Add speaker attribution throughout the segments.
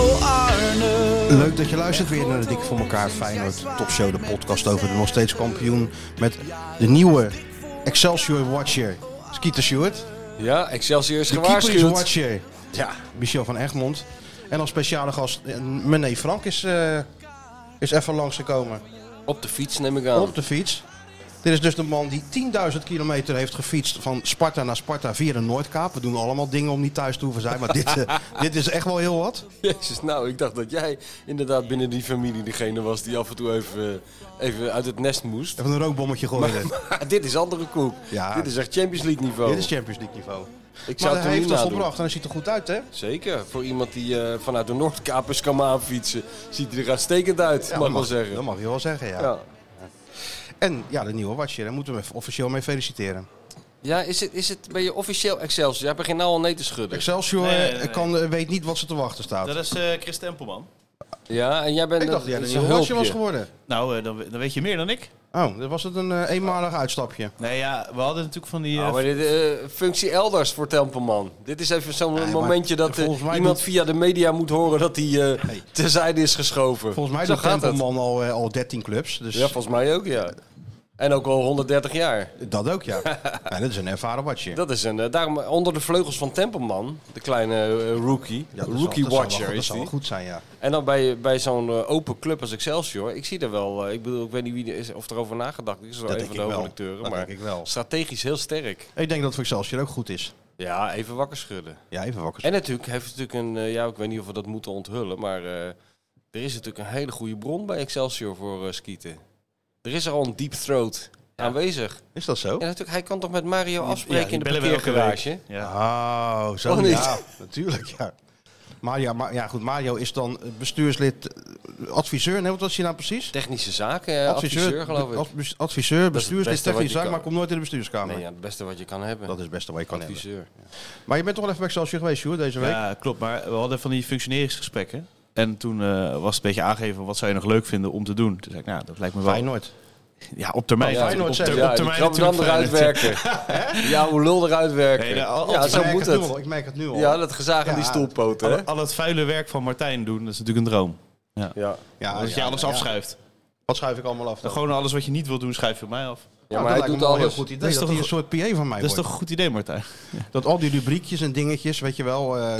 Speaker 1: Oh Arne.
Speaker 2: Leuk dat je luistert weer naar de Dik voor elkaar Feyenoord Topshow, de podcast over de nog steeds kampioen. Met de nieuwe Excelsior Watcher, Skeeter Stewart.
Speaker 3: Ja, Excelsior is
Speaker 2: De Keeper is
Speaker 3: gewaarschuwd.
Speaker 2: Watcher, ja, Michel van Egmond. En als speciale gast, eh, mijn neef Frank is, eh, is even langsgekomen
Speaker 3: Op de fiets neem ik aan.
Speaker 2: op de fiets. Dit is dus de man die 10.000 kilometer heeft gefietst van Sparta naar Sparta via de Noordkaap. We doen allemaal dingen om niet thuis te hoeven zijn, maar dit, eh, dit is echt wel heel wat.
Speaker 3: Jezus, nou, ik dacht dat jij inderdaad binnen die familie degene was die af en toe even, eh, even uit het nest moest.
Speaker 2: Even een rookbommetje gooien.
Speaker 3: Maar dit is andere koek.
Speaker 2: Ja.
Speaker 3: Dit is echt Champions League niveau.
Speaker 2: Dit is Champions League niveau.
Speaker 3: ik
Speaker 2: Maar hij
Speaker 3: zou het hem niet
Speaker 2: heeft het
Speaker 3: nadoen.
Speaker 2: volbracht en hij ziet er goed uit, hè?
Speaker 3: Zeker, voor iemand die eh, vanuit de Noordkapers kan maar aanfietsen, ziet hij er uitstekend uit, mag ik wel zeggen.
Speaker 2: Dat mag je wel zeggen, ja.
Speaker 3: Ja.
Speaker 2: En ja, de nieuwe watcher, daar moeten we even officieel mee feliciteren.
Speaker 3: Ja, is het, is het, ben je officieel Excelsior? Jij begint nou al nee te schudden.
Speaker 2: Excelsior
Speaker 4: Nee, nee, nee.
Speaker 2: Kan, eh, weet niet wat ze te wachten staat.
Speaker 4: Dat is eh Chris Tempelman.
Speaker 3: Ja, en jij bent
Speaker 2: ik dacht dat jij
Speaker 3: een,
Speaker 2: de
Speaker 3: een
Speaker 2: nieuwe watcher was
Speaker 3: hulpje.
Speaker 2: geworden.
Speaker 4: Nou, eh, dan, we- dan weet je meer dan ik.
Speaker 2: Oh, dat was het een eh, eenmalig uitstapje.
Speaker 4: Nee, ja, we hadden natuurlijk van die... eh,
Speaker 3: Nou, maar dit, eh, functie elders voor Tempelman. Dit is even zo'n
Speaker 2: maar
Speaker 3: momentje dat eh,
Speaker 2: volgens mij
Speaker 3: iemand
Speaker 2: doet-
Speaker 3: via de media moet horen dat hij eh, terzijde is geschoven.
Speaker 2: Volgens mij
Speaker 3: Zo
Speaker 2: doet
Speaker 3: gaat dat.
Speaker 2: Tempelman al, eh, al 13 clubs. Dus
Speaker 3: Ja, volgens mij ook, ja. En ook al 130 jaar.
Speaker 2: dat ook, ja. Ja, dat is een ervaren watcher.
Speaker 3: Dat is een, eh, daarom eh, onder de vleugels van Tempelman, de kleine eh, rookie,
Speaker 2: Ja, dat zal-
Speaker 3: rookie
Speaker 2: dat zal wel
Speaker 3: watcher
Speaker 2: goed- Dat
Speaker 3: is
Speaker 2: zal
Speaker 3: die.
Speaker 2: wel goed zijn, ja.
Speaker 3: En dan bij, bij zo'n eh, open club als Excelsior, ik zie er wel, eh, ik bedoel, ik weet niet wie er is, of erover nagedacht is, dat
Speaker 2: denk
Speaker 3: een van
Speaker 2: ik
Speaker 3: de
Speaker 2: wel.
Speaker 3: hoofdredacteuren,
Speaker 2: Dat
Speaker 3: maar
Speaker 2: denk ik wel.
Speaker 3: strategisch heel sterk.
Speaker 2: Ik denk dat het voor Excelsior ook goed is.
Speaker 3: Ja, even wakker schudden.
Speaker 2: Ja, even wakker.
Speaker 3: En natuurlijk heeft het natuurlijk een, eh, ja, ik weet niet of we dat moeten onthullen, maar eh, er is natuurlijk een hele goede bron bij Excelsior voor eh skieten. Er is er al een deep throat aanwezig.
Speaker 2: Is dat zo?
Speaker 3: En natuurlijk, hij kan toch met Mario
Speaker 4: ja,
Speaker 3: afspreken
Speaker 4: die
Speaker 3: in de
Speaker 4: bellen we elke
Speaker 3: parkeergarage?
Speaker 4: week. Ja.
Speaker 2: Oh, zo
Speaker 3: Of niet?
Speaker 2: ja. Natuurlijk, ja. Mario, maar, ja, goed, Mario is dan bestuurslid, eh, adviseur. Nee, wat was hij nou precies?
Speaker 3: Technische zaken, eh, adviseur, geloof ik.
Speaker 2: advis- adviseur, bestuurslid,
Speaker 3: beste wat
Speaker 2: technisch
Speaker 3: je
Speaker 2: zaak,
Speaker 3: kan.
Speaker 2: maar komt nooit in de bestuurskamer.
Speaker 3: nee, ja, het beste wat je kan hebben.
Speaker 2: Dat is het beste wat je kan hebben.
Speaker 3: adviseur.
Speaker 2: Maar je bent toch wel even bij Excelsior geweest, Sjoerd, deze week?
Speaker 4: Ja, klopt. Maar we hadden van die functioneringsgesprekken. En toen eh, was het een beetje aangegeven wat zou je nog leuk vinden om te doen. Toen zei ik, nou, dat lijkt me wel.
Speaker 2: Feyenoord.
Speaker 4: Ja, op termijn.
Speaker 2: Ja,
Speaker 4: natuurlijk.
Speaker 2: Feyenoord
Speaker 4: op, ter-
Speaker 2: zegt,
Speaker 4: op
Speaker 3: ja, die
Speaker 4: termijn
Speaker 3: krab dan
Speaker 4: natuurlijk
Speaker 3: eruit
Speaker 4: Feyenoord.
Speaker 3: werken. ja, hoe lul eruit werken.
Speaker 4: Nee, nou, al-
Speaker 3: ja,
Speaker 4: al-
Speaker 3: zo
Speaker 2: ik merk
Speaker 3: moet
Speaker 2: Nu
Speaker 3: het.
Speaker 2: al, ik merk het nu al.
Speaker 3: Ja,
Speaker 2: Ja,
Speaker 3: dat gezaag in die
Speaker 2: Ja,
Speaker 3: stoelpoten, hè?
Speaker 4: Al, al het vuile werk van Martijn doen, dat is natuurlijk een droom.
Speaker 3: Ja.
Speaker 4: dat
Speaker 2: Ah, ja,
Speaker 4: je alles
Speaker 2: ja, ja.
Speaker 4: afschuift.
Speaker 2: Wat schuif ik allemaal af?
Speaker 4: Dan gewoon alles wat je niet wilt doen, schuif je op mij af.
Speaker 3: ja, maar hij doet alles.
Speaker 2: goed idee.
Speaker 4: Dat
Speaker 2: Dat
Speaker 4: is
Speaker 2: is
Speaker 4: toch
Speaker 2: een
Speaker 4: een
Speaker 2: soort PA van mij
Speaker 4: Dat is toch
Speaker 2: wordt.
Speaker 4: een goed idee, Martijn?
Speaker 2: Dat al die rubriekjes en dingetjes, weet je wel. eh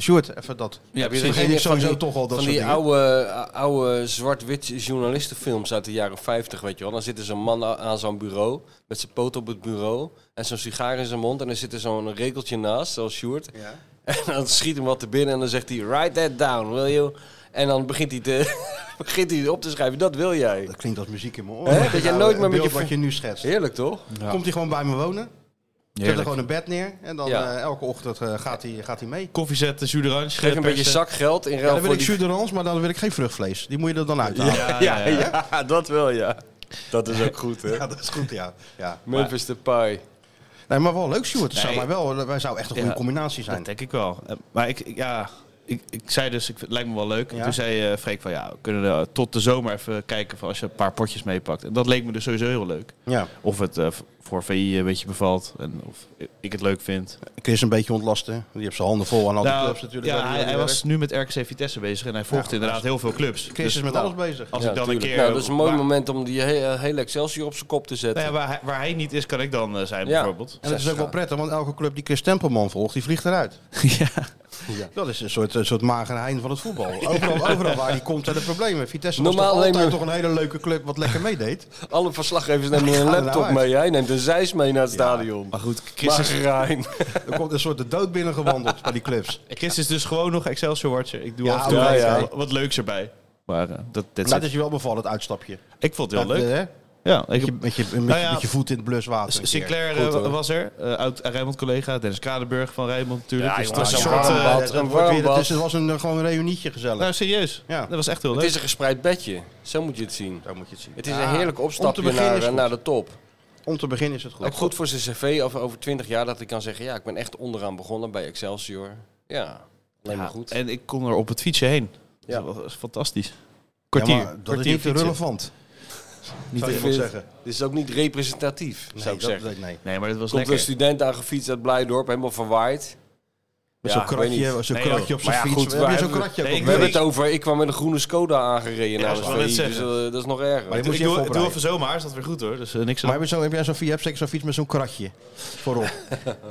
Speaker 2: Sjoerd, even dat.
Speaker 4: Ja,
Speaker 3: Heb je
Speaker 2: vergeet
Speaker 3: geen
Speaker 2: ik
Speaker 3: van
Speaker 2: sowieso
Speaker 3: die-
Speaker 2: toch al dat
Speaker 3: Van
Speaker 2: soort
Speaker 3: die
Speaker 2: dingen.
Speaker 3: oude, eh, oude zwart-wit journalistenfilms uit de jaren 50, weet je wel. Dan zit er zo'n man a- aan zo'n bureau, met zijn poot op het bureau... en zo'n sigaar in zijn mond en dan zit er zo'n regeltje naast, zoals Sjoerd. En dan schiet hem wat te binnen en dan zegt hij... Write that down, will you? En dan begint hij, te, begint hij op te schrijven, dat wil jij.
Speaker 2: Dat klinkt als muziek in mijn
Speaker 3: Hè?
Speaker 2: oren.
Speaker 3: Dat jij nooit meer met
Speaker 2: beeld
Speaker 3: je-
Speaker 2: wat je nu schetst.
Speaker 3: Heerlijk, toch?
Speaker 2: Komt hij gewoon bij me wonen? Zet er
Speaker 4: Heerlijk.
Speaker 2: gewoon een bed neer en dan
Speaker 3: Ja.
Speaker 2: eh, elke ochtend eh, gaat hij gaat hij mee.
Speaker 4: Koffie zetten, jus d'orange.
Speaker 3: Geef
Speaker 4: eh,
Speaker 3: een beetje
Speaker 4: persen.
Speaker 3: zakgeld in
Speaker 2: Ja,
Speaker 3: ruil
Speaker 2: dan wil
Speaker 3: voor
Speaker 2: ik
Speaker 3: die...
Speaker 2: jus d'orange, maar dan wil ik geen vruchtvlees. Die moet je er dan uithalen. Ja,
Speaker 4: Ja,
Speaker 3: ja,
Speaker 4: ja, ja.
Speaker 3: ja, dat wel, ja. Dat is ook goed, hè?
Speaker 2: dat is goed, ja. ja.
Speaker 3: Memphis Depay.
Speaker 2: Nee, maar wel leuk, Sjoerd. Het zou
Speaker 4: Nee.
Speaker 2: maar wel, wij zou echt een goede
Speaker 4: Ja.
Speaker 2: combinatie zijn.
Speaker 4: Dat denk ik wel. Eh, Maar ik, ik- ja, ik, ik zei dus, ik, vind- het lijkt me wel leuk.
Speaker 2: Ja.
Speaker 4: Toen zei eh, Freek van, ja, we kunnen er tot de zomer even kijken van als je een paar potjes meepakt. En dat leek me dus sowieso heel leuk.
Speaker 2: Ja,
Speaker 4: Of het eh, v- voor VI een beetje bevalt en of ik het leuk vind.
Speaker 2: Chris een beetje ontlasten. Die heeft zijn handen vol aan al die
Speaker 4: Nou,
Speaker 2: clubs natuurlijk. waar
Speaker 4: ja,
Speaker 2: die
Speaker 4: hij,
Speaker 2: aan
Speaker 4: hij
Speaker 2: werkt.
Speaker 4: was nu met RKC Vitesse bezig en hij volgt inderdaad heel veel clubs.
Speaker 2: Chris
Speaker 4: Dus
Speaker 2: is met
Speaker 4: nou,
Speaker 2: alles bezig.
Speaker 4: Als
Speaker 3: Ja,
Speaker 4: ik dan een
Speaker 3: tuurlijk.
Speaker 4: keer...
Speaker 3: nou, dat is een mooi
Speaker 4: waar-
Speaker 3: moment om die he- eh, hele Excelsior op zijn kop te zetten.
Speaker 4: nou ja, waar, hij, waar hij niet is, kan ik dan eh, zijn
Speaker 3: Ja.
Speaker 4: bijvoorbeeld.
Speaker 2: En dat is ook wel prettig, want elke club die Chris Tempelman volgt, die vliegt eruit.
Speaker 4: ja.
Speaker 2: Dat is een soort, een soort mager hein van het voetbal. Overal, overal waar die komt zijn er problemen. Vitesse
Speaker 3: Normaal
Speaker 2: was toch altijd
Speaker 3: nemen we-
Speaker 2: toch een hele leuke club wat lekker meedeed.
Speaker 3: Alle verslaggevers nemen een
Speaker 2: Ga er nou
Speaker 3: laptop
Speaker 2: uit.
Speaker 3: mee. Jij neemt een zeis mee naar het stadion.
Speaker 4: Maar goed, Chris,
Speaker 3: Maar
Speaker 4: is,
Speaker 3: Rijn.
Speaker 2: Er komt een soort de dood binnen gewandeld bij die clubs.
Speaker 4: Chris is dus gewoon nog Excelsior Watcher. Ik doe
Speaker 2: Ja,
Speaker 4: af en toe
Speaker 2: ja, ja.
Speaker 4: wat- wat leuks erbij. Maar eh, dat,
Speaker 3: Nou,
Speaker 4: dat
Speaker 2: Dat is je wel bevallen, het uitstapje.
Speaker 4: Ik vond het heel
Speaker 2: Dat,
Speaker 4: leuk.
Speaker 2: eh,
Speaker 4: Ja, ik,
Speaker 2: Met je, met, je, met, je,
Speaker 4: Nou ja,
Speaker 2: met je voet in het bluswater. een keer.
Speaker 4: Sinclair
Speaker 3: Goed,
Speaker 4: eh,
Speaker 3: hoor.
Speaker 4: was er, eh oud Rijnmond collega, Dennis Kadenburg van Rijnmond natuurlijk.
Speaker 3: Ja,
Speaker 4: Dus het
Speaker 3: jongen,
Speaker 4: was
Speaker 3: zo'n
Speaker 4: een soort,
Speaker 3: warm
Speaker 4: eh,
Speaker 3: bad.
Speaker 2: Dat
Speaker 3: Een
Speaker 2: wordt weer-
Speaker 3: warmbad.
Speaker 2: Dus het was een, eh, gewoon een reunietje gezellig.
Speaker 4: nou serieus,
Speaker 2: Ja.
Speaker 4: dat was echt heel
Speaker 3: Het
Speaker 4: leuk.
Speaker 3: is een gespreid bedje. Zo moet je het zien.
Speaker 2: Zo moet je het zien.
Speaker 3: Het is
Speaker 2: Ah,
Speaker 3: een heerlijk
Speaker 2: om
Speaker 3: opstapje
Speaker 2: te beginnen
Speaker 3: naar,
Speaker 2: is
Speaker 3: eh,
Speaker 2: goed.
Speaker 3: naar de top.
Speaker 2: Om te beginnen is het goed.
Speaker 3: Ook goed voor zijn cv over, over 20 jaar dat ik kan zeggen... ja, ik ben echt onderaan begonnen bij Excelsior. Ja, alleen maar goed.
Speaker 4: En ik kon er op het fietsje heen.
Speaker 3: Ja.
Speaker 4: Dat was fantastisch.
Speaker 2: Ja,
Speaker 4: Kwartier.
Speaker 2: maar dat
Speaker 4: kwartier
Speaker 2: is niet te
Speaker 4: fietsen.
Speaker 2: relevant. Niet
Speaker 3: Ik
Speaker 2: te
Speaker 3: vind-
Speaker 2: zeggen.
Speaker 3: Dit is ook niet representatief,
Speaker 2: Nee,
Speaker 3: zou ik
Speaker 2: dat-
Speaker 3: zeggen.
Speaker 2: dat- nee.
Speaker 4: Nee, maar dat was
Speaker 3: Komt
Speaker 2: dus
Speaker 4: lekker.
Speaker 3: een student aangefietst uit Blijdorp, helemaal verwaaid.
Speaker 2: Met
Speaker 3: Ja,
Speaker 2: zo'n
Speaker 3: ik weet niet.
Speaker 2: kratje, zo'n
Speaker 4: Nee,
Speaker 2: kratje
Speaker 4: joh.
Speaker 2: op zijn
Speaker 3: Maar ja,
Speaker 2: fiets.
Speaker 3: goed,
Speaker 2: Heb je
Speaker 3: waar
Speaker 2: zo'n
Speaker 3: hebben
Speaker 2: kratje
Speaker 4: Nee,
Speaker 2: ook
Speaker 4: ik
Speaker 2: op
Speaker 3: We hebben het
Speaker 2: fiets?
Speaker 3: over, ik kwam met een groene Skoda aangereden
Speaker 4: Ja,
Speaker 3: naar
Speaker 4: ik
Speaker 3: de
Speaker 4: wou net
Speaker 3: VI, dus
Speaker 4: zeggen.
Speaker 3: dat, dat is nog erger.
Speaker 2: Maar je
Speaker 4: Ik
Speaker 2: moet je
Speaker 4: doe,
Speaker 2: even
Speaker 4: ik doe even
Speaker 2: oprijden.
Speaker 4: zomaar, is dat weer goed hoor. Dus eh, niks
Speaker 2: Maar
Speaker 4: aan.
Speaker 2: heb je zo- heb jij zo'n- je hebt zeker zo'n fiets met zo'n kratje voorop?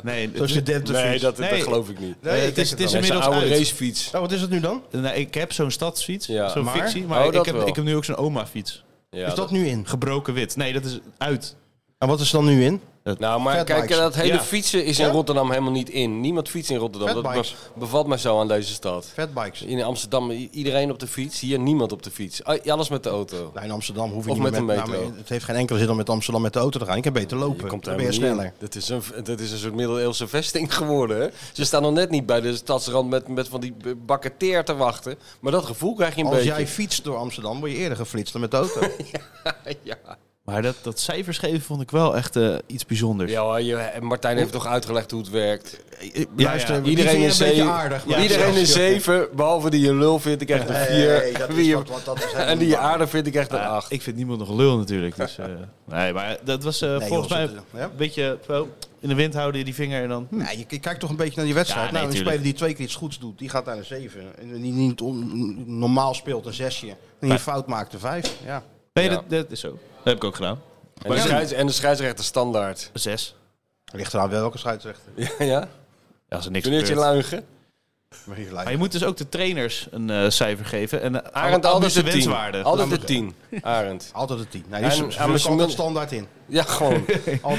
Speaker 4: Nee,
Speaker 2: Zo'n
Speaker 4: het-
Speaker 2: studentenfiets?
Speaker 3: nee, dat,
Speaker 4: Nee.
Speaker 3: dat geloof ik niet.
Speaker 4: eh, het is, het is
Speaker 3: Dat is een
Speaker 4: inmiddels
Speaker 3: oude
Speaker 4: uit.
Speaker 3: racefiets.
Speaker 2: Oh, wat is het nu dan?
Speaker 4: Nee, ik heb zo'n stadsfiets,
Speaker 3: Ja.
Speaker 4: zo'n
Speaker 2: Maar?
Speaker 4: fictie. Maar
Speaker 3: Oh,
Speaker 4: ik,
Speaker 3: dat
Speaker 4: heb,
Speaker 3: wel.
Speaker 4: ik heb nu ook zo'n oma-fiets.
Speaker 3: Ja,
Speaker 2: Is dat nu in?
Speaker 4: Gebroken wit. Nee, dat is uit.
Speaker 2: En wat is er dan nu in?
Speaker 3: Nou, maar
Speaker 2: Fatbikes.
Speaker 3: kijk, dat hele
Speaker 4: Ja.
Speaker 3: fietsen is
Speaker 2: Ja?
Speaker 3: in Rotterdam helemaal niet in. Niemand fietst in Rotterdam. Dat
Speaker 2: Fatbikes.
Speaker 3: be- bevalt mij zo aan deze stad.
Speaker 2: Fatbikes.
Speaker 3: In Amsterdam i- iedereen op de fiets, hier niemand op de fiets. Ah, Alles met de auto.
Speaker 2: Nou, in Amsterdam hoef je
Speaker 3: Of
Speaker 2: niet
Speaker 3: met een
Speaker 2: nou,
Speaker 3: metro.
Speaker 2: maar het heeft geen enkele zin om met Amsterdam met de auto te gaan. Ik heb beter lopen.
Speaker 3: Je komt
Speaker 2: dan
Speaker 3: daar
Speaker 2: ben je sneller.
Speaker 3: Dat is, een, dat is een soort middeleeuwse vesting geworden. Hè? Ze staan nog net niet bij de stadsrand met, met van die b- bakken teer te wachten. Maar dat gevoel krijg je een
Speaker 2: Als
Speaker 3: beetje.
Speaker 2: jij fietst door Amsterdam, word je eerder geflitst dan met de auto.
Speaker 3: ja.
Speaker 4: Maar dat, dat cijfers geven vond ik wel echt eh, iets bijzonders.
Speaker 3: Ja, hoor, je, Martijn heeft toch uitgelegd hoe het werkt.
Speaker 2: Luister, die
Speaker 3: Iedereen
Speaker 2: vind je
Speaker 3: is
Speaker 2: een beetje
Speaker 3: zeven.
Speaker 2: aardig.
Speaker 3: Ja, iedereen is zeven, behalve die je lul vindt, ik krijg een vier. Wie je- en die je aardig vindt, ik krijg een
Speaker 4: Nou ja,
Speaker 3: acht.
Speaker 4: Ik vind niemand nog een lul natuurlijk. Dus, eh, nee, maar dat was eh, volgens
Speaker 2: joh,
Speaker 4: mij
Speaker 2: zit er- ja?
Speaker 4: een beetje zo in de wind houden die vinger en dan...
Speaker 2: Nee, je, je kijkt toch een beetje naar die wedstrijd.
Speaker 4: Ja, nee,
Speaker 2: nou, een
Speaker 4: tuurlijk.
Speaker 2: speler die twee keer iets goeds doet, die gaat naar een zeven. En die niet on- normaal speelt een zesje. En die fout maakt een vijf. Ja.
Speaker 4: Nee,
Speaker 3: Ja.
Speaker 4: dat, dat is zo. Dat heb ik ook gedaan.
Speaker 3: En
Speaker 4: dus
Speaker 3: de, scheids, en de scheidsrechter standaard.
Speaker 4: Zes.
Speaker 2: Ligt eraan welke scheidsrechter.
Speaker 3: ja, ja?
Speaker 4: Ja, als er niks
Speaker 3: Meneertje
Speaker 4: gebeurt.
Speaker 3: Luigen.
Speaker 2: Maar hier
Speaker 4: Maar
Speaker 2: gelijk.
Speaker 4: je moet dus ook de trainers een eh, cijfer geven. En eh,
Speaker 3: Arend
Speaker 4: alle
Speaker 3: altijd de tien.
Speaker 4: wenswaarden.
Speaker 3: Altijd de tien. Arend.
Speaker 2: Altijd de tien. Nou, Nee, die
Speaker 3: En-
Speaker 2: is-
Speaker 3: en
Speaker 2: er komt
Speaker 3: misschien-
Speaker 2: altijd standaard in.
Speaker 3: Ja, gewoon.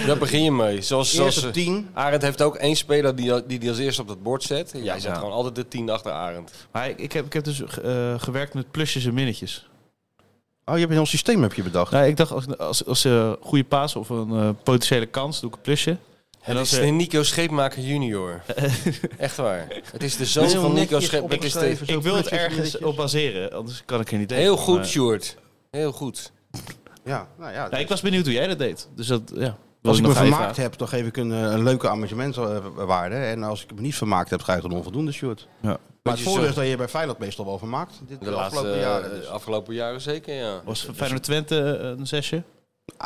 Speaker 3: Daar begin je mee. Zoals, zoals eh,
Speaker 2: Eerste tien.
Speaker 3: Arend heeft ook één speler die, die die als eerste op dat bord zet. En jij
Speaker 4: Ja.
Speaker 3: zet gewoon altijd de tien achter Arend.
Speaker 4: Maar ik, ik, heb, ik heb dus eh, gewerkt met plusjes en minnetjes.
Speaker 2: Oh, je hebt een heel systeem heb je bedacht.
Speaker 4: Nou, ik dacht, als, als, als eh, goede paas of een eh, potentiële kans, doe ik een plusje.
Speaker 3: Het
Speaker 4: als
Speaker 3: is
Speaker 4: er-
Speaker 3: de Nico Scheepmaker junior. Echt waar. Het is de zoon
Speaker 2: Heel
Speaker 3: van Nico
Speaker 2: netjes
Speaker 3: Scheepmaker. Het is de-
Speaker 2: opgeschreven. Zo
Speaker 4: Ik wil het
Speaker 2: plusjes en
Speaker 4: ergens
Speaker 2: minnetjes.
Speaker 4: op baseren, anders kan ik er niet tegen.
Speaker 3: Heel
Speaker 4: Maar-
Speaker 3: goed, Sjoerd. Heel goed.
Speaker 2: Ja, nou ja.
Speaker 4: Nou, ik was benieuwd hoe jij dat deed. Dus dat, ja. wilde
Speaker 2: Als ik
Speaker 4: nog
Speaker 2: me
Speaker 4: even
Speaker 2: vermaakt
Speaker 4: vragen.
Speaker 2: heb, dan geef ik een, eh, een leuke amusementwaarde. En als ik me niet vermaakt heb, krijg ik een onvoldoende short.
Speaker 4: Ja.
Speaker 2: Maar het
Speaker 3: Beetje
Speaker 2: voordeel
Speaker 3: zo.
Speaker 2: is dat je bij Feyenoord meestal wel vermaakt. Dit de,
Speaker 3: De laatste eh,
Speaker 2: afgelopen jaren. Dus.
Speaker 3: afgelopen jaren zeker, ja.
Speaker 4: Was Feyenoord Twente eh, een zesje?
Speaker 2: A7'tje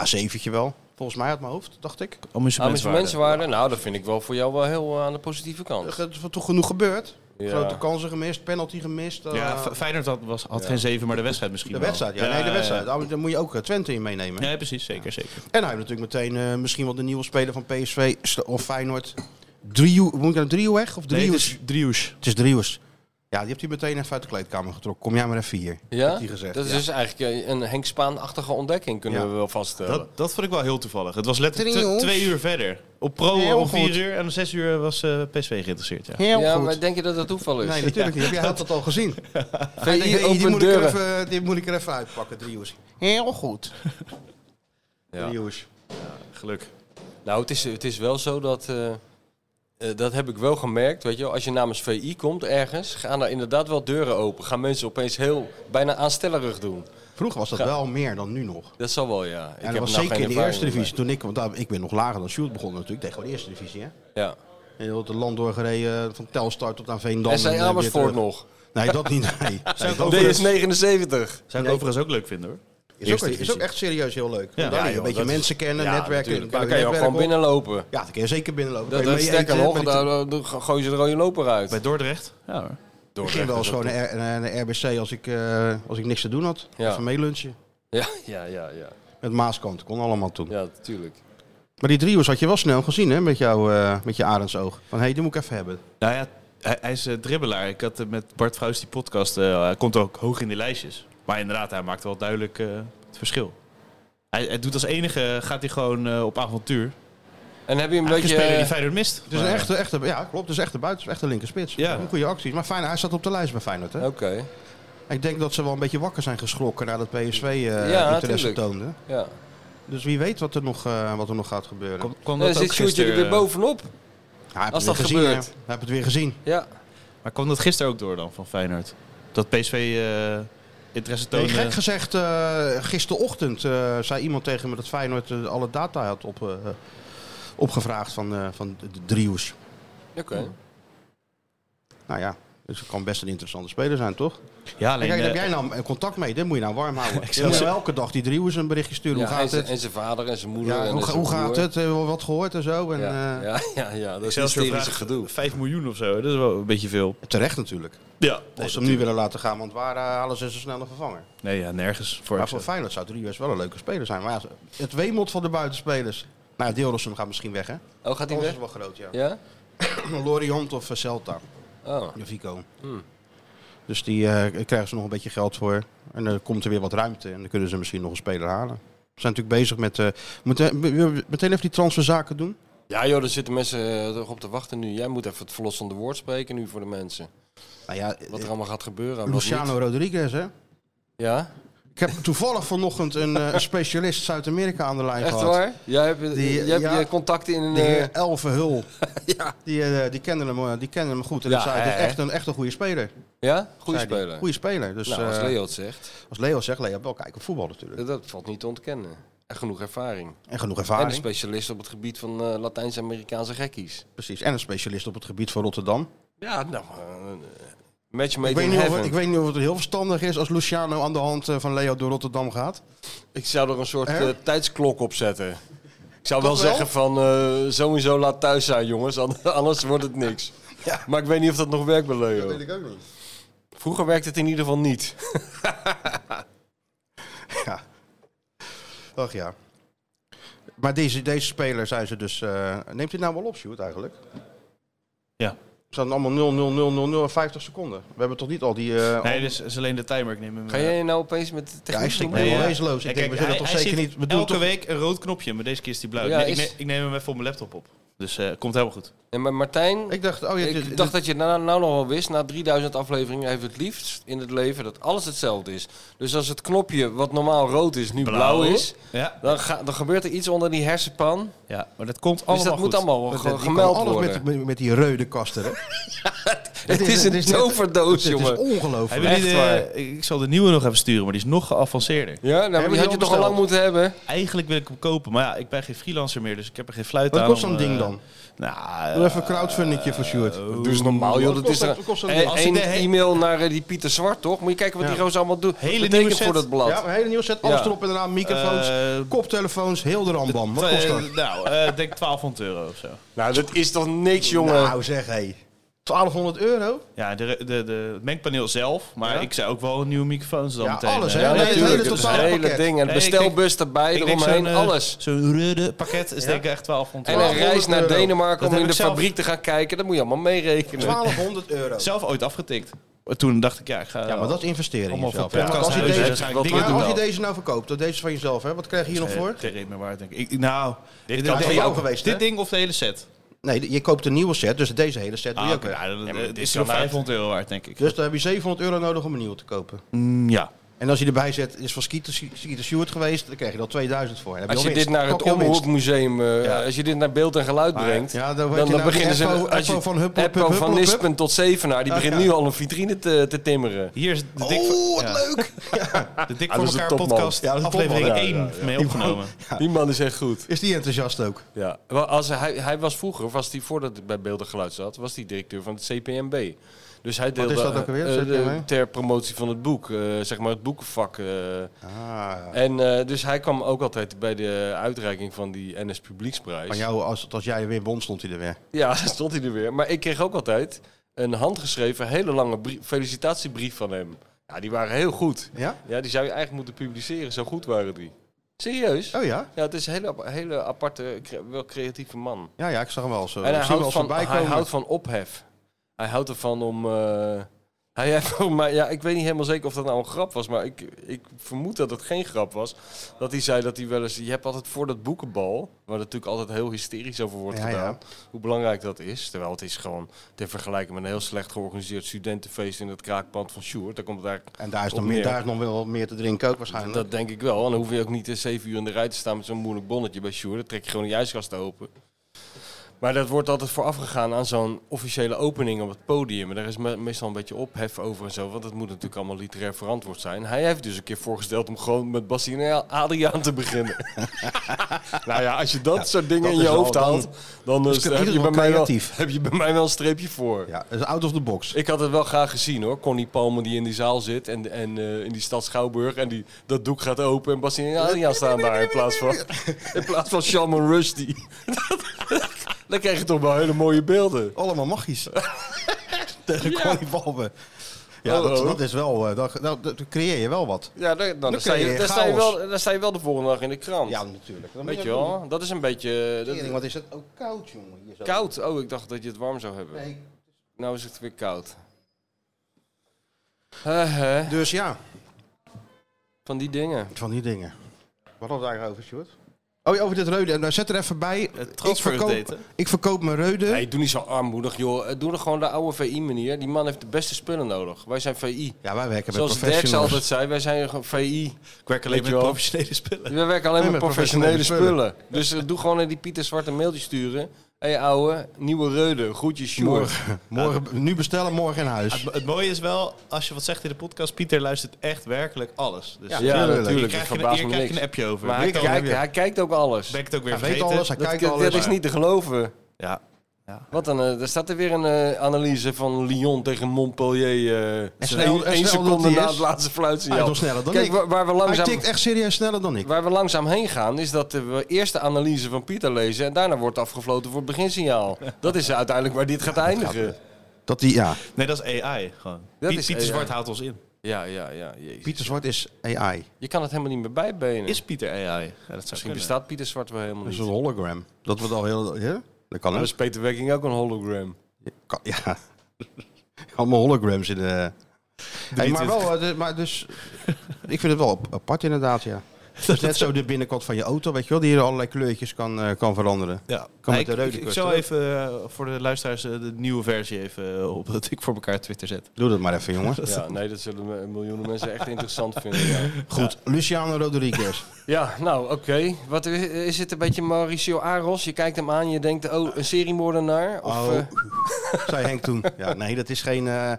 Speaker 2: Ah, wel. Volgens mij uit mijn hoofd, dacht ik.
Speaker 3: Ah, Amusementswaarde, nou, dat vind ik wel voor jou wel heel eh, aan de positieve kant.
Speaker 2: Er is toch genoeg gebeurd.
Speaker 3: Ja.
Speaker 2: Grote kansen gemist, penalty gemist. eh,
Speaker 4: Ja, Fe- Feyenoord had, was, had
Speaker 3: Ja.
Speaker 4: geen zeven, maar de wedstrijd misschien
Speaker 2: de
Speaker 4: wel.
Speaker 2: wedstrijd, ja. nee, de wedstrijd. Daar- Daar moet je ook eh, Twente in meenemen.
Speaker 4: Nee, precies. Zeker, zeker.
Speaker 2: En hij heeft natuurlijk meteen eh, misschien wel de nieuwe speler van PSV st- of Feyenoord. Driehoek, moet ik naar Driehoek of
Speaker 4: Nee,
Speaker 2: Driehoek?
Speaker 4: dus Drieus.
Speaker 2: Het is Driehoek. Ja, die heeft hij meteen even uit de kleedkamer getrokken. Kom jij maar even hier.
Speaker 3: Ja?
Speaker 2: heeft hij gezegd,
Speaker 3: dat is
Speaker 2: ja.
Speaker 3: dus eigenlijk eh, een Henk Spaan-achtige ontdekking, kunnen
Speaker 2: Ja.
Speaker 3: we wel vaststellen.
Speaker 4: Dat, dat vond ik wel heel toevallig. Het was letterlijk te-
Speaker 2: Driehoek.
Speaker 4: twee uur verder. Op pro
Speaker 2: Heel
Speaker 4: om vier
Speaker 2: goed.
Speaker 4: uur en om zes uur was eh, PSV geïnteresseerd. Ja.
Speaker 2: Heel
Speaker 3: ja,
Speaker 2: goed.
Speaker 3: maar denk je dat dat toeval is?
Speaker 2: Nee, natuurlijk niet. Jij had dat al gezien.
Speaker 3: VI
Speaker 2: Hey, die,
Speaker 3: opent
Speaker 2: moet ik er
Speaker 3: deuren.
Speaker 2: even, eh, die moet ik er even uitpakken, Driehoek. Heel goed.
Speaker 3: Ja.
Speaker 2: Driehoek.
Speaker 4: Geluk.
Speaker 3: Nou, het is, het is wel zo dat. eh, eh, dat heb ik wel gemerkt. Weet je, wel. als je namens VI komt ergens, gaan er inderdaad wel deuren open. Gaan mensen opeens heel bijna aanstellerig doen.
Speaker 2: Vroeger was dat wel meer dan nu nog.
Speaker 3: Dat zal wel, ja. Ik
Speaker 2: En dat was
Speaker 3: nou
Speaker 2: zeker in
Speaker 3: geen
Speaker 2: de eerste
Speaker 3: ervaring
Speaker 2: divisie. Toen ik, want daar- ik ben nog lager dan Sjoerd begon natuurlijk. Tegen de eerste divisie, hè.
Speaker 3: mee. Ja.
Speaker 2: Heel het land doorgereden, van Telstar tot aan Veendam.
Speaker 3: en zijn
Speaker 2: eh, weer
Speaker 3: Amersfoort
Speaker 2: terug.
Speaker 3: nog.
Speaker 2: Nee, dat niet. Nee. Nee, dat
Speaker 3: DS 79.
Speaker 4: Zou ik overigens ook leuk vinden hoor.
Speaker 2: is, ook, is ook echt serieus heel leuk. Ja,
Speaker 3: Ja,
Speaker 2: een
Speaker 3: joh,
Speaker 2: beetje
Speaker 3: dat is-
Speaker 2: mensen kennen,
Speaker 3: Ja,
Speaker 2: netwerken.
Speaker 3: natuurlijk.
Speaker 2: kan
Speaker 3: Dan
Speaker 2: je
Speaker 3: kan je ook
Speaker 2: netwerken
Speaker 3: gewoon
Speaker 2: op.
Speaker 3: binnenlopen.
Speaker 2: Ja, dan kun je zeker binnenlopen.
Speaker 3: Dat,
Speaker 2: Kan je
Speaker 3: dat
Speaker 2: mee
Speaker 3: sterker
Speaker 2: eten,
Speaker 3: nog,
Speaker 2: met die-
Speaker 3: daar daar gooi je de rode loper uit.
Speaker 4: Bij Dordrecht? Ja hoor.
Speaker 3: Door
Speaker 2: Ik ging wel eens gewoon naar, R- naar RBC als ik, eh, als ik niks te doen had.
Speaker 3: Ja.
Speaker 2: Even meelunchen.
Speaker 3: Ja, ja, ja, ja.
Speaker 2: Met Maaskant, kon allemaal toen.
Speaker 3: Ja, natuurlijk.
Speaker 2: Maar die driehoers had je wel snel gezien hè, met, jou, eh met je arendsoog. Van hé, hey, die moet ik even hebben.
Speaker 4: Nou ja, Hij, hij is eh, dribbelaar. Ik had eh, met Bart Vrouws die podcast. eh, hij komt ook hoog in die lijstjes. Maar inderdaad, hij maakt wel duidelijk eh, het verschil. Hij, hij doet als enige, gaat hij gewoon eh, op avontuur.
Speaker 3: En heb je een
Speaker 4: Een
Speaker 3: beetje...
Speaker 4: speler die
Speaker 3: eh,
Speaker 4: Feyenoord mist.
Speaker 2: Dus een echte, echte, ja, klopt. Dus echte buiten, dus echte linkerspits.
Speaker 4: Ja.
Speaker 2: Een goede actie. Maar Feyenoord, hij zat op de lijst bij Feyenoord. Hè?
Speaker 3: Oké,
Speaker 2: Ik denk dat ze wel een beetje wakker zijn geschrokken nadat PSV eh,
Speaker 3: Ja,
Speaker 2: interesse
Speaker 3: tuurlijk.
Speaker 2: toonde.
Speaker 3: ja.
Speaker 2: Dus wie weet wat er nog, eh, wat er nog gaat gebeuren.
Speaker 4: Kom, kwam
Speaker 3: Nee,
Speaker 4: dat
Speaker 3: dan
Speaker 4: ook
Speaker 3: zit Sjoerdje er
Speaker 4: gisteren,
Speaker 3: weer
Speaker 4: eh,
Speaker 3: bovenop.
Speaker 2: Ja, heb
Speaker 3: Als
Speaker 2: het
Speaker 3: dat
Speaker 2: weer gezien,
Speaker 3: gebeurt.
Speaker 2: hè. Hij heeft het weer gezien.
Speaker 3: Ja.
Speaker 4: eh, Maar kwam dat gisteren ook door dan van Feyenoord? Dat PSV eh, interesse
Speaker 2: Nee,
Speaker 4: toonde?
Speaker 2: gek gezegd, eh, gisterochtend eh, zei iemand tegen me dat Feyenoord eh, alle data had op, eh, opgevraagd van, eh, van de, de Driehoes.
Speaker 3: Oké.
Speaker 2: Nou ja, dus het kan best een interessante speler zijn, toch?
Speaker 4: ja,
Speaker 2: En
Speaker 4: alleen...
Speaker 2: kijk,
Speaker 4: eh,
Speaker 2: daar heb jij nou eh, contact mee? Dit moet je nou warm houden. Je
Speaker 4: zou
Speaker 2: moet
Speaker 4: ze-
Speaker 2: elke dag die Driehoes een berichtje sturen.
Speaker 3: Ja,
Speaker 2: hoe
Speaker 3: en
Speaker 2: gaat
Speaker 3: zijn-
Speaker 2: het?
Speaker 3: En zijn vader en zijn moeder.
Speaker 2: Ja,
Speaker 3: en
Speaker 2: hoe, ga-
Speaker 3: zijn
Speaker 2: hoe gaat
Speaker 3: broer.
Speaker 2: het? Hebben we wat gehoord en zo? En,
Speaker 3: Ja,
Speaker 2: eh,
Speaker 3: ja, ja, ja, dat is
Speaker 4: Excelsior
Speaker 3: hysterische
Speaker 4: vraagt
Speaker 3: gedoe.
Speaker 4: 5 miljoen of zo, dat is wel een beetje veel.
Speaker 2: Terecht natuurlijk.
Speaker 4: Ja.
Speaker 2: Als ze hem nu willen laten gaan, want waar eh, halen ze zo snel een vervanger?
Speaker 4: Nee, ja, nergens. Voor
Speaker 2: Maar voor
Speaker 4: Excelsior.
Speaker 2: Feyenoord zou Driehoes wel een leuke speler zijn. Maar ja, het weemot van de buitenspelers. Nou, Deelrossum gaat misschien weg, hè?
Speaker 3: Oh, gaat hij
Speaker 2: Dat
Speaker 3: weg?
Speaker 2: is wel groot, ja.
Speaker 3: Ja?
Speaker 2: Lorient of eh, Celta,
Speaker 3: Oh.
Speaker 2: de Vico.
Speaker 3: Hmm.
Speaker 2: Dus die eh, krijgen ze nog een beetje geld voor. En dan komt er weer wat ruimte en dan kunnen ze misschien nog een speler halen. We zijn natuurlijk bezig met... eh, we moeten we- we- meteen even die transferzaken doen.
Speaker 3: Ja joh, daar zitten mensen toch op te wachten nu. Jij moet even het verlossende woord spreken nu voor de mensen.
Speaker 2: Nou ja,
Speaker 3: Wat
Speaker 2: eh,
Speaker 3: er allemaal gaat gebeuren en wat niet.
Speaker 2: Luciano Rodriguez, hè?
Speaker 3: Ja?
Speaker 2: Ik heb toevallig vanochtend een eh, een specialist Zuid-Amerika aan de lijn
Speaker 3: Echt
Speaker 2: gehad.
Speaker 3: waar? Jij hebt,
Speaker 2: Die,
Speaker 3: jij hebt
Speaker 2: ja.
Speaker 3: je contacten in een...
Speaker 2: De
Speaker 3: eh,
Speaker 2: heer Elverhul. die, eh, die, kenden hem, eh, die kenden hem goed. En
Speaker 3: Ja,
Speaker 2: dat zei,
Speaker 3: hè,
Speaker 2: dat is
Speaker 3: hè?
Speaker 2: echt een, echt een goede speler.
Speaker 3: ja? Goeie
Speaker 2: zei die.
Speaker 3: speler.
Speaker 2: Goede speler. Dus,
Speaker 3: nou, als
Speaker 2: eh,
Speaker 3: Leo het zegt,
Speaker 2: als Leo zegt, Leo heeft wel kijken op voetbal natuurlijk.
Speaker 3: dat, dat valt niet te ontkennen. En genoeg ervaring.
Speaker 2: En genoeg
Speaker 3: En een
Speaker 2: ervaring.
Speaker 3: specialist op het gebied van eh, Latijns-Amerikaanse gekkies.
Speaker 2: Precies. En een specialist op het gebied van Rotterdam.
Speaker 3: Ja, nou... eh, match made
Speaker 2: Ik weet,
Speaker 3: in
Speaker 2: niet of,
Speaker 3: heaven.
Speaker 2: het- ik weet niet of het heel verstandig is als Luciano aan de hand eh, van Leo door Rotterdam gaat.
Speaker 3: Ik zou er een soort
Speaker 2: Hè?
Speaker 3: eh, tijdsklok op zetten. Ik zou wel,
Speaker 2: Toch wel?
Speaker 3: zeggen van eh, sowieso laat thuis zijn jongens, an- anders wordt het niks.
Speaker 2: Ja.
Speaker 3: Maar ik weet niet of dat nog werkt bij Leo.
Speaker 2: ik ook niet.
Speaker 3: Vroeger werkte het in ieder geval niet.
Speaker 2: Ja. Ach ja. Maar deze, deze speler zijn ze dus... eh, neemt hij nou wel op, Sjoerd, eigenlijk?
Speaker 4: Ja.
Speaker 2: Het zijn allemaal 0, 0, 0, 0, 0 en 50 seconden. We hebben toch niet al die... eh,
Speaker 4: Nee, dus is alleen de timer. Ik neem hem.
Speaker 3: Ga
Speaker 4: eh,
Speaker 3: jij nou opeens met de
Speaker 2: Ja,
Speaker 3: techniek
Speaker 2: ik stik
Speaker 3: doen?
Speaker 2: me wel
Speaker 4: ja.
Speaker 2: wezenloos. Ik
Speaker 4: Ja,
Speaker 2: denk,
Speaker 4: kijk,
Speaker 2: we zullen
Speaker 4: hij-
Speaker 2: toch
Speaker 4: hij
Speaker 2: zeker
Speaker 4: ziet
Speaker 2: niet... We doen
Speaker 4: Elke
Speaker 2: toch...
Speaker 4: week een rood knopje, maar deze keer is die blauw.
Speaker 3: Ja,
Speaker 4: Nee, ik,
Speaker 3: is-
Speaker 4: ne- ik neem hem even op mijn laptop op. Dus eh komt helemaal goed.
Speaker 3: En maar Martijn, ik,
Speaker 2: Ik dacht, oh ja, dit-
Speaker 3: dacht dat je het nou, nou nog wel wist, na 3000 afleveringen heeft het liefst in het leven dat alles hetzelfde is. Dus als het knopje wat normaal rood is, nu blauw, is,
Speaker 4: Ja,
Speaker 3: dan, ga, dan gebeurt er iets onder die hersenpan.
Speaker 4: ja maar dat komt allemaal
Speaker 3: Dus dat
Speaker 4: goed.
Speaker 3: moet allemaal wel
Speaker 2: dit-
Speaker 3: gewoon
Speaker 2: die kan
Speaker 3: gemeld
Speaker 2: alles
Speaker 3: worden.
Speaker 2: met, met, met die rode kasten, hè?
Speaker 3: het is een
Speaker 2: net-
Speaker 3: toverdoos,
Speaker 2: Het is
Speaker 3: jongen.
Speaker 2: ongelooflijk.
Speaker 4: Hebben jullie
Speaker 3: Echt
Speaker 4: de-
Speaker 3: waar.
Speaker 2: eh,
Speaker 4: ik ik zal de nieuwe nog even sturen, maar die is nog geavanceerder.
Speaker 3: Ja, nou, maar
Speaker 2: Hebben
Speaker 3: die
Speaker 2: jullie
Speaker 3: had je
Speaker 2: al
Speaker 3: toch al lang
Speaker 2: besteld?
Speaker 3: moeten hebben.
Speaker 4: Eigenlijk wil ik hem kopen, maar ja, ik ben geen freelancer meer, dus ik heb er geen fluit
Speaker 2: Wat
Speaker 4: aan.
Speaker 2: kost
Speaker 4: om,
Speaker 2: zo'n
Speaker 4: eh,
Speaker 2: ding dan?
Speaker 4: Nou,
Speaker 2: Doe
Speaker 4: eh,
Speaker 2: even een crowdfundingje voor Sjoerd.
Speaker 3: Doe eens normaal, joh.
Speaker 2: Wat
Speaker 3: Dat is
Speaker 2: kost
Speaker 3: er
Speaker 2: dat- kost dat
Speaker 3: Eh,
Speaker 2: ding?
Speaker 4: Als
Speaker 3: één
Speaker 4: ik de he-
Speaker 3: e-mail naar eh, die Pieter Zwart, toch? Moet je kijken wat die gozer allemaal doet.
Speaker 4: Hele
Speaker 3: Betekent
Speaker 4: nieuwe set.
Speaker 3: voor dat blad.
Speaker 2: Ja, een hele nieuwe set. Alles
Speaker 3: Ja.
Speaker 2: erop en eraan. Microfoons,
Speaker 4: Eh,
Speaker 2: koptelefoons, heel de rambam. Wat kost dat?
Speaker 4: eh, nou, eh, ik denk 1200 euro of zo.
Speaker 3: Nou, dat is toch niks, jongen?
Speaker 2: Nou zeg, hé. 1200 euro?
Speaker 4: Ja, de, de, de, het mengpaneel zelf, maar
Speaker 2: Ja?
Speaker 4: ik zou ook wel nieuwe microfoons dan
Speaker 2: Ja,
Speaker 4: meteen.
Speaker 2: alles,
Speaker 4: eh,
Speaker 2: hè?
Speaker 3: ja,
Speaker 2: nee, het
Speaker 3: natuurlijk.
Speaker 2: hele
Speaker 3: Het is
Speaker 2: totale
Speaker 3: hele
Speaker 2: pakket.
Speaker 3: ding. En
Speaker 4: Nee, ik
Speaker 3: bestelbus erbij,
Speaker 4: Ik denk
Speaker 3: eromheen,
Speaker 4: zo'n, eh,
Speaker 3: alles.
Speaker 4: Zo'n rode pakket is denk ik echt 1200
Speaker 3: En een reis naar
Speaker 2: €1200
Speaker 3: Denemarken
Speaker 4: Dat
Speaker 3: om
Speaker 4: heb
Speaker 3: in
Speaker 4: ik
Speaker 3: de
Speaker 4: zelf.
Speaker 3: fabriek te gaan kijken, dat moet je allemaal meerekenen.
Speaker 2: 1200 euro.
Speaker 4: zelf ooit afgetikt. Toen dacht ik, ja, ik ga...
Speaker 2: Ja, maar dat is investering in
Speaker 4: allemaal voor
Speaker 2: jezelf. hè. Maar
Speaker 4: podcast
Speaker 2: als je
Speaker 3: huis,
Speaker 2: deze-
Speaker 3: hè.
Speaker 4: ga
Speaker 3: Maar
Speaker 4: ik
Speaker 2: maar
Speaker 4: dingen doen.
Speaker 2: als je
Speaker 4: wel.
Speaker 2: deze nou verkoopt, dat deze van jezelf, hè? wat krijg je hier nog
Speaker 4: Eh,
Speaker 2: voor?
Speaker 4: Geen reet meer waard, denk ik. ik nou, dit,
Speaker 2: kan
Speaker 4: dit-
Speaker 2: voor jou geweest, hè?
Speaker 4: Dit ding of de hele set? Ah,
Speaker 2: Nee, je koopt een nieuwe set, dus deze hele set doe je ook weer.
Speaker 4: dit is zo'n 500 euro waard, denk ik.
Speaker 2: Dus dan heb je 700 euro nodig om een nieuwe te kopen.
Speaker 4: Mm, ja.
Speaker 2: En als je erbij zet, is van Skeeter, Skeeter Stewart geweest, dan krijg je er al 2000 voor. Dan heb
Speaker 3: Als je
Speaker 2: al
Speaker 3: dit
Speaker 2: winst.
Speaker 3: naar het
Speaker 2: Pak je al winst.
Speaker 3: Omroepmuseum, eh, als je dit naar beeld en geluid brengt,
Speaker 2: Ja, dan,
Speaker 3: dan,
Speaker 2: weet je
Speaker 3: dan
Speaker 2: nou,
Speaker 3: beginnen ze...
Speaker 2: Eppo-
Speaker 3: als je-
Speaker 2: Eppo van Huppel,
Speaker 3: Eppo
Speaker 2: Hup,
Speaker 3: van
Speaker 2: Huppel, Hup.
Speaker 3: Nispen tot Zevenaar, die
Speaker 2: Ja,
Speaker 3: begint
Speaker 2: ja.
Speaker 3: nu al een vitrine te, te timmeren.
Speaker 4: Hier is de dik,
Speaker 2: Oeh, Oh, wat
Speaker 4: ja,
Speaker 2: leuk!
Speaker 4: de dik
Speaker 3: Ah,
Speaker 4: voor
Speaker 3: dat is een
Speaker 4: elkaar
Speaker 3: topman.
Speaker 4: podcast,
Speaker 2: Ja, dat is een
Speaker 4: aflevering
Speaker 2: topman, ja,
Speaker 4: 1 mee opgenomen. Eh,
Speaker 3: Die man is echt goed.
Speaker 2: Is die enthousiast ook?
Speaker 3: Ja, wel, als hij, hij was vroeger, of was hij voordat ik bij Beelden Geluid zat, was hij directeur van het CPMB. Dus hij deelde
Speaker 2: is dat ook alweer,
Speaker 3: eh, eh,
Speaker 2: CPMB?
Speaker 3: ter promotie van het boek, eh, zeg maar het boekenvak. eh.
Speaker 2: Ah,
Speaker 3: En eh, dus hij kwam ook altijd bij de uitreiking van die NS Publieksprijs.
Speaker 2: maar jou, als, als jij weer won, stond hij er weer.
Speaker 3: Ja, stond hij er weer. Maar ik kreeg ook altijd een handgeschreven, hele lange brie- felicitatiebrief van hem. Ja, die waren heel goed.
Speaker 2: Ja?
Speaker 3: Ja, die zou je eigenlijk moeten publiceren, zo goed waren die. Serieus?
Speaker 2: Oh ja?
Speaker 3: Ja, het is een hele, ap- hele aparte, cre- wel creatieve man.
Speaker 2: Ja, ja, ik zag hem wel zo.
Speaker 3: En hij
Speaker 2: Ik zie hem
Speaker 3: houdt,
Speaker 2: als
Speaker 3: van,
Speaker 2: voorbij
Speaker 3: hij
Speaker 2: komen.
Speaker 3: houdt van ophef. Hij houdt ervan om... eh, hij heeft ook maar, ja, ik weet niet helemaal zeker of dat nou een grap was, maar ik, ik vermoed dat het geen grap was. Dat hij zei dat hij wel eens... Je hebt altijd voor dat boekenbal, waar natuurlijk altijd heel hysterisch over wordt
Speaker 2: Ja, ja.
Speaker 3: gedaan, hoe belangrijk dat is. Terwijl het is gewoon te vergelijken met een heel slecht georganiseerd studentenfeest in het kraakpand van Sjoerd. Daar komt het eigenlijk
Speaker 2: En daar is,
Speaker 3: Op
Speaker 2: nog meer,
Speaker 3: meer.
Speaker 2: daar is nog wel meer te drinken ook waarschijnlijk.
Speaker 3: dat denk ik wel. En dan hoef je ook niet eh, zeven uur in de rij te staan met zo'n moeilijk bonnetje bij Sjoerd. Dan trek je gewoon de juiskast open. Maar dat wordt altijd voorafgegaan aan zo'n officiële opening op het podium. En daar is me- meestal een beetje ophef over en zo. Want het moet natuurlijk allemaal literair verantwoord zijn. Hij heeft dus een keer voorgesteld om gewoon met Bassie en Adriaan te beginnen. nou ja, als je dat soort dingen
Speaker 2: dat
Speaker 3: in je
Speaker 2: is wel-
Speaker 3: hoofd haalt... dan, eh,
Speaker 2: is het in
Speaker 3: heb,
Speaker 2: ieder
Speaker 3: je bij
Speaker 2: geval
Speaker 3: mij wel,
Speaker 2: creatief.
Speaker 3: heb je bij mij wel een streepje voor.
Speaker 2: ja, dat is out of the box.
Speaker 3: Ik had het wel graag gezien hoor. Connie Palmer die in die zaal zit en, en eh, in die stad Schouwburg. En die, dat doek gaat open en Bastien en Adriaan staan daar in plaats van, in plaats van Shaman Rusty. Dan krijg je toch wel hele mooie beelden.
Speaker 2: Allemaal magisch. Tegen
Speaker 3: Ja.
Speaker 2: Connie Balben. Ja,
Speaker 3: Hallo.
Speaker 2: dat, dat is wel... eh, dat, dat, dat creëer je wel wat.
Speaker 3: Ja, dan, dan, sta,
Speaker 2: krijg
Speaker 3: je,
Speaker 2: je
Speaker 3: dan, sta je
Speaker 2: chaos.
Speaker 3: wel, dan sta je wel de volgende dag in de krant.
Speaker 2: Ja, natuurlijk. Dan
Speaker 3: Weet je wel, dat is een beetje eh, dat-
Speaker 2: Wat is het ook koud, jongen. Hier zo.
Speaker 3: koud. Oh, ik dacht dat je het warm zou hebben.
Speaker 2: Nee.
Speaker 3: Nou is het weer koud. Eh, eh,
Speaker 2: Dus ja,
Speaker 3: van die dingen.
Speaker 2: van die dingen. Wat hadden we daar over, Sjoerd? Oh, ja, over dit reude. Nou, zet er even bij. Ik
Speaker 4: transferupdate,
Speaker 2: verkoop, ik verkoop mijn reude.
Speaker 3: Nee, doe niet zo armoedig, joh. Eh, Doe er gewoon de oude VI-manier. Die man heeft de beste spullen nodig. Wij zijn VI.
Speaker 2: Ja, wij werken met
Speaker 3: Zoals Dirk
Speaker 2: professionals.
Speaker 3: altijd zei, wij zijn gewoon VI.
Speaker 4: Ik werk alleen
Speaker 3: Weet je
Speaker 4: met
Speaker 3: wel.
Speaker 4: professionele spullen.
Speaker 3: We werken alleen
Speaker 2: Nee,
Speaker 3: met
Speaker 2: met
Speaker 3: professionele
Speaker 2: professionele
Speaker 3: spullen. Dus eh, doe gewoon naar die Pieter Zwart een mailtje sturen. Hé hey, ouwe, nieuwe reude, groetjes Sjoerd.
Speaker 2: Morgen, morgen, nu bestellen, morgen in huis.
Speaker 4: Het, het mooie is wel, als je wat zegt in de podcast, Pieter luistert echt werkelijk alles. Dus
Speaker 2: Ja,
Speaker 4: hier
Speaker 3: Ja,
Speaker 2: tuurlijk.
Speaker 3: natuurlijk. Ik
Speaker 4: krijg je, een-
Speaker 3: verbaas
Speaker 4: hier
Speaker 3: me
Speaker 4: krijg je
Speaker 3: niks.
Speaker 4: een appje over.
Speaker 3: Maar
Speaker 4: Ben
Speaker 3: hij
Speaker 4: ik dan
Speaker 3: kijkt,
Speaker 4: weer-
Speaker 3: hij kijkt ook alles.
Speaker 4: ben ik het ook weer
Speaker 2: Hij weet
Speaker 4: vergeten.
Speaker 2: alles, hij
Speaker 3: Dat,
Speaker 2: kijkt
Speaker 3: dat
Speaker 2: alles.
Speaker 3: is niet te geloven.
Speaker 4: Ja.
Speaker 3: Wat dan? eh, er staat er weer een eh, analyse van Lyon tegen Montpellier. eh
Speaker 2: snel-
Speaker 3: Eén
Speaker 2: en
Speaker 3: één
Speaker 2: snel
Speaker 3: seconde
Speaker 2: dat die
Speaker 3: na
Speaker 2: is.
Speaker 3: het laatste
Speaker 2: Hij is
Speaker 3: fluitsignaal.
Speaker 2: nog sneller dan
Speaker 3: Kijk,
Speaker 2: ik.
Speaker 3: waar, waar we
Speaker 2: Hij
Speaker 3: langzaam...
Speaker 2: tikt echt serieus sneller dan ik.
Speaker 3: Waar we langzaam heen gaan is dat eh, we eerst de analyse van Pieter lezen en daarna wordt afgefloten voor het beginsignaal. Dat is uiteindelijk waar dit gaat eindigen.
Speaker 2: Dat die, ja,
Speaker 4: Nee, dat is AI gewoon.
Speaker 3: Dat
Speaker 4: Piet-
Speaker 3: is
Speaker 4: Pieter
Speaker 3: AI.
Speaker 4: Zwart haalt ons in.
Speaker 3: Ja, ja, ja. jezus.
Speaker 2: Pieter Zwart is AI.
Speaker 3: Je kan het helemaal niet meer bijbenen.
Speaker 4: Is Pieter AI? Ja, dat zou
Speaker 3: Misschien
Speaker 4: kunnen.
Speaker 3: bestaat Pieter Zwart wel helemaal
Speaker 2: Dat is
Speaker 3: niet.
Speaker 2: een hologram. Dat wordt al heel... Ja? Dat kan,
Speaker 3: Dan
Speaker 2: hè?
Speaker 3: is Peter Wekking ook een hologram.
Speaker 2: Kan- Ja. Allemaal holograms in de... Hey, maar wel, eh, de- maar dus... Ik vind het wel ap- apart inderdaad, ja. Het is net zo de binnenkant van je auto, weet je wel, die hier allerlei kleurtjes kan, eh, kan veranderen.
Speaker 4: Ja.
Speaker 2: Kan
Speaker 4: Ja,
Speaker 2: met de
Speaker 4: ik,
Speaker 2: rode
Speaker 4: ik, ik
Speaker 2: kust,
Speaker 4: zal
Speaker 2: hoor.
Speaker 4: even eh, voor de luisteraars eh, de nieuwe versie even eh, op dat ik voor elkaar Twitter zet.
Speaker 2: Doe dat maar even, jongen.
Speaker 3: Ja, nee, dat zullen me- miljoenen mensen echt interessant vinden. Ja,
Speaker 2: Goed, Luciano Rodriguez.
Speaker 3: Ja, nou, oké. Wat is, is het een beetje Mauricio Aros? Je kijkt hem aan, je denkt, oh, een seriemoordenaar? Of,
Speaker 2: Oh,
Speaker 3: eh,
Speaker 2: zei Henk toen. Ja, nee, dat is geen... eh,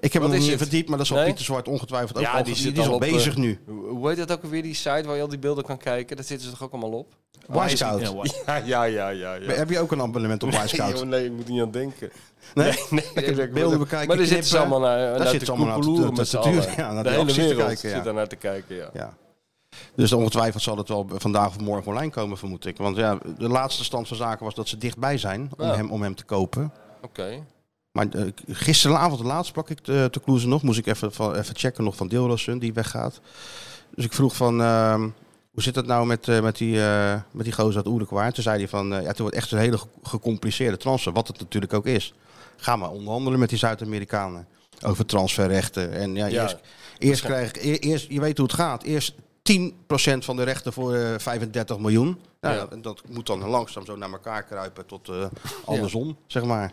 Speaker 2: ik heb
Speaker 3: Wat
Speaker 2: hem nog
Speaker 3: is
Speaker 2: niet
Speaker 3: het?
Speaker 2: verdiept, maar dat zal
Speaker 3: Nee?
Speaker 2: Pieter Zwart ongetwijfeld ook
Speaker 3: Ja,
Speaker 2: al-
Speaker 3: die
Speaker 2: die,
Speaker 3: zit
Speaker 2: is
Speaker 3: al
Speaker 2: al
Speaker 3: op, eh,
Speaker 2: bezig nu.
Speaker 3: hoe hoe heet dat ook alweer, die site waar je al die beelden kan kijken? Dat zitten ze toch ook allemaal op?
Speaker 2: Wisecout.
Speaker 4: Ja, wa-
Speaker 3: Ja, ja, ja, ja. ja.
Speaker 2: Heb je ook een abonnement op
Speaker 3: Nee,
Speaker 2: Wisecout?
Speaker 3: joh, nee, ik moet niet aan denken.
Speaker 2: Nee?
Speaker 3: ik denk-
Speaker 2: beelden bekijken,
Speaker 3: Maar daar zitten ze
Speaker 2: knippen.
Speaker 3: allemaal naar, naar
Speaker 2: zitten
Speaker 3: te
Speaker 2: ze allemaal naar te-
Speaker 3: koekeloeren
Speaker 2: te-
Speaker 3: met
Speaker 2: te
Speaker 3: z'n
Speaker 2: turen,
Speaker 3: allen.
Speaker 2: ja, naar
Speaker 3: de
Speaker 2: die
Speaker 3: hele
Speaker 2: acties te
Speaker 3: wereld
Speaker 2: kijken, ja.
Speaker 3: zit daar naar te kijken, ja.
Speaker 2: Ja. Dus ongetwijfeld zal het wel vandaag of morgen online komen, vermoed ik. Want ja, de laatste stand van zaken was dat ze dichtbij zijn om,
Speaker 3: Ja.
Speaker 2: hem, om hem te kopen.
Speaker 3: Oké.
Speaker 2: Maar eh, gisteravond, laatst sprak ik eh, te, te Kloeze nog. Moest ik even, van, even checken nog van Deelrosun, die weggaat. Dus ik vroeg van, ehm, hoe zit dat nou met, eh, met, die, eh, met die gozer uit Uruguay? Toen zei hij van, eh, ja, het wordt echt een hele ge- gecompliceerde transfer. Wat het natuurlijk ook is. Ga maar onderhandelen met die Zuid-Amerikanen. Over transferrechten. En ja,
Speaker 3: Ja.
Speaker 2: eerst, eerst krijg ik, e- eerst, je weet hoe het gaat. Eerst 10% van de rechten voor eh, 35 miljoen. Nou,
Speaker 3: Ja.
Speaker 2: ja. Dat moet dan langzaam zo naar elkaar kruipen tot eh, andersom, zeg maar.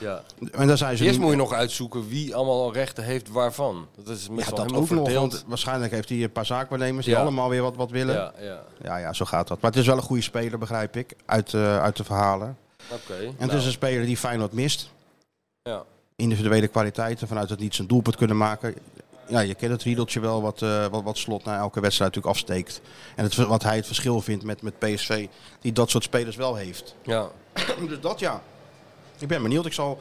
Speaker 3: Ja.
Speaker 2: En daar zijn ze
Speaker 3: Eerst
Speaker 2: nu-
Speaker 3: moet je nog uitzoeken wie allemaal rechten heeft waarvan. Dat is
Speaker 2: Ja,
Speaker 3: meestal
Speaker 2: dat
Speaker 3: helemaal
Speaker 2: ook nog,
Speaker 3: verdeeld.
Speaker 2: want waarschijnlijk heeft hij een paar zaakwaarnemers die
Speaker 3: Ja.
Speaker 2: allemaal weer wat, wat willen. Ja.
Speaker 3: Ja, ja.
Speaker 2: ja, zo gaat dat. Maar het is wel een goede speler, begrijp ik, uit, eh, uit de verhalen. En
Speaker 3: Oké.
Speaker 2: het
Speaker 3: nou,
Speaker 2: is een speler die Feyenoord mist.
Speaker 3: ja.
Speaker 2: Individuele kwaliteiten, vanuit het niet zijn doelpunt kunnen maken. Ja, je kent het riedeltje wel, wat, eh, wat, wat Slot na elke wedstrijd natuurlijk afsteekt. En het, wat hij het verschil vindt met, met PSV, die dat soort spelers wel heeft.
Speaker 3: ja.
Speaker 2: dus dat ja. Ik ben benieuwd. Ik zal,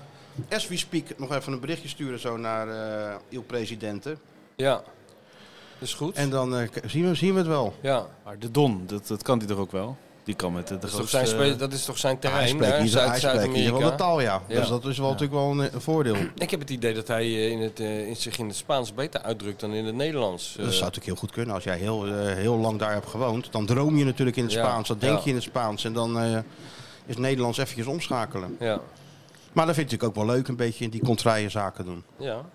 Speaker 2: as we speak, nog even een berichtje sturen zo naar eh Il Presidente.
Speaker 3: Ja. Is goed.
Speaker 2: En dan eh, k- zien, we, zien we het wel.
Speaker 3: ja.
Speaker 4: Maar de Don, dat, dat kan die toch ook wel? Die kan met de, de
Speaker 3: Dat is, toch
Speaker 4: grootste...
Speaker 2: eh,
Speaker 3: zijn spe- dat is toch zijn
Speaker 2: hij
Speaker 3: terrein,
Speaker 2: spreekt
Speaker 3: hè?
Speaker 2: niet zo-
Speaker 3: Zuid-
Speaker 2: hij spreekt in ieder geval de
Speaker 3: Zuid-Amerika.
Speaker 2: taal, ja.
Speaker 3: Ja.
Speaker 2: Dus dat is wel natuurlijk wel een, een voordeel.
Speaker 3: Ik heb het idee dat hij eh, in het, eh, in zich in het Spaans beter uitdrukt dan in het Nederlands.
Speaker 2: Dat
Speaker 3: Eh,
Speaker 2: zou natuurlijk heel goed kunnen. Als jij heel, eh, heel lang daar hebt gewoond, dan droom je natuurlijk in het
Speaker 3: Ja,
Speaker 2: Spaans. Dan denk
Speaker 3: ja.
Speaker 2: je in het Spaans. En dan eh, is Nederlands eventjes omschakelen.
Speaker 3: ja.
Speaker 2: Maar Maar dat vind ik ook wel leuk, een beetje in die contraire zaken doen.
Speaker 3: Ja.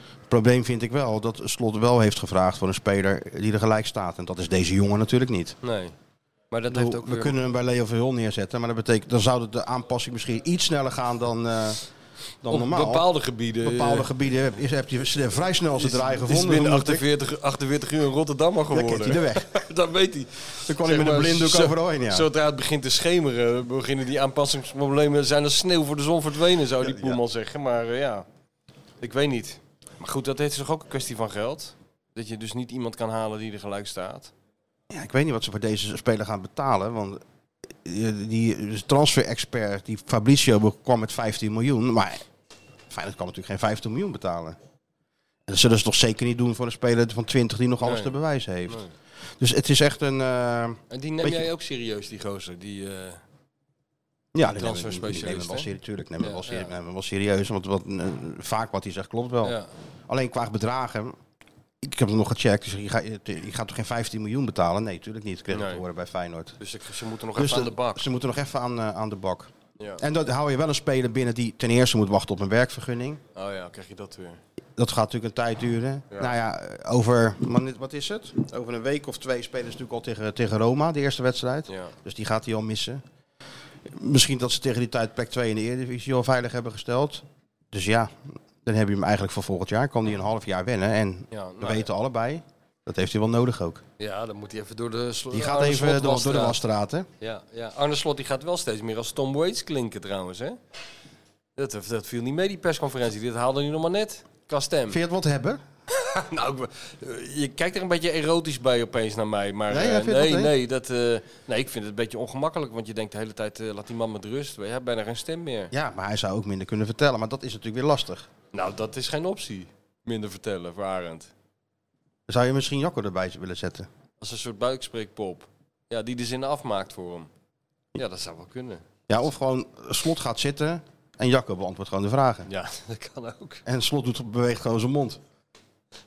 Speaker 2: Het probleem vind ik wel dat Slot wel heeft gevraagd voor een speler die er gelijk staat. En dat is deze jongen natuurlijk niet.
Speaker 3: Nee. Maar dat
Speaker 2: Ik
Speaker 3: heeft
Speaker 2: bedoel,
Speaker 3: ook
Speaker 2: we
Speaker 3: weer...
Speaker 2: kunnen hem bij Leo Verhul neerzetten, maar dat betekent, dan zou de aanpassing misschien iets sneller gaan dan, eh, dan
Speaker 3: op
Speaker 2: normaal.
Speaker 3: bepaalde gebieden...
Speaker 2: Bepaalde
Speaker 3: eh,
Speaker 2: gebieden is, heb je s- vrij snel zijn
Speaker 3: is-
Speaker 2: draai
Speaker 3: Is
Speaker 2: gevonden.
Speaker 3: binnen
Speaker 2: Dan moet ik-
Speaker 3: 48, 48 uur een Rotterdammer
Speaker 2: dan kent hij de
Speaker 3: geworden.
Speaker 2: weg.
Speaker 3: dat weet hij.
Speaker 2: Dan kwam
Speaker 3: Zeg
Speaker 2: hij met een
Speaker 3: maar,
Speaker 2: blinddoek
Speaker 3: zo-
Speaker 2: overal heen, ja.
Speaker 3: Zodra het begint te schemeren, beginnen die aanpassingsproblemen. Zijn als sneeuw voor de zon verdwenen, zou die Poelman zeggen. Maar eh, ja, ik weet niet. Maar goed, dat is toch ook een kwestie van geld? Dat je dus niet iemand kan halen die er gelijk staat.
Speaker 2: Ja, ik weet niet wat ze voor deze speler gaan betalen. Want eh, die transfer-expert, die Fabrizio, kwam met 15 miljoen. Maar Feyenoord kan natuurlijk geen 15 miljoen betalen. En dat zullen ze toch zeker niet doen voor een speler van 20 die nog alles
Speaker 3: Nee.
Speaker 2: te bewijzen heeft.
Speaker 3: Nee.
Speaker 2: Dus het is echt een... eh
Speaker 3: En die neem
Speaker 2: Weet je-
Speaker 3: jij ook serieus, die gozer. Die, eh,
Speaker 2: ja,
Speaker 3: transferspecialist,
Speaker 2: Neem hem wel
Speaker 3: hè?
Speaker 2: serieus, natuurlijk. Neem hem
Speaker 3: Ja,
Speaker 2: wel serieus.
Speaker 3: ja.
Speaker 2: neem hem wel serieus want wat, eh, vaak wat hij zegt klopt wel.
Speaker 3: ja.
Speaker 2: Alleen qua bedragen. Ik heb het nog gecheckt. Dus je, gaat, je gaat toch geen 15 miljoen betalen? Nee, natuurlijk niet. Ik kreeg ik
Speaker 3: Nee.
Speaker 2: te horen bij Feyenoord.
Speaker 3: Dus ik, ze moeten nog
Speaker 2: Dus
Speaker 3: even aan de
Speaker 2: dat-
Speaker 3: bak.
Speaker 2: Ze moeten nog even aan, eh, aan de bak.
Speaker 3: Ja.
Speaker 2: En dan hou je wel een speler binnen die ten eerste moet wachten op een werkvergunning.
Speaker 3: Oh ja, krijg je dat weer.
Speaker 2: Dat gaat natuurlijk een tijd duren.
Speaker 3: Ja.
Speaker 2: Nou ja, over, man- wat is het? Over een week of twee spelen ze natuurlijk al tegen, tegen Roma, de eerste wedstrijd.
Speaker 3: Ja.
Speaker 2: Dus die gaat hij al missen. Misschien dat ze tegen die tijd plek 2 in de Eredivisie al veilig hebben gesteld. Dus ja, dan heb je hem eigenlijk voor volgend jaar. Kan hij een half jaar wennen. En
Speaker 3: Ja,
Speaker 2: we
Speaker 3: nou ja.
Speaker 2: weten allebei, dat heeft hij wel nodig ook.
Speaker 3: ja, dan moet hij even door de slo-
Speaker 2: Die gaat
Speaker 3: Arne
Speaker 2: even
Speaker 3: Slot
Speaker 2: door, door de
Speaker 3: wasstraat.
Speaker 2: wasstraat, hè?
Speaker 3: Ja, ja. Arne Slot die gaat wel steeds meer als Tom Waits klinken trouwens, hè? Dat, dat viel niet mee, die persconferentie. Dit haalde hij nog maar net. Kastem.
Speaker 2: Vind je het wat hebben?
Speaker 3: Nou, ik be- eh, je kijkt er een beetje erotisch bij opeens naar mij. Maar
Speaker 2: Nee,
Speaker 3: eh,
Speaker 2: jij vindt
Speaker 3: nee,
Speaker 2: dat niet?
Speaker 3: nee, dat, eh, nee, ik vind het een beetje ongemakkelijk. Want je denkt de hele tijd, eh, laat die man met rust. Je hebt bijna geen stem meer.
Speaker 2: Ja, maar hij zou ook minder kunnen vertellen. Maar dat is natuurlijk weer lastig.
Speaker 3: Nou, dat is geen optie. Minder vertellen, voor Arend.
Speaker 2: Zou je misschien Jacco erbij willen zetten?
Speaker 3: Als een soort buikspreekpop. Ja, die de zinnen afmaakt voor hem. Ja, dat zou wel kunnen.
Speaker 2: Ja, of gewoon eh, slot gaat zitten en Jacco beantwoordt gewoon de vragen.
Speaker 3: Ja, dat kan ook.
Speaker 2: En slot doet, beweegt gewoon zijn mond.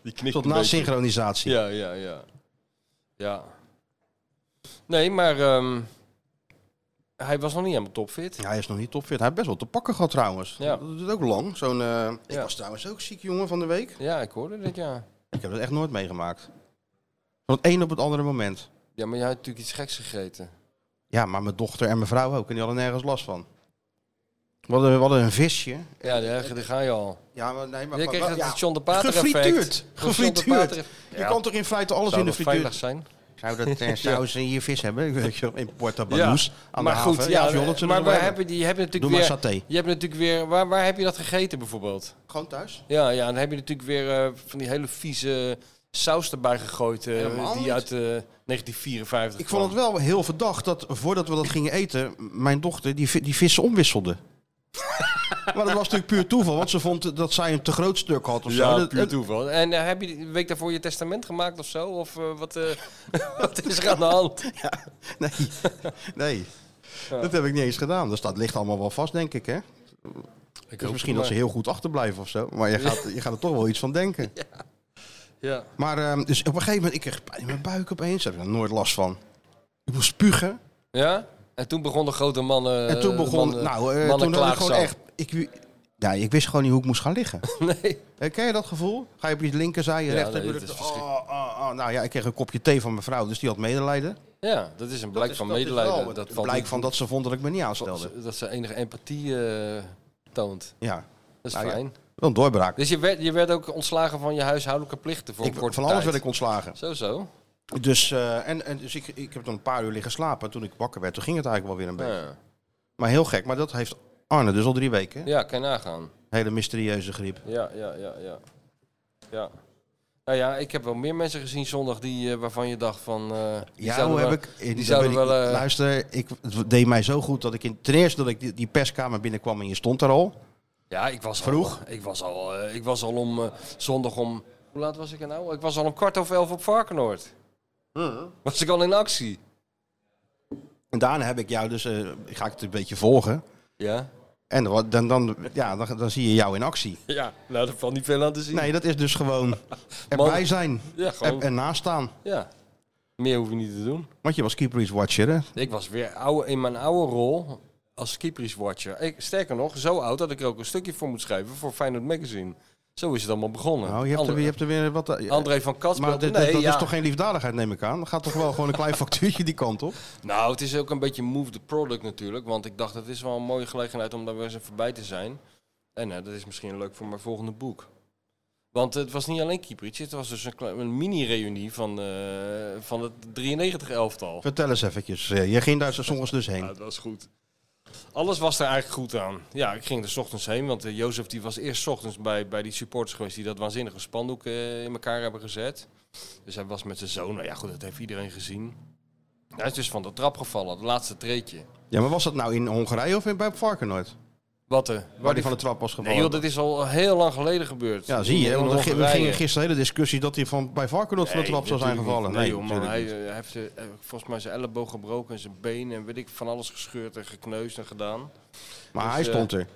Speaker 3: Die knikt
Speaker 2: Tot
Speaker 3: een
Speaker 2: na
Speaker 3: beetje.
Speaker 2: synchronisatie.
Speaker 3: Ja, ja, ja. Ja. Nee, maar ehm, hij was nog niet helemaal topfit.
Speaker 2: Ja, hij is nog niet topfit. Hij heeft best wel te pakken gehad trouwens.
Speaker 3: Ja.
Speaker 2: Dat doet ook lang. Zo'n, eh, Ik
Speaker 3: Ja.
Speaker 2: was trouwens ook ziek jongen van de week.
Speaker 3: Ja, ik hoorde dat, ja.
Speaker 2: Ik heb dat echt nooit meegemaakt. Van het een op het andere moment.
Speaker 3: Ja, maar jij had natuurlijk iets geks gegeten.
Speaker 2: Ja, maar mijn dochter en mijn vrouw ook. En die hadden nergens last van. We hadden, we hadden een visje.
Speaker 3: Ja, daar, daar ga je al.
Speaker 2: Ja, maar nee, maar...
Speaker 3: Je kreeg
Speaker 2: maar-
Speaker 3: het
Speaker 2: ja.
Speaker 3: John de Pater effect.
Speaker 2: Gefrituurd.
Speaker 3: Dat John de
Speaker 2: Gefrituurd.
Speaker 3: Pater effect.
Speaker 2: Je
Speaker 3: Ja,
Speaker 2: kan toch in feite alles
Speaker 3: zou
Speaker 2: in de
Speaker 3: dat
Speaker 2: frituur...
Speaker 3: veilig zijn?
Speaker 2: Zou dat eh, zou ze hier vis hebben? Ik weet je wel, in Porta Banús. aan
Speaker 3: maar
Speaker 2: de
Speaker 3: goed,
Speaker 2: haven.
Speaker 3: ja,
Speaker 2: of je Hollandse
Speaker 3: maar
Speaker 2: dat
Speaker 3: waar
Speaker 2: wel
Speaker 3: heb je, die- je hebt
Speaker 2: Doe
Speaker 3: natuurlijk
Speaker 2: maar
Speaker 3: weer...
Speaker 2: saté.
Speaker 3: Je hebt natuurlijk weer... Waar, waar heb je dat gegeten bijvoorbeeld?
Speaker 2: Gewoon thuis?
Speaker 3: Ja, ja, dan heb je natuurlijk weer eh, van die hele vieze saus erbij gegooid. eh,
Speaker 2: Helemaal
Speaker 3: die
Speaker 2: niet.
Speaker 3: uit eh, 1954
Speaker 2: Ik
Speaker 3: kwam.
Speaker 2: vond het wel heel verdacht dat voordat we dat gingen eten, mijn dochter die, vi- die vissen omwisselde. maar dat was natuurlijk puur toeval, want ze vond dat zij een te groot stuk had of zo.
Speaker 3: Ja,
Speaker 2: Dat-
Speaker 3: puur
Speaker 2: en-
Speaker 3: toeval. En eh, heb je de week daarvoor je testament gemaakt of zo? Of eh, wat, eh, wat is er aan de hand?
Speaker 2: nee, nee. dat heb ik niet eens gedaan. Dus dat ligt allemaal wel vast, denk ik. Hè? Dus misschien dat ze heel goed achterblijven of zo. Maar je gaat, je gaat er toch wel iets van denken.
Speaker 3: Ja.
Speaker 2: Maar ehm, dus op een gegeven moment, ik kreeg pijn in mijn buik opeens. Daar heb ik nog nooit last van. Ik moest spugen.
Speaker 3: ja? En toen begon de grote mannen...
Speaker 2: En toen begon,
Speaker 3: mannen-
Speaker 2: nou, eh,
Speaker 3: mannen
Speaker 2: toen had ik gewoon
Speaker 3: klaagzang.
Speaker 2: echt... Ik, wi- ja, ik wist gewoon niet hoe ik moest gaan liggen.
Speaker 3: Nee.
Speaker 2: Eh, Ken je dat gevoel? Ga je op je linkerzij, je
Speaker 3: Ja,
Speaker 2: rechter...
Speaker 3: nee,
Speaker 2: je
Speaker 3: dat is
Speaker 2: lucht- oh, oh, oh. Nou ja, ik kreeg een kopje thee van mijn vrouw, dus die had medelijden.
Speaker 3: Ja, dat is een blijk
Speaker 2: is-
Speaker 3: van
Speaker 2: is wel
Speaker 3: medelijden.
Speaker 2: het
Speaker 3: Dat valt
Speaker 2: blijk
Speaker 3: niet-
Speaker 2: van dat ze vond dat ik me niet aanstelde.
Speaker 3: dat ze enige empathie eh, toont.
Speaker 2: Ja,
Speaker 3: Dat is
Speaker 2: Nou ja.
Speaker 3: fijn.
Speaker 2: wel een doorbraak.
Speaker 3: Dus je werd, je werd ook ontslagen van je huishoudelijke plichten voor
Speaker 2: Ik,
Speaker 3: een korte
Speaker 2: van alles
Speaker 3: tijd.
Speaker 2: werd ik ontslagen.
Speaker 3: Zo, zo.
Speaker 2: Dus, eh, en, en, dus ik, ik heb dan een paar uur liggen slapen. Toen ik wakker werd, toen ging het eigenlijk wel weer een beetje.
Speaker 3: Ja,
Speaker 2: Maar heel gek, maar dat heeft Arne dus al drie weken.
Speaker 3: ja kan je nagaan.
Speaker 2: Hele mysterieuze griep.
Speaker 3: Ja, ja, ja, ja. Ja. Nou ja, ik heb wel meer mensen gezien zondag die, eh, waarvan je dacht van... eh, die
Speaker 2: Ja,
Speaker 3: zouden
Speaker 2: hoe heb
Speaker 3: wel-
Speaker 2: ik... eh,
Speaker 3: die
Speaker 2: dat
Speaker 3: zouden
Speaker 2: weet ik
Speaker 3: wel,
Speaker 2: niet.
Speaker 3: eh,
Speaker 2: Luister, ik, het deed mij zo goed dat ik... In, ten eerste dat ik die, die perskamer binnenkwam en je stond daar al.
Speaker 3: Ja, ik was
Speaker 2: Vroeg?
Speaker 3: Al, ik, was al, eh, ik was al om eh, zondag om... Hoe laat was ik er nou? Ik was al om kwart over elf op Varkenoord. Was ik al in actie.
Speaker 2: En daarna heb ik jou dus... eh, ik ga het een beetje volgen.
Speaker 3: Ja?
Speaker 2: En wat- dan, dan, ja, dan, dan zie je jou in actie.
Speaker 3: Ja, nou, daar valt niet veel aan te zien.
Speaker 2: Nee, dat is dus gewoon erbij
Speaker 3: Man.
Speaker 2: zijn.
Speaker 3: Ja,
Speaker 2: En,
Speaker 3: gewoon.
Speaker 2: en naast staan.
Speaker 3: Ja. Meer hoef je niet te doen.
Speaker 2: Want je was keeper is watcher, hè?
Speaker 3: Ik was weer oude, in mijn oude rol als Kypris-watcher. Ik- Sterker nog, zo oud dat ik er ook een stukje voor moet schrijven voor Feyenoord Magazine. Zo is het allemaal begonnen.
Speaker 2: Nou, je hebt, er,
Speaker 3: André,
Speaker 2: je hebt er weer wat... eh,
Speaker 3: André van Kats
Speaker 2: maar
Speaker 3: speelt-
Speaker 2: dit,
Speaker 3: nee,
Speaker 2: dat
Speaker 3: ja.
Speaker 2: is toch geen liefdadigheid, neem ik aan? Dan gaat toch wel gewoon een klein factuurtje die kant op?
Speaker 3: Nou, het is ook een beetje move the product natuurlijk. Want ik dacht, het is wel een mooie gelegenheid om daar weer eens even bij te zijn. En eh, dat is misschien leuk voor mijn volgende boek. Want het was niet alleen Kiepertje, het was dus een, klein- een mini-reunie van, eh, van het 93-elftal.
Speaker 2: Vertel eens eventjes. Eh, Je ging daar soms dus
Speaker 3: Ja,
Speaker 2: heen.
Speaker 3: dat was goed. Alles was er eigenlijk goed aan. Ja, ik ging er 's ochtends heen, want eh, Jozef die was eerst 's ochtends bij, bij die supporters geweest die dat waanzinnige spandoek eh, in elkaar hebben gezet. Dus hij was met zijn zoon, nou ja goed, dat heeft iedereen gezien. Hij is dus van de trap gevallen, het laatste treetje.
Speaker 2: Ja, maar was dat nou in Hongarije of in, bij Varkenoord?
Speaker 3: Wat eh,
Speaker 2: Waar die van de trap was
Speaker 3: Nee
Speaker 2: gevallen?
Speaker 3: joh, dat is al eh, heel lang geleden gebeurd.
Speaker 2: Ja, zie
Speaker 3: In-
Speaker 2: je.
Speaker 3: in
Speaker 2: Want we gingen- we
Speaker 3: Hongarije.
Speaker 2: gingen gisteren de hele discussie dat hij van, bij Varkenoord van de trap zou zijn
Speaker 3: natuurlijk
Speaker 2: gevallen.
Speaker 3: niet. Nee, joh, man,
Speaker 2: natuurlijk
Speaker 3: hij,
Speaker 2: niet.
Speaker 3: eh, heeft eh, eh, volgens mij zijn elleboog gebroken en zijn been en weet ik van alles gescheurd en gekneusd en gedaan.
Speaker 2: Maar
Speaker 3: dus,
Speaker 2: hij
Speaker 3: eh,
Speaker 2: stond er.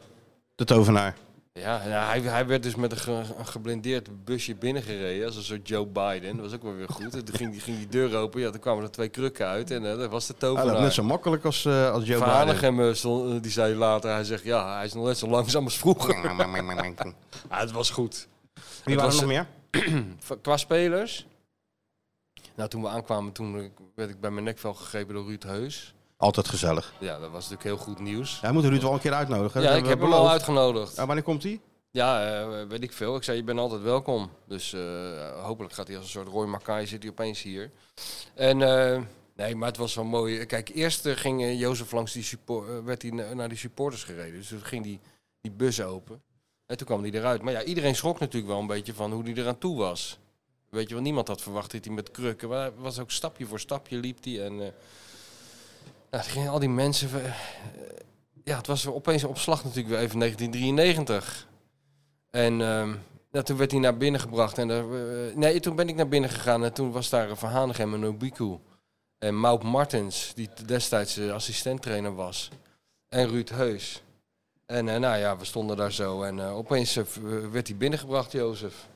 Speaker 2: De tovenaar. Ah,
Speaker 3: Ja, ja, hij, hij werd dus met een, ge- een geblindeerd busje binnengereden. Als een soort Joe Biden. Dat was ook wel weer goed. En toen ging die, ging die deur open. Ja, toen kwamen er twee krukken uit. En eh, dat was de
Speaker 2: Hij loopt Ah, net
Speaker 3: tovenaar.
Speaker 2: zo makkelijk als, eh als Joe
Speaker 3: Van
Speaker 2: Biden.
Speaker 3: hem eh, die zei later, hij zegt, ja, hij is nog net zo langzaam als vroeger. Ja, het was goed.
Speaker 2: Wie waren
Speaker 3: Het
Speaker 2: er
Speaker 3: was- eh,
Speaker 2: nog meer?
Speaker 3: V- Qua spelers? Nou, toen we aankwamen, toen eh, werd ik bij mijn nekvel gegrepen door Ruud Heus.
Speaker 2: Altijd gezellig.
Speaker 3: Ja, dat was natuurlijk heel goed nieuws.
Speaker 2: Hij moet Ruud wel een keer uitnodigen.
Speaker 3: Ja,
Speaker 2: Dat
Speaker 3: ik heb
Speaker 2: hebben
Speaker 3: hem
Speaker 2: we
Speaker 3: al
Speaker 2: beloofd.
Speaker 3: uitgenodigd.
Speaker 2: Ja, wanneer komt hij?
Speaker 3: Ja, eh, weet ik veel. Ik zei, je bent altijd welkom. Dus eh, hopelijk gaat hij als een soort Roy Mackay zit hij opeens hier. En eh, nee, maar het was wel mooi. Kijk, eerst eh, ging eh, Jozef langs die support, eh, werd hij na- naar die supporters gereden. Dus toen ging die, die bus open. En toen kwam hij eruit. Maar ja, iedereen schrok natuurlijk wel een beetje van hoe hij eraan toe was. Weet je, want niemand had verwacht dat hij met krukken. Maar hij was ook stapje voor stapje liep hij. En eh, nou, toen gingen al die mensen. eh, ja, het was opeens een opslag natuurlijk weer even 1993. En ehm, nou, toen werd hij naar binnen gebracht. En daar, eh, nee, toen ben ik naar binnen gegaan en toen was daar Van Hanegem en Obiku. En Maud Martens, die t- destijds eh, assistenttrainer was. En Ruud Heus. En eh, nou ja, we stonden daar zo. En eh, opeens eh, v- werd hij binnengebracht, Jozef.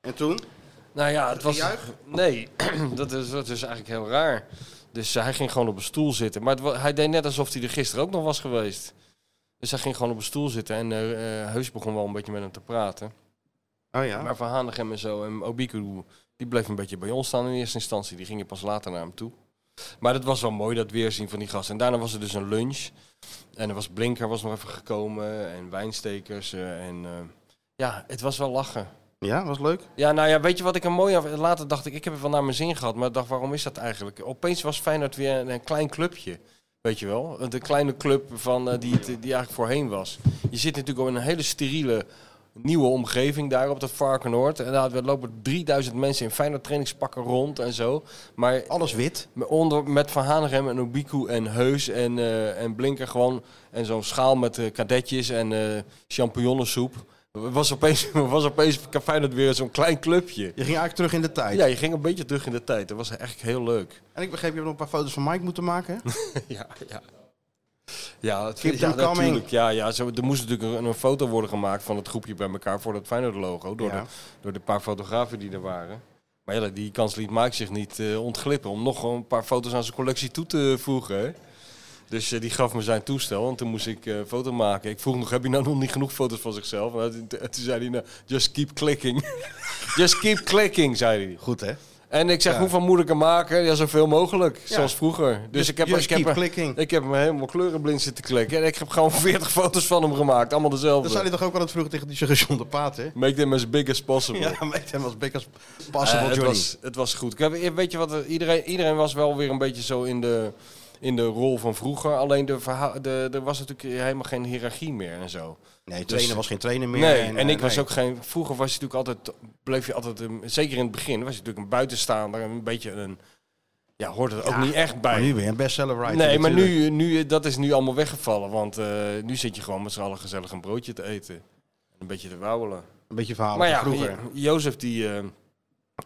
Speaker 2: En toen?
Speaker 3: Nou ja, het was.
Speaker 2: Gejuich?
Speaker 3: Nee, dat is, dat is eigenlijk heel raar. Dus eh, hij ging gewoon op een stoel zitten. Maar het wa- hij deed net alsof hij er gisteren ook nog was geweest. Dus hij ging gewoon op een stoel zitten. En eh, eh, Heus begon wel een beetje met hem te praten.
Speaker 2: Oh ja.
Speaker 3: Maar Van Hanegem en zo en Obiku, die bleef een beetje bij ons staan in eerste instantie. Die gingen pas later naar hem toe. Maar dat was wel mooi, dat weerzien van die gasten. En daarna was er dus een lunch. En er was Blinker was nog even gekomen. En Wijnstekers. eh, en eh, ja, het was wel lachen.
Speaker 2: Ja, was leuk.
Speaker 3: Ja, nou ja, weet je wat ik een mooi... af- Later dacht ik, ik heb het wel naar mijn zin gehad. Maar ik dacht, waarom is dat eigenlijk? Opeens was Feyenoord weer een, een klein clubje. Weet je wel? De kleine club van, eh, die, het- die eigenlijk voorheen was. Je zit natuurlijk in een hele steriele nieuwe omgeving daar op dat Varkenoord. En daar lopen 3000 mensen in Feyenoord trainingspakken rond en zo. Maar
Speaker 2: Alles wit.
Speaker 3: met Onder, met Van Hanegem en Obiku en Heus en, eh, en Blinker gewoon. En zo'n schaal met eh, kadetjes en eh champignonsoep. Was opeens, was opeens Feyenoord weer zo'n klein clubje.
Speaker 2: Je ging eigenlijk terug in de tijd.
Speaker 3: Ja, je ging een beetje terug in de tijd. Dat was eigenlijk heel leuk.
Speaker 2: En ik begreep, je hebt nog een paar foto's van Mike moeten maken. hè?
Speaker 3: ja, ja. Ja, het,
Speaker 2: Keep
Speaker 3: ja,
Speaker 2: them coming.
Speaker 3: natuurlijk. Ja, ja zo, er moest natuurlijk een, een foto worden gemaakt van het groepje bij elkaar voor dat Feyenoord logo. Door,
Speaker 2: Ja.
Speaker 3: de, door de paar fotografen die er waren. Maar ja, die kans liet Mike zich niet eh, ontglippen om nog een paar foto's aan zijn collectie toe te voegen. hè. Dus eh, die gaf me zijn toestel en toen moest ik eh, een foto maken. Ik vroeg nog, heb je nou nog niet genoeg foto's van zichzelf? En toen- toen zei hij, nou, just keep clicking. just keep clicking, zei hij.
Speaker 2: Goed, hè?
Speaker 3: En ik zeg,
Speaker 2: Ja.
Speaker 3: hoeveel moet ik er maken? Ja, zoveel mogelijk,
Speaker 2: Ja.
Speaker 3: zoals vroeger. Dus ik heb,
Speaker 2: Just
Speaker 3: ik, heb
Speaker 2: keep
Speaker 3: er,
Speaker 2: clicking.
Speaker 3: ik heb hem helemaal kleurenblind zitten klikken. En ik heb gewoon 40 foto's van hem gemaakt, allemaal
Speaker 2: Dat zei
Speaker 3: dezelfde.
Speaker 2: hij toch ook altijd vroeger tegen die gezonde paard, hè?
Speaker 3: Make them as big as possible.
Speaker 2: Ja, maar ik hem als big als
Speaker 3: Eh,
Speaker 2: possible,
Speaker 3: het,
Speaker 2: Johnny.
Speaker 3: was, het was goed. Ik heb- Weet je wat, eh, iedereen, iedereen was wel weer een beetje zo in de, in de rol van vroeger. Alleen de verha- de, er was natuurlijk helemaal geen hiërarchie meer en zo.
Speaker 2: Nee, trainen was geen trainen meer.
Speaker 3: Nee, en,
Speaker 2: eh,
Speaker 3: ik was
Speaker 2: nee.
Speaker 3: ook geen. Vroeger was je natuurlijk altijd. Bleef je altijd. een- Zeker in het begin was je natuurlijk een buitenstaander. Een beetje een. Ja, hoorde er ook niet echt bij.
Speaker 2: Maar nu weer een bestseller writer.
Speaker 3: Nee, maar
Speaker 2: natuurlijk.
Speaker 3: nu, nu, dat is nu allemaal weggevallen. Want eh, nu zit je gewoon met z'n allen gezellig een broodje te eten. En een beetje te wauwelen.
Speaker 2: Een beetje verhalen
Speaker 3: Maar ja,
Speaker 2: van vroeger.
Speaker 3: Jo- Jozef die eh,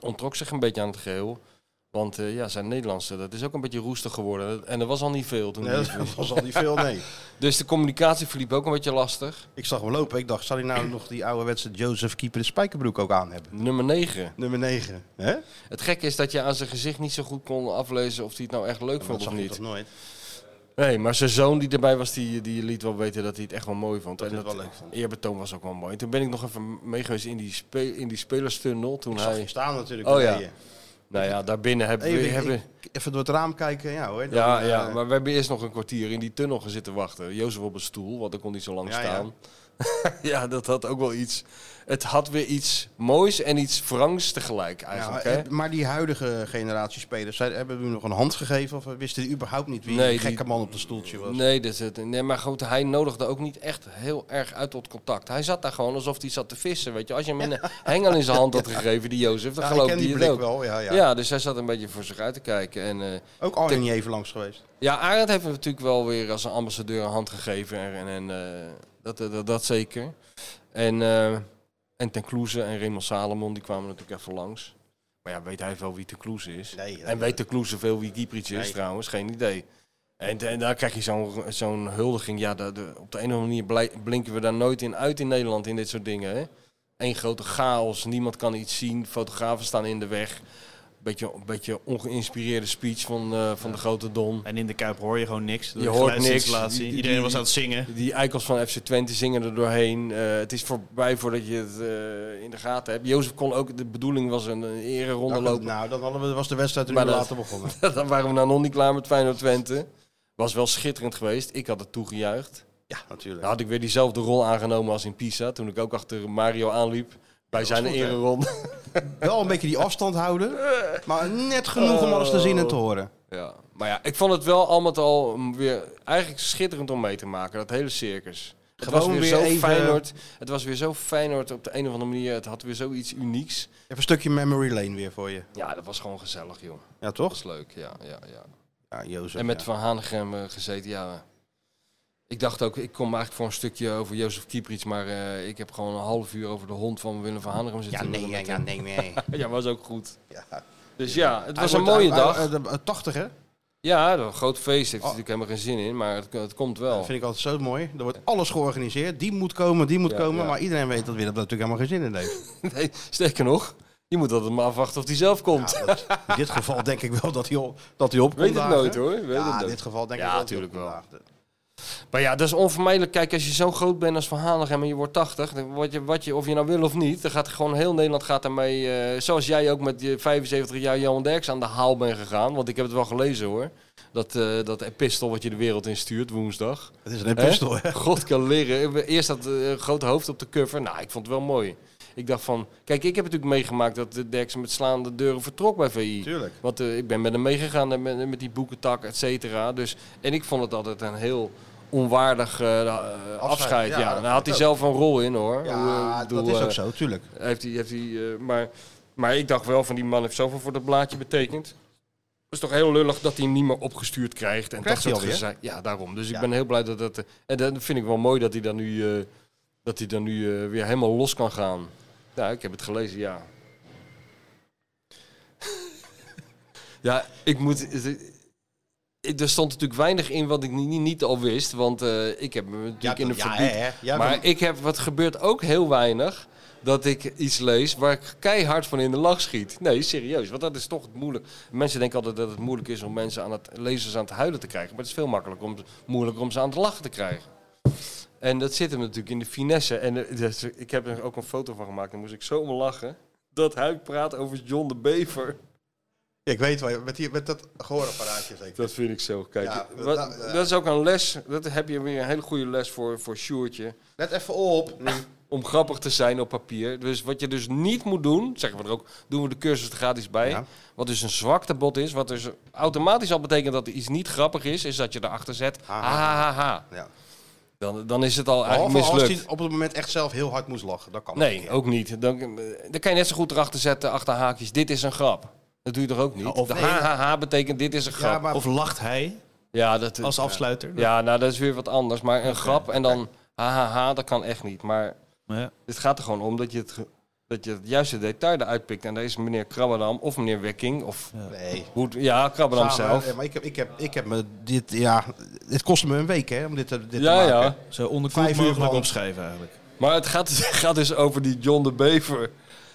Speaker 3: ontrok zich een beetje aan het geheel. Want eh, ja, zijn Nederlandse, dat is ook een beetje roestig geworden. En er was al niet veel toen.
Speaker 2: Nee,
Speaker 3: die-
Speaker 2: dat was al niet veel, nee.
Speaker 3: Dus de communicatie verliep ook een beetje lastig.
Speaker 2: Ik zag hem lopen. Ik dacht, zal hij nou nog die ouderwetse Joseph Keeper de spijkerbroek ook aan hebben?
Speaker 3: Nummer 9.
Speaker 2: Nummer 9. Hè?
Speaker 3: Het gekke is dat je aan zijn gezicht niet zo goed kon aflezen of hij het nou echt leuk vond
Speaker 2: Dat
Speaker 3: of
Speaker 2: zag je
Speaker 3: niet.
Speaker 2: toch nooit?
Speaker 3: Nee, maar zijn zoon die erbij was, die, die liet wel weten dat hij het echt wel mooi vond.
Speaker 2: Dat
Speaker 3: en
Speaker 2: hij het wel leuk vond.
Speaker 3: Eerbetoon was ook wel mooi. Toen ben ik nog even meegeweest in die, spe, in die spelerstunnel. Toen
Speaker 2: Ik zag je
Speaker 3: hij,
Speaker 2: staan natuurlijk.
Speaker 3: Oh
Speaker 2: bij
Speaker 3: ja.
Speaker 2: je.
Speaker 3: nou ja, daarbinnen hebben we...
Speaker 2: Even,
Speaker 3: Hebben,
Speaker 2: ik- even door het raam kijken. Ja, hoor, dan,
Speaker 3: ja,
Speaker 2: eh,
Speaker 3: ja, maar we hebben eerst nog een kwartier in die tunnel gezitten wachten. Jozef op een stoel, want ik kon niet zo lang
Speaker 2: Ja, ja.
Speaker 3: staan. Ja. dat had ook wel iets... Het had weer iets moois en iets wrangs tegelijk
Speaker 2: ja,
Speaker 3: eigenlijk, hè?
Speaker 2: eh, maar die huidige generatie spelers, zij, hebben we nog een hand gegeven? Of wisten die überhaupt niet wie
Speaker 3: Nee,
Speaker 2: die gekke
Speaker 3: die-
Speaker 2: man op de stoeltje was?
Speaker 3: Nee, dat is het. nee, maar goed, hij nodigde ook niet echt heel erg uit tot contact. Hij zat daar gewoon alsof hij zat te vissen. Weet je, als je hem een hengel in zijn hand had gegeven, die Jozef, dan
Speaker 2: Ja, ik
Speaker 3: geloof
Speaker 2: ken
Speaker 3: hij
Speaker 2: die
Speaker 3: het
Speaker 2: blik
Speaker 3: ook.
Speaker 2: wel. Ja,
Speaker 3: Ja.
Speaker 2: ja.
Speaker 3: dus hij zat een beetje voor zich uit te kijken. En, eh,
Speaker 2: Ook Arjen niet even langs geweest.
Speaker 3: ja, Arend heeft hem natuurlijk wel weer als een ambassadeur een hand gegeven. En, en eh, dat, dat, dat, dat zeker. En, eh en Ten Kloeze en Raymond Salomon, die kwamen natuurlijk even langs. Maar ja, weet hij wel wie Ten Kloeze is?
Speaker 2: Nee,
Speaker 3: En weet de Kloes zoveel wie Dieprits is
Speaker 2: Nee.
Speaker 3: trouwens, geen idee. En, en daar krijg je zo'n zo'n huldiging. Ja, dat- de- op de een of andere manier blij- blinken we daar nooit in uit in Nederland in dit soort dingen. hè. Eén grote chaos, niemand kan iets zien, fotografen staan in de weg. Beetje, beetje ongeïnspireerde speech van, eh, van de grote Don.
Speaker 4: En in de Kuip hoor je gewoon niks.
Speaker 3: Je hoort niks.
Speaker 4: geluidsinstallatie.
Speaker 3: Die- die-
Speaker 4: Iedereen was aan het zingen.
Speaker 3: Die eikels van FC Twente zingen er doorheen. Eh, het is voorbij voordat je het eh, in de gaten hebt. Jozef kon ook, de bedoeling was een, een ere ronde
Speaker 2: Nou,
Speaker 3: lopen.
Speaker 2: nou, dan hadden we, was de wedstrijd een
Speaker 3: Maar
Speaker 2: uur
Speaker 3: dat-
Speaker 2: later begonnen.
Speaker 3: Dan waren we nou nog niet klaar met Feyenoord Twente. Was wel schitterend geweest. Ik had het toegejuicht.
Speaker 2: Ja, natuurlijk.
Speaker 3: Dan had ik weer diezelfde rol aangenomen als in Pisa. Toen ik ook achter Mario aanliep. Bij zijn
Speaker 2: goed, hè?
Speaker 3: ereronde.
Speaker 2: Wel een beetje die afstand houden, maar net genoeg om alles te zien en
Speaker 3: Oh.
Speaker 2: te horen.
Speaker 3: Ja. Maar ja, ik vond het wel al met al weer eigenlijk schitterend om mee te maken. Dat hele circus. Het
Speaker 2: Gewoon
Speaker 3: was weer,
Speaker 2: weer
Speaker 3: zo
Speaker 2: even-
Speaker 3: Feyenoord. Het was weer zo Feyenoord op de een of andere manier. Het had weer zoiets unieks.
Speaker 2: Even een stukje memory lane weer voor je.
Speaker 3: Ja, dat was gewoon gezellig, joh.
Speaker 2: Ja,
Speaker 3: Dat
Speaker 2: toch?
Speaker 3: was leuk, ja, ja, ja.
Speaker 2: Ja, Jozef.
Speaker 3: En met
Speaker 2: ja.
Speaker 3: Van Hanegem eh, gezeten, ja. Ik dacht ook, ik kom eigenlijk voor een stukje over Jozef Kieprits, maar eh, ik heb gewoon een half uur over de hond van Willem van Hanegem
Speaker 2: Ja,
Speaker 3: zitten.
Speaker 2: nee, ja,
Speaker 3: lullen
Speaker 2: ja,
Speaker 3: met
Speaker 2: nee, nee.
Speaker 3: hem. Ja, was ook goed.
Speaker 2: Ja.
Speaker 3: Dus ja, het
Speaker 2: Hij
Speaker 3: was een
Speaker 2: wordt-
Speaker 3: mooie
Speaker 2: hij-
Speaker 3: dag.
Speaker 2: hij- eh, eh, 80, hè?
Speaker 3: ja, een groot feest heeft
Speaker 2: Oh.
Speaker 3: natuurlijk helemaal geen zin in, maar het, het komt wel.
Speaker 2: Dat vind ik altijd zo mooi. Er wordt alles georganiseerd. Die moet komen, die moet
Speaker 3: Ja,
Speaker 2: komen.
Speaker 3: ja.
Speaker 2: Maar iedereen weet dat Willem dat natuurlijk helemaal geen zin in heeft.
Speaker 3: nee, sterker nog, je moet altijd maar afwachten of hij zelf komt.
Speaker 2: Ja, Nou, dat- in dit geval denk ik wel dat hij, op, dat hij opkomt
Speaker 3: Weet het
Speaker 2: dagen.
Speaker 3: nooit hoor. Weet
Speaker 2: Ja, in
Speaker 3: het nooit.
Speaker 2: dit geval denk
Speaker 3: Ja,
Speaker 2: ik wel.
Speaker 3: tuurlijk wel.
Speaker 2: wel.
Speaker 3: Maar ja, dat is onvermijdelijk. Kijk, als je zo groot bent als Van Hanegem en je wordt 80, dan word je, wat je, of je nou wil of niet, dan gaat gewoon heel Nederland gaat daarmee. eh, zoals jij ook met je 75 jaar Johan Derks aan de haal bent gegaan. Want ik heb het wel gelezen hoor. Dat, eh dat epistel wat je de wereld instuurt woensdag.
Speaker 2: Het is een epistel, hè?
Speaker 3: God kan leren. Eerst dat eh, grote hoofd op de cover. Nou, ik vond het wel mooi. Ik dacht van, kijk, ik heb natuurlijk meegemaakt dat de Derks met slaande deuren vertrok bij VI.
Speaker 2: Tuurlijk.
Speaker 3: Want eh, ik ben met hem meegegaan en met, met die boekentak, et cetera. Dus, en ik vond het altijd een heel onwaardig eh, eh, afscheid.
Speaker 2: ja,
Speaker 3: ja.
Speaker 2: dat
Speaker 3: Daar had hij
Speaker 2: ook.
Speaker 3: zelf een rol in hoor.
Speaker 2: Ja,
Speaker 3: Ik bedoel,
Speaker 2: dat is
Speaker 3: eh,
Speaker 2: ook zo, tuurlijk.
Speaker 3: Heeft hij, heeft hij, eh, maar, maar ik dacht wel van die man heeft zoveel voor dat blaadje betekend. Het is toch heel lullig dat hij hem niet meer opgestuurd krijgt. En
Speaker 2: Krijgt hij
Speaker 3: dat soort
Speaker 2: alweer?
Speaker 3: gezeik. Ja, daarom. Dus
Speaker 2: Ja.
Speaker 3: ik ben heel blij dat dat... eh, En dan vind ik wel mooi dat hij dan nu, eh, dat hij dan nu eh, weer helemaal los kan gaan. Ja, ik heb het gelezen, ja. ja, ik moet... ik- Er stond natuurlijk weinig in wat ik niet, niet, niet al wist. Want eh, ik heb me natuurlijk in de
Speaker 2: ja,
Speaker 3: verdiep-
Speaker 2: hè, hè. Ja,
Speaker 3: maar ik heb, wat gebeurt ook heel weinig, dat ik iets lees waar ik keihard van in de lach schiet. Nee, serieus, want dat is toch moeilijk. Mensen denken altijd dat het moeilijk is om mensen aan het, lezers aan het huilen te krijgen. Maar het is veel makkelijker om, moeilijker om ze aan het lachen te krijgen. En dat zit hem natuurlijk in de finesse. En eh, dus ik heb er ook een foto van gemaakt, daar moest ik zo om lachen. Dat hij praat over John de Bever.
Speaker 2: Ik weet wel, met, die, met dat gehoorapparaatje zeker.
Speaker 3: Dat vind ik zo. Kijk,
Speaker 2: Ja,
Speaker 3: wat-
Speaker 2: dat- nou, ja.
Speaker 3: dat is ook een les. Dat heb je weer een hele goede les voor, voor Sjoertje.
Speaker 2: Let even op. nu.
Speaker 3: om grappig te zijn op papier. Dus wat je dus niet moet doen, zeggen we er ook, doen we de cursus er gratis bij.
Speaker 2: Ja.
Speaker 3: Wat dus een zwaktebod is, wat dus automatisch al betekent dat er iets niet grappig is, is dat je erachter zet, ha
Speaker 2: Haha.
Speaker 3: ha ha. ha.
Speaker 2: Ja.
Speaker 3: Dan, dan is het al
Speaker 2: Behalve
Speaker 3: eigenlijk mislukt.
Speaker 2: als hij op het moment echt zelf heel hard moest lachen. Dat kan ook.
Speaker 3: Nee, ook niet. Dan, dan kan je net zo goed erachter zetten, achter haakjes, dit is een grap. Dat doe je toch ook niet?
Speaker 4: of
Speaker 3: de
Speaker 4: nee.
Speaker 3: ha ha ha betekent dit is een grap. Ja,
Speaker 2: Ja, maar
Speaker 4: Of lacht hij
Speaker 3: dat,
Speaker 4: als afsluiter?
Speaker 3: ja, nou dat is weer wat anders. Maar een grap en dan ha ha ha, dat kan echt niet. Maar
Speaker 4: Ja.
Speaker 3: Het gaat er gewoon om dat je het, ge- dat je het juiste detail eruit pikt. En daar is meneer Krabberdam of meneer Wekking of
Speaker 2: nee.
Speaker 3: hoe, het- ja, Krabberdam
Speaker 2: Samen,
Speaker 3: zelf.
Speaker 2: eh, Maar ik heb, ik heb, ik heb me dit, ja, het kostte me een week hè, om dit, te- dit
Speaker 3: Ja,
Speaker 2: te
Speaker 3: ja.
Speaker 2: maken.
Speaker 4: Zo onderkoeld
Speaker 2: Vijf uur
Speaker 4: mogelijk
Speaker 2: lang.
Speaker 4: opschrijven eigenlijk.
Speaker 3: Maar het gaat, dus het gaat dus over die John de Bever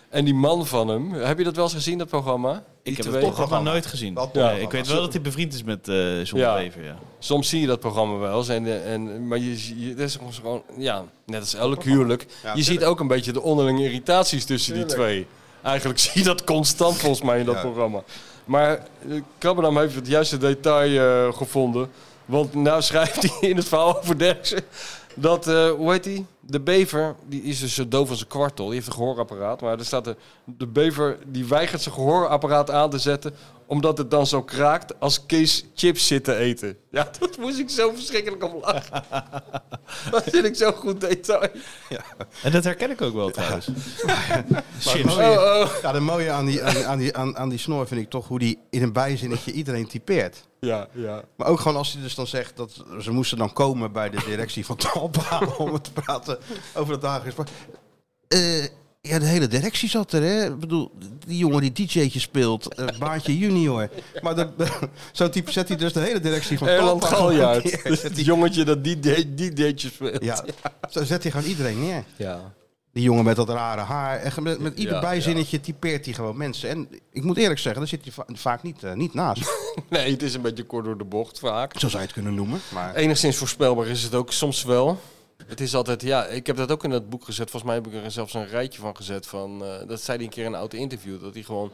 Speaker 3: en die man van hem. Heb je dat wel eens gezien, dat programma? Die
Speaker 4: Ik heb
Speaker 3: twee-
Speaker 4: het programma
Speaker 2: programma.
Speaker 4: nooit gezien.
Speaker 2: Wel
Speaker 4: Nee,
Speaker 2: programma.
Speaker 4: ik weet wel dat hij bevriend is met eh John
Speaker 3: Ja.
Speaker 4: de Wever, ja.
Speaker 3: Soms zie je dat programma wel eens. En, de- en, maar je, zie- je, dat is soms gewoon, ja, net als elk huwelijk. je ziet ook een beetje de onderlinge irritaties tussen die twee. Eigenlijk zie je dat constant volgens mij in dat programma. Maar eh, Krabbenam heeft het juiste detail eh, gevonden. Want nou schrijft hij in het verhaal over Derksen... dat, eh, hoe heet die? De bever, die is dus zo doof als een kwartel. Die heeft een gehoorapparaat. Maar er staat er, de bever die weigert zijn gehoorapparaat aan te zetten... omdat het dan zo kraakt als Kees chips zit te eten. Ja, dat moest ik zo verschrikkelijk om lachen. dat vind ik zo'n goed detail.
Speaker 4: En dat herken ik ook wel trouwens.
Speaker 2: Maar
Speaker 4: Chips.
Speaker 2: het
Speaker 3: Oh,
Speaker 2: mooie-
Speaker 3: oh.
Speaker 2: Ja, de mooie aan die, aan, aan, die, aan, aan die snor vind ik toch hoe die in een bijzinnetje iedereen typeert.
Speaker 3: Ja, ja.
Speaker 2: Maar ook gewoon als hij dus dan zegt dat ze moesten dan komen bij de directie van Talpa om te praten over het dagelijks. Maar, eh, ja, de hele directie zat er, hè? Ik bedoel, die jongen die DJ'tje speelt, eh, Baantje Junior. Maar dat, zo'n type zet hij dus de hele directie van
Speaker 3: Erland
Speaker 2: Talpa
Speaker 3: Galjaard.
Speaker 2: neer. Zet
Speaker 3: Het
Speaker 2: hij-
Speaker 3: jongetje dat die, de- die deedje speelt.
Speaker 2: Ja, zo zet hij gewoon iedereen neer.
Speaker 3: ja.
Speaker 2: Die jongen met dat rare haar. Echt met, met ieder
Speaker 3: Ja,
Speaker 2: bijzinnetje typeert hij gewoon mensen. En ik moet eerlijk zeggen, daar zit hij va- vaak niet, eh, niet naast.
Speaker 3: Nee, het is een beetje kort door de bocht vaak.
Speaker 2: Zo zou je het kunnen noemen. Maar
Speaker 3: Enigszins voorspelbaar is het ook soms wel. Het is altijd, ja, ik heb dat ook in dat boek gezet. Volgens mij heb ik er zelfs een rijtje van gezet. Van, eh, dat zei hij een keer in een oud interview. Dat hij gewoon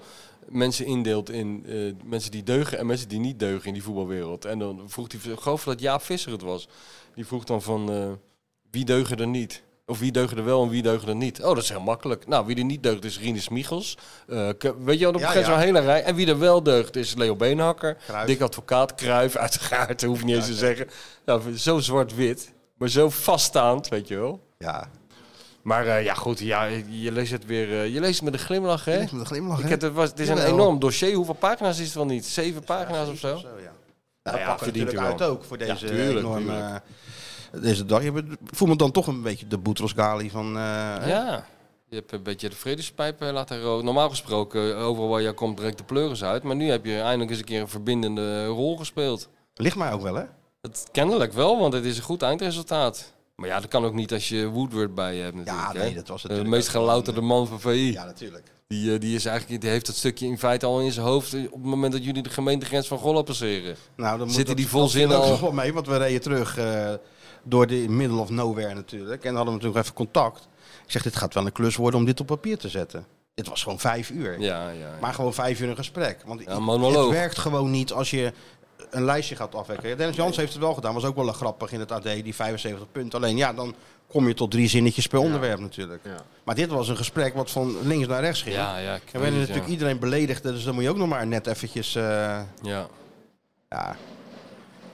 Speaker 3: mensen indeelt in eh, mensen die deugen en mensen die niet deugen in die voetbalwereld. En dan vroeg hij, ik geloof dat Jaap Visser het was. Die vroeg dan van, eh, wie deugen er niet? Of wie deugen er wel en wie deugen er niet? Oh, dat is heel makkelijk. Nou, wie er niet deugt is Rinus Michels. Eh, Ke- weet je wel, op een
Speaker 2: Ja,
Speaker 3: gegeven
Speaker 2: ja.
Speaker 3: moment hele rij. En wie er wel deugt is Leo Beenhakker.
Speaker 2: Cruijff.
Speaker 3: Dik advocaat, Kruif, uiteraard. Dat hoef ik niet eens te zeggen. Nou, zo zwart-wit, maar zo vaststaand, weet je wel.
Speaker 2: ja,
Speaker 3: Maar eh, ja, goed, ja, je leest het weer. eh, je leest het met een glimlach, hè?
Speaker 2: met een glimlach.
Speaker 3: Ik
Speaker 2: hè?
Speaker 3: heb, het, was, het is een
Speaker 2: Jawel.
Speaker 3: enorm dossier. Hoeveel pagina's is het wel niet? Zeven pagina's of zo?
Speaker 2: Zo, ja.
Speaker 3: Nou
Speaker 2: Nou,
Speaker 3: ja,
Speaker 2: ja, pakken
Speaker 3: verdient
Speaker 2: natuurlijk
Speaker 3: u
Speaker 2: uit
Speaker 3: wel.
Speaker 2: ook voor deze
Speaker 3: Ja, tuurlijk,
Speaker 2: enorme...
Speaker 3: tuurlijk.
Speaker 2: eh, Deze dag. Je bent- voel me dan toch een beetje de Boutros Ghali van... eh, hè?
Speaker 3: Ja. Je hebt een beetje de vredespijp eh, laten roken. Normaal gesproken, eh, overal waar je komt, breekt de pleuris uit. Maar nu heb je eindelijk eens een keer een verbindende rol gespeeld.
Speaker 2: Ligt mij ook wel, hè?
Speaker 3: Het, kennelijk wel, want het is een goed eindresultaat. Maar ja, dat kan ook niet als je Woodward bij je hebt natuurlijk.
Speaker 2: nee,
Speaker 3: hè?
Speaker 2: dat was
Speaker 3: De
Speaker 2: natuurlijk
Speaker 3: meest
Speaker 2: ook wel
Speaker 3: gelouterde man van VI.
Speaker 2: Ja, natuurlijk.
Speaker 3: Die, eh, die, is eigenlijk, die heeft dat stukje in feite al in zijn hoofd eh, op het moment dat jullie de gemeentegrens van Golla passeren.
Speaker 2: Nou, dan moet
Speaker 3: Zitten
Speaker 2: dat-
Speaker 3: die
Speaker 2: dat
Speaker 3: volzinnen
Speaker 2: viel ook
Speaker 3: al-
Speaker 2: nog wel mee, want we reden terug eh, door de middle of nowhere natuurlijk. En hadden we natuurlijk even contact. Ik zeg, dit gaat wel een klus worden om dit op papier te zetten. Dit was gewoon vijf uur.
Speaker 3: Ja, ja.
Speaker 2: Maar gewoon vijf uur een gesprek. Want
Speaker 3: een monoloog.
Speaker 2: het werkt gewoon niet als je een lijstje gaat afwekken. Dennis Jans heeft het wel gedaan. Was ook wel grappig in het AD, die 75 punten. Alleen ja, dan kom je tot drie zinnetjes per onderwerp natuurlijk. Maar dit was een gesprek wat van links naar rechts ging.
Speaker 3: ja, ja. ik
Speaker 2: En we
Speaker 3: weet
Speaker 2: werden
Speaker 3: het,
Speaker 2: natuurlijk iedereen beledigd. Dus dan moet je ook nog maar net eventjes... eh,
Speaker 3: ja. ja.
Speaker 2: ja.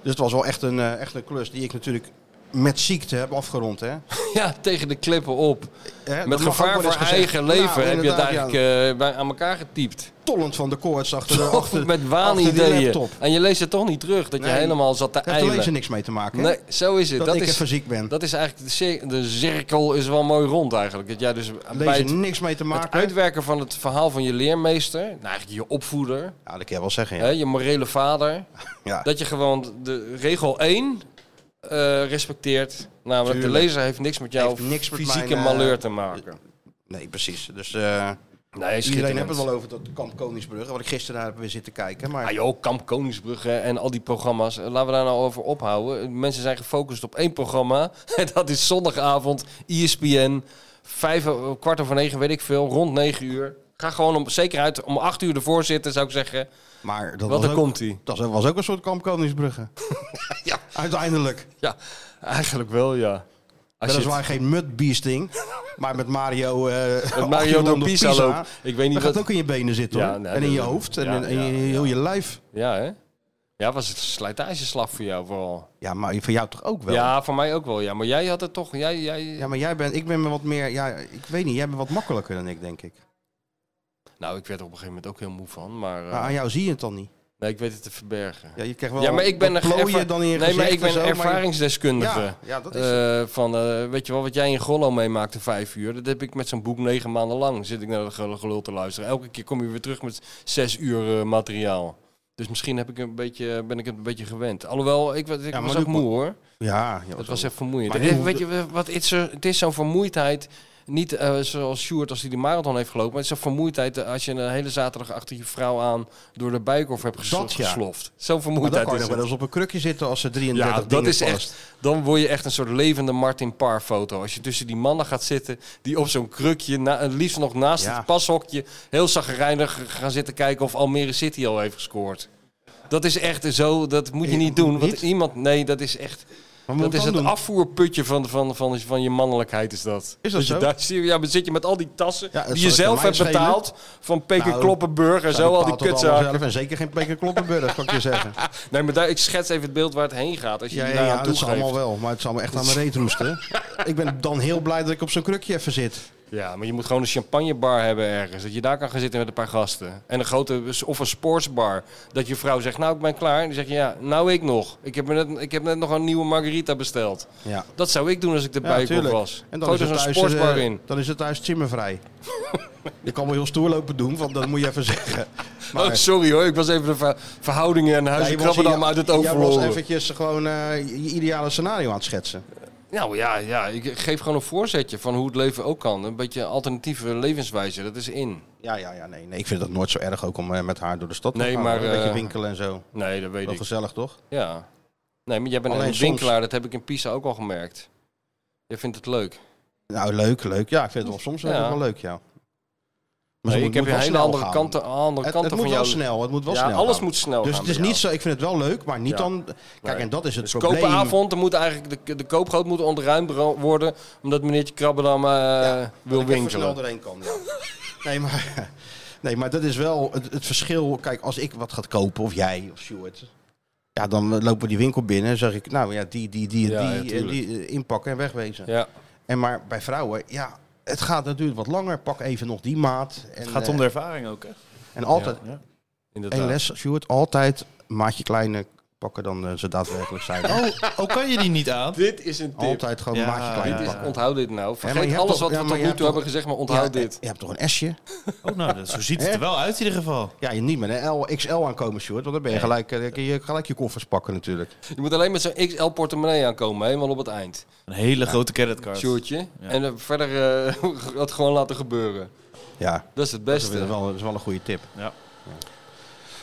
Speaker 2: Dus het was wel echt een, eh, echt een klus die ik natuurlijk met ziekte heb afgerond. Hè?
Speaker 3: Ja, tegen de klippen op.
Speaker 2: Hè, dat
Speaker 3: Met
Speaker 2: mag ook
Speaker 3: gevaar
Speaker 2: wel
Speaker 3: voor
Speaker 2: eens gezegd.
Speaker 3: eigen
Speaker 2: Nou,
Speaker 3: leven heb je het
Speaker 2: inderdaad,
Speaker 3: eigenlijk
Speaker 2: ja,
Speaker 3: eh, bij, aan elkaar getypt.
Speaker 2: tollend van de koorts achter de achter,
Speaker 3: Met
Speaker 2: achter die
Speaker 3: waanideeën.
Speaker 2: laptop.
Speaker 3: En je leest het toch niet terug, dat je
Speaker 2: Nee.
Speaker 3: helemaal zat te
Speaker 2: Het heeft er
Speaker 3: eilen.
Speaker 2: lezen niks mee te maken. hè?
Speaker 3: Nee, zo is het.
Speaker 2: dat,
Speaker 3: Dat,
Speaker 2: ik
Speaker 3: is,
Speaker 2: even ziek ben.
Speaker 3: dat is eigenlijk, de, cir- de cirkel is wel mooi rond eigenlijk. Dat jij dus bij
Speaker 2: lezen
Speaker 3: het,
Speaker 2: niks mee te
Speaker 3: het
Speaker 2: maken.
Speaker 3: uitwerken van het verhaal van je leermeester, nou eigenlijk je opvoeder,
Speaker 2: Ja, dat kan je wel zeggen.
Speaker 3: hè,
Speaker 2: Ja.
Speaker 3: je morele vader,
Speaker 2: Ja.
Speaker 3: Dat je gewoon de regel 1 eh, respecteert. Namelijk, de
Speaker 2: Tuurlijk.
Speaker 3: lezer heeft niks met jouw
Speaker 2: Heeft niks met
Speaker 3: fysieke
Speaker 2: mijn, eh,
Speaker 3: malheur te maken.
Speaker 2: Nee, precies. Dus eh
Speaker 3: Nee,
Speaker 2: iedereen heeft het wel over dat kamp Koningsbrugge, wat ik gisteren daar heb weer zitten kijken. Maar
Speaker 3: Ah joh, Kamp Koningsbrugge en al die programma's. eh, Laten we daar nou over ophouden. Mensen zijn gefocust op één programma. En dat is zondagavond, E ESPN. Vijf, eh, kwart over negen, weet ik veel. Rond negen uur. Ga gewoon om, zeker uit om acht uur ervoor zitten, zou ik zeggen.
Speaker 2: maar dat
Speaker 3: Want
Speaker 2: was
Speaker 3: dan
Speaker 2: ook,
Speaker 3: komt hij.
Speaker 2: Dat was ook een soort kamp Koningsbrugge.
Speaker 3: Ja.
Speaker 2: Uiteindelijk.
Speaker 3: Ja, eigenlijk wel, ja. Als je het-
Speaker 2: Weliswaar geen mudbeasting, maar met Mario... eh
Speaker 3: met Mario door
Speaker 2: Pisa
Speaker 3: Pisa loopt. Ik weet niet
Speaker 2: Dat
Speaker 3: wat...
Speaker 2: gaat ook in je benen zitten
Speaker 3: Ja,
Speaker 2: hoor.
Speaker 3: nee,
Speaker 2: en in je
Speaker 3: dat-
Speaker 2: hoofd en
Speaker 3: ja,
Speaker 2: in, in
Speaker 3: ja,
Speaker 2: je- heel je lijf.
Speaker 3: Ja, hè? Ja, was het een slijtageslag voor jou vooral?
Speaker 2: Ja, maar voor jou toch ook wel?
Speaker 3: Ja, voor mij ook wel, ja. Maar jij had het toch... Jij, jij...
Speaker 2: Ja, maar jij bent, ik ben me wat meer, ja, ik weet niet, jij bent wat makkelijker dan ik, denk ik.
Speaker 3: Nou, ik werd er op een gegeven moment ook heel moe van, maar... eh,
Speaker 2: Maar aan jou zie je het dan niet.
Speaker 3: Nee, ik weet het te verbergen.
Speaker 2: Ja, je krijgt wel
Speaker 3: Ja, maar ik ben
Speaker 2: dat
Speaker 3: een
Speaker 2: plooien
Speaker 3: erva-
Speaker 2: dan in je
Speaker 3: nee, maar
Speaker 2: gezicht
Speaker 3: ik ben
Speaker 2: en zo, maar je-
Speaker 3: ervaringsdeskundige.
Speaker 2: Ja, ja, dat is
Speaker 3: Eh, van, eh, weet je wel, wat jij in Gollo meemaakte vijf uur, dat heb ik met zo'n boek negen maanden lang. Zit ik naar dat gel- gelul te luisteren. Elke keer kom je weer terug met zes uur eh, materiaal. Dus misschien heb ik een beetje, ben ik het een beetje gewend. Alhoewel, ik, wa- ik
Speaker 2: maar
Speaker 3: was
Speaker 2: nu
Speaker 3: ook moe hoor.
Speaker 2: Ja, ja
Speaker 3: Dat was echt vermoeiend. Eh,
Speaker 2: Maar
Speaker 3: En
Speaker 2: nu-
Speaker 3: weet je, wat, het is, zo- het is zo'n vermoeidheid niet eh, zoals Sjoerd als hij die marathon heeft gelopen. Maar het is een vermoeidheid eh, als je een hele zaterdag achter je vrouw aan door de buikhof hebt ges
Speaker 2: Dat, ja.
Speaker 3: gesloft. Zo'n
Speaker 2: Maar dan
Speaker 3: vermoeidheid
Speaker 2: kan je
Speaker 3: is
Speaker 2: nog
Speaker 3: het.
Speaker 2: wel eens op een krukje zitten als ze 33
Speaker 3: Ja, dat
Speaker 2: dingen
Speaker 3: is
Speaker 2: past.
Speaker 3: echt. Dan word je echt een soort levende Martin Parr foto. Als je tussen die mannen gaat zitten die op zo'n krukje, na, eh, liefst nog naast
Speaker 2: Ja.
Speaker 3: het pashokje, heel zagrijnig gaan zitten kijken of Almere City al heeft gescoord. Dat is echt zo, dat moet je
Speaker 2: Eh,
Speaker 3: niet doen. Want
Speaker 2: niet?
Speaker 3: iemand, nee, dat is echt.
Speaker 2: Maar
Speaker 3: Dat
Speaker 2: moet
Speaker 3: is
Speaker 2: dan
Speaker 3: het
Speaker 2: doen?
Speaker 3: afvoerputje van, van, van, van je mannelijkheid, is dat.
Speaker 2: Is dat
Speaker 3: je
Speaker 2: zo?
Speaker 3: daar zit- ja, maar zit je met al die tassen
Speaker 2: Ja, het
Speaker 3: die
Speaker 2: zal
Speaker 3: je
Speaker 2: ik
Speaker 3: zelf
Speaker 2: aan
Speaker 3: hebt
Speaker 2: mij schelen.
Speaker 3: betaald. Van Peker
Speaker 2: Nou,
Speaker 3: Kloppenburg en zo, al die
Speaker 2: bepaalt dat
Speaker 3: kutzaken.
Speaker 2: allemaal zelf En zeker geen Peker Kloppenburg, kan ik je zeggen.
Speaker 3: Nee, maar daar, ik schets even het beeld waar het heen gaat. Als je
Speaker 2: Ja,
Speaker 3: die
Speaker 2: ja,
Speaker 3: daar
Speaker 2: ja,
Speaker 3: aan
Speaker 2: dat is
Speaker 3: toegeeft.
Speaker 2: allemaal wel. Maar het is allemaal echt aan mijn reet roesten. ik ben dan heel blij dat ik op zo'n krukje even zit.
Speaker 3: Ja, maar je moet gewoon een champagnebar hebben ergens. Dat je daar kan gaan zitten met een paar gasten. En een grote, of een sportsbar. Dat je vrouw zegt, nou ik ben klaar. En dan zeg je, ja, nou ik nog. Ik heb, me net, ik heb net nog een nieuwe margarita besteld.
Speaker 2: Ja.
Speaker 3: Dat zou ik doen als ik de buik op
Speaker 2: tuurlijk.
Speaker 3: was.
Speaker 2: En dan
Speaker 3: Gooi
Speaker 2: is,
Speaker 3: er
Speaker 2: het
Speaker 3: zo'n
Speaker 2: thuis,
Speaker 3: sportsbar
Speaker 2: eh,
Speaker 3: in.
Speaker 2: dan is het thuis chimmervrij. je kan wel heel stoer lopen doen, want dat moet je even zeggen. Maar
Speaker 3: oh, sorry hoor, ik was even de ver- verhoudingen en
Speaker 2: Ja,
Speaker 3: huizen
Speaker 2: je was
Speaker 3: krabben
Speaker 2: hier-
Speaker 3: dan maar uit het oog
Speaker 2: Jij was
Speaker 3: verloren.
Speaker 2: eventjes gewoon eh, je ideale scenario aan het schetsen.
Speaker 3: Nou ja, ja, ik geef gewoon een voorzetje van hoe het leven ook kan. Een beetje alternatieve levenswijze, dat is in.
Speaker 2: Ja, ja, ja. Nee, nee. Ik vind dat nooit zo erg ook om eh, met haar door de stad te
Speaker 3: Nee,
Speaker 2: gaan.
Speaker 3: maar,
Speaker 2: Een beetje
Speaker 3: eh,
Speaker 2: winkelen en zo.
Speaker 3: Nee, dat weet
Speaker 2: Wel
Speaker 3: ik.
Speaker 2: gezellig, toch?
Speaker 3: Ja. Nee, maar jij bent
Speaker 2: Alleen
Speaker 3: een
Speaker 2: soms-
Speaker 3: winkelaar, dat heb ik in Pisa ook al gemerkt. Jij vindt het leuk.
Speaker 2: Nou, leuk, leuk. Ja, ik vind het wel soms
Speaker 3: Ja.
Speaker 2: wel wel leuk, ja. Maar
Speaker 3: Nee,
Speaker 2: ze moet-
Speaker 3: ik heb
Speaker 2: moet
Speaker 3: een
Speaker 2: wel
Speaker 3: hele
Speaker 2: snel
Speaker 3: andere
Speaker 2: gaan.
Speaker 3: kanten, andere
Speaker 2: Het, het
Speaker 3: kanten
Speaker 2: moet
Speaker 3: van
Speaker 2: wel
Speaker 3: jou.
Speaker 2: snel, het moet wel
Speaker 3: ja,
Speaker 2: snel
Speaker 3: alles
Speaker 2: gaan.
Speaker 3: moet snel
Speaker 2: Dus
Speaker 3: gaan
Speaker 2: het is
Speaker 3: bij
Speaker 2: niet
Speaker 3: jou.
Speaker 2: zo, ik vind het wel leuk, maar niet
Speaker 3: Ja.
Speaker 2: dan... Kijk,
Speaker 3: Nee.
Speaker 2: en dat is het
Speaker 3: Dus
Speaker 2: probleem.
Speaker 3: koopavond, er moet eigenlijk de, de koopgroot moet ontruimd bero- worden, omdat meneertje Krabbedam eh,
Speaker 2: Dat
Speaker 3: wil
Speaker 2: ik even snel
Speaker 3: winkelen.
Speaker 2: doorheen kan, ja. nee, maar, nee, maar dat is wel het, het verschil. Kijk, als ik wat ga kopen, of jij, of Stuart... Ja, dan eh, lopen we die winkel binnen en zeg ik... Nou ja, die, die, die,
Speaker 3: Ja, ja,
Speaker 2: die, eh,
Speaker 3: tuurlijk.
Speaker 2: die eh, inpakken en wegwezen.
Speaker 3: Ja,
Speaker 2: En maar bij vrouwen, ja... Het gaat natuurlijk wat langer. Pak even nog die maat. En,
Speaker 4: Het gaat
Speaker 2: eh,
Speaker 4: om de ervaring ook, hè?
Speaker 2: en altijd,
Speaker 4: Ja.
Speaker 2: Eén
Speaker 3: inderdaad.
Speaker 2: les, Stuart, altijd maatje kleiner pakken dan eh, ze daadwerkelijk zijn.
Speaker 4: Oh, oh, kan je die niet aan?
Speaker 3: Dit is een tip.
Speaker 2: Altijd gewoon
Speaker 4: Ja,
Speaker 2: maatje kleiner
Speaker 4: dit
Speaker 3: Dit is-
Speaker 2: pakken.
Speaker 3: onthoud dit nou.
Speaker 2: maar
Speaker 3: Vergeet
Speaker 2: je hebt
Speaker 3: alles
Speaker 2: toch-
Speaker 3: wat
Speaker 2: ja,
Speaker 3: we
Speaker 2: maar
Speaker 3: tot
Speaker 2: je
Speaker 3: nu
Speaker 2: hebt
Speaker 3: toe
Speaker 2: toch-
Speaker 3: hebben gezegd, maar onthoud
Speaker 2: Ja,
Speaker 3: dit.
Speaker 2: Je hebt toch een S'je?
Speaker 4: Oh, nou, dat- zo ziet het er wel uit in ieder geval.
Speaker 2: Ja, je niet met een L, XL aankomen, Stuart. Want dan ben je gelijk, eh, dan kun je gelijk je koffers pakken natuurlijk.
Speaker 3: Je moet alleen met zo'n XL portemonnee aankomen, helemaal op het eind.
Speaker 4: Een hele grote creditcard.
Speaker 3: Sjoerdje. En eh, verder eh, dat gewoon laten gebeuren.
Speaker 2: Ja,
Speaker 3: Dat is het
Speaker 2: dat is
Speaker 3: beste.
Speaker 2: wel, dat is wel een goede tip.
Speaker 4: Ja.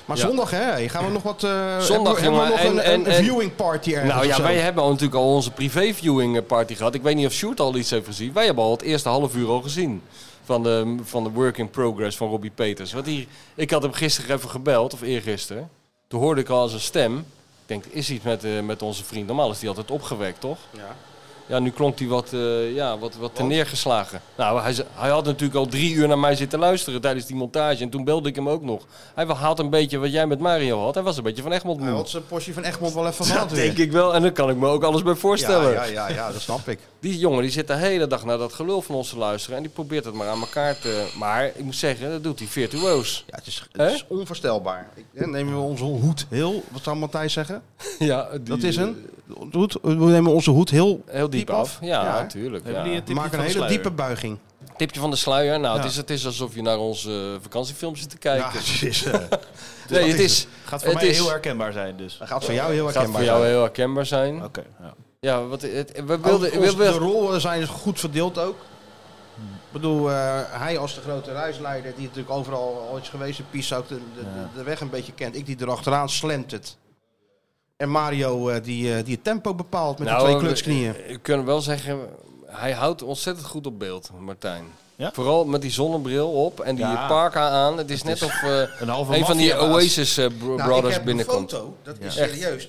Speaker 2: Maar
Speaker 3: Ja.
Speaker 2: zondag, hè? Gaan we nog wat... eh,
Speaker 3: Zondag,
Speaker 2: hebben we, hebben we
Speaker 3: jongen,
Speaker 2: nog
Speaker 3: en-
Speaker 2: een,
Speaker 3: en-
Speaker 2: een
Speaker 3: en-
Speaker 2: viewing party ergens
Speaker 3: Nou
Speaker 2: of
Speaker 3: ja,
Speaker 2: zo?
Speaker 3: wij hebben al natuurlijk al onze privé-viewing eh, party gehad. Ik weet niet of Sjoerd al iets heeft gezien. Wij hebben al het eerste half uur al gezien. Van de, van de work in progress van Robbie Peters. Want die, ik had hem gisteren even gebeld, of eergisteren. Toen hoorde ik al zijn stem. Ik denk, er is iets met, eh, met onze vriend. Normaal is die altijd opgewekt, toch?
Speaker 2: Ja.
Speaker 3: Ja, nu klonk hij wat, eh ja, wat, wat neergeslagen. Nou, hij, z- hij had natuurlijk al drie uur naar mij zitten luisteren tijdens die montage. En toen belde ik hem ook nog. Hij had een beetje wat jij met Mario had. Hij was een beetje van Egmond moe.
Speaker 2: Hij had zijn portie van Egmond wel even
Speaker 3: Dat
Speaker 2: gehad weer.
Speaker 3: denk ik wel. En daar kan ik me ook alles bij
Speaker 2: Ja,
Speaker 3: voorstellen.
Speaker 2: ja, ja, ja, dat snap ik.
Speaker 3: Die jongen die zit de hele dag naar dat gelul van ons te luisteren. En die probeert het maar aan elkaar te... Maar ik moet zeggen, dat doet hij virtuoos.
Speaker 2: Ja, het is, het
Speaker 3: Hè?
Speaker 2: is onvoorstelbaar. Ik, hè, nemen we onze hoed heel, wat zou Matthijs zeggen?
Speaker 3: ja, die-
Speaker 2: Dat is een hoed. We nemen onze hoed heel
Speaker 3: Heel diep,
Speaker 2: diep
Speaker 3: af.
Speaker 2: af.
Speaker 3: Ja,
Speaker 2: Ja.
Speaker 3: natuurlijk.
Speaker 4: Hebben
Speaker 3: Ja.
Speaker 4: jullie het
Speaker 2: We
Speaker 4: tipje
Speaker 2: maken
Speaker 4: van
Speaker 2: een
Speaker 4: de
Speaker 2: hele
Speaker 4: sluier?
Speaker 2: diepe buiging.
Speaker 3: Tipje van de sluier. Nou, het, is, het is alsof je naar onze eh, vakantiefilm zit te kijken.
Speaker 2: Ja, het is, eh,
Speaker 3: nee, het is...
Speaker 4: Gaat voor
Speaker 3: het
Speaker 4: mij
Speaker 3: is-
Speaker 4: heel herkenbaar zijn, dus.
Speaker 2: dat gaat voor jou heel
Speaker 3: gaat voor
Speaker 2: herkenbaar
Speaker 3: jou
Speaker 2: zijn.
Speaker 3: heel herkenbaar zijn.
Speaker 4: Oké. ja.
Speaker 3: Ja, wat, het, we
Speaker 2: Ook
Speaker 3: wilden...
Speaker 2: Oh, ons-
Speaker 3: we wilden-
Speaker 2: De rollen zijn dus goed verdeeld ook. Ik bedoel, eh, hij als de grote reisleider, die natuurlijk overal al is geweest in Pisa, ook de, de, de- de weg een beetje kent. Ik die erachteraan slemt het. En Mario eh, die, eh, die het tempo bepaalt met de twee klutsknieën.
Speaker 3: we- Nou, eh, Ik kan wel zeggen, hij houdt ontzettend goed op beeld, Martijn.
Speaker 4: Ja?
Speaker 3: Vooral met die zonnebril op en die
Speaker 4: Ja.
Speaker 3: parka aan. Het is net of eh,
Speaker 4: Een halve
Speaker 3: een van die
Speaker 4: maffiabaas.
Speaker 3: Oasis eh, bro-
Speaker 2: Nou, ik
Speaker 3: Brothers
Speaker 2: heb
Speaker 3: binnenkomt.
Speaker 2: een foto, dat is
Speaker 3: Ja. Echt.
Speaker 2: serieus.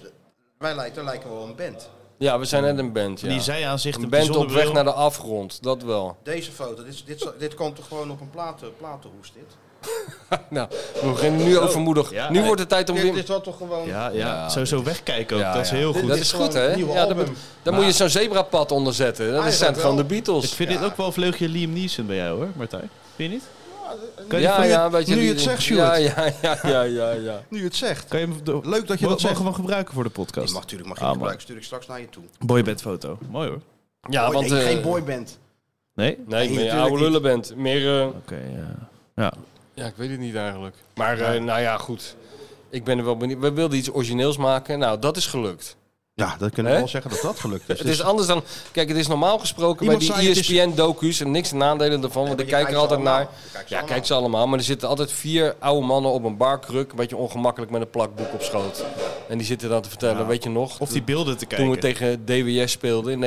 Speaker 2: Wij lijken, lijken wel een band.
Speaker 3: Ja, we zijn net een band. Ja.
Speaker 4: Die zijaanzicht
Speaker 3: een
Speaker 4: op die
Speaker 3: band op weg
Speaker 4: zonnebril.
Speaker 3: naar de afgrond, dat wel.
Speaker 2: Deze foto, dit, is- dit, is- dit komt toch gewoon op een platen, platenhoes dit?
Speaker 3: Nou, we beginnen nu overmoedig.
Speaker 4: Ja,
Speaker 3: nu
Speaker 4: eh,
Speaker 3: wordt het tijd om
Speaker 2: Dit,
Speaker 3: weer...
Speaker 2: dit was toch gewoon...
Speaker 4: Ja,
Speaker 3: Ja,
Speaker 4: ja. Zo, zo wegkijken ook.
Speaker 3: Ja,
Speaker 4: dat is
Speaker 3: ja.
Speaker 4: heel
Speaker 2: Dit-
Speaker 4: goed.
Speaker 3: Dat
Speaker 2: dit
Speaker 3: is
Speaker 2: is
Speaker 3: goed,
Speaker 2: gewoon
Speaker 3: hè?
Speaker 2: een nieuw
Speaker 3: Ja, dan
Speaker 2: album.
Speaker 3: moet, dan moet je zo'n zebrapad onderzetten. Dat
Speaker 2: Eigenlijk
Speaker 3: zijn gewoon de
Speaker 2: wel.
Speaker 3: Beatles.
Speaker 4: Ik vind dit ook wel een vleugje Liam Neeson bij jou, hoor, Martijn. Vind je niet? Kan je,
Speaker 3: ja,
Speaker 4: kan je-
Speaker 3: ja, weet je,
Speaker 2: nu
Speaker 3: die-
Speaker 2: je het zegt,
Speaker 3: Ja,
Speaker 2: Sjoerd.
Speaker 3: ja, ja, ja, ja, ja.
Speaker 2: Nu het zegt.
Speaker 4: Kan je hem do-
Speaker 2: Leuk dat je dat
Speaker 4: mogen
Speaker 2: zegt.
Speaker 4: we hem gebruiken voor de podcast?
Speaker 2: mag natuurlijk mag je
Speaker 4: Ah, man.
Speaker 2: gebruiken, stuur ik straks naar je toe.
Speaker 4: Boybandfoto. Mooi hoor.
Speaker 3: Ja,
Speaker 2: Boy-
Speaker 3: want...
Speaker 2: nee,
Speaker 3: eh,
Speaker 2: Oh, geen boyband.
Speaker 4: Nee?
Speaker 3: Nee,
Speaker 4: Oké,
Speaker 3: ik ben
Speaker 2: natuurlijk
Speaker 3: een oude
Speaker 2: niet.
Speaker 3: lullen bent. Meer... eh,
Speaker 4: ja. Ja.
Speaker 3: Ja, ik weet het niet eigenlijk. Maar eh, nou ja, goed. Ik ben er wel benieuwd. We wilden iets origineels maken. Nou, dat is gelukt.
Speaker 2: Ja, dat kunnen we
Speaker 3: Hè?
Speaker 2: wel zeggen dat dat gelukt is. Dus-
Speaker 3: Het is anders dan. Kijk, het is normaal gesproken
Speaker 2: Iemand
Speaker 3: bij
Speaker 2: zei
Speaker 3: die E
Speaker 2: het is-
Speaker 3: ESPN-docu's en niks nadelen ervan, want ik kijk er altijd naar. Ja, kijk ze allemaal, maar er zitten altijd vier oude mannen op een barkruk, een beetje ongemakkelijk met een plakboek op schoot. En die zitten dan te vertellen, weet je nog,
Speaker 4: Of die beelden te kijken.
Speaker 3: toen we tegen DWS speelden in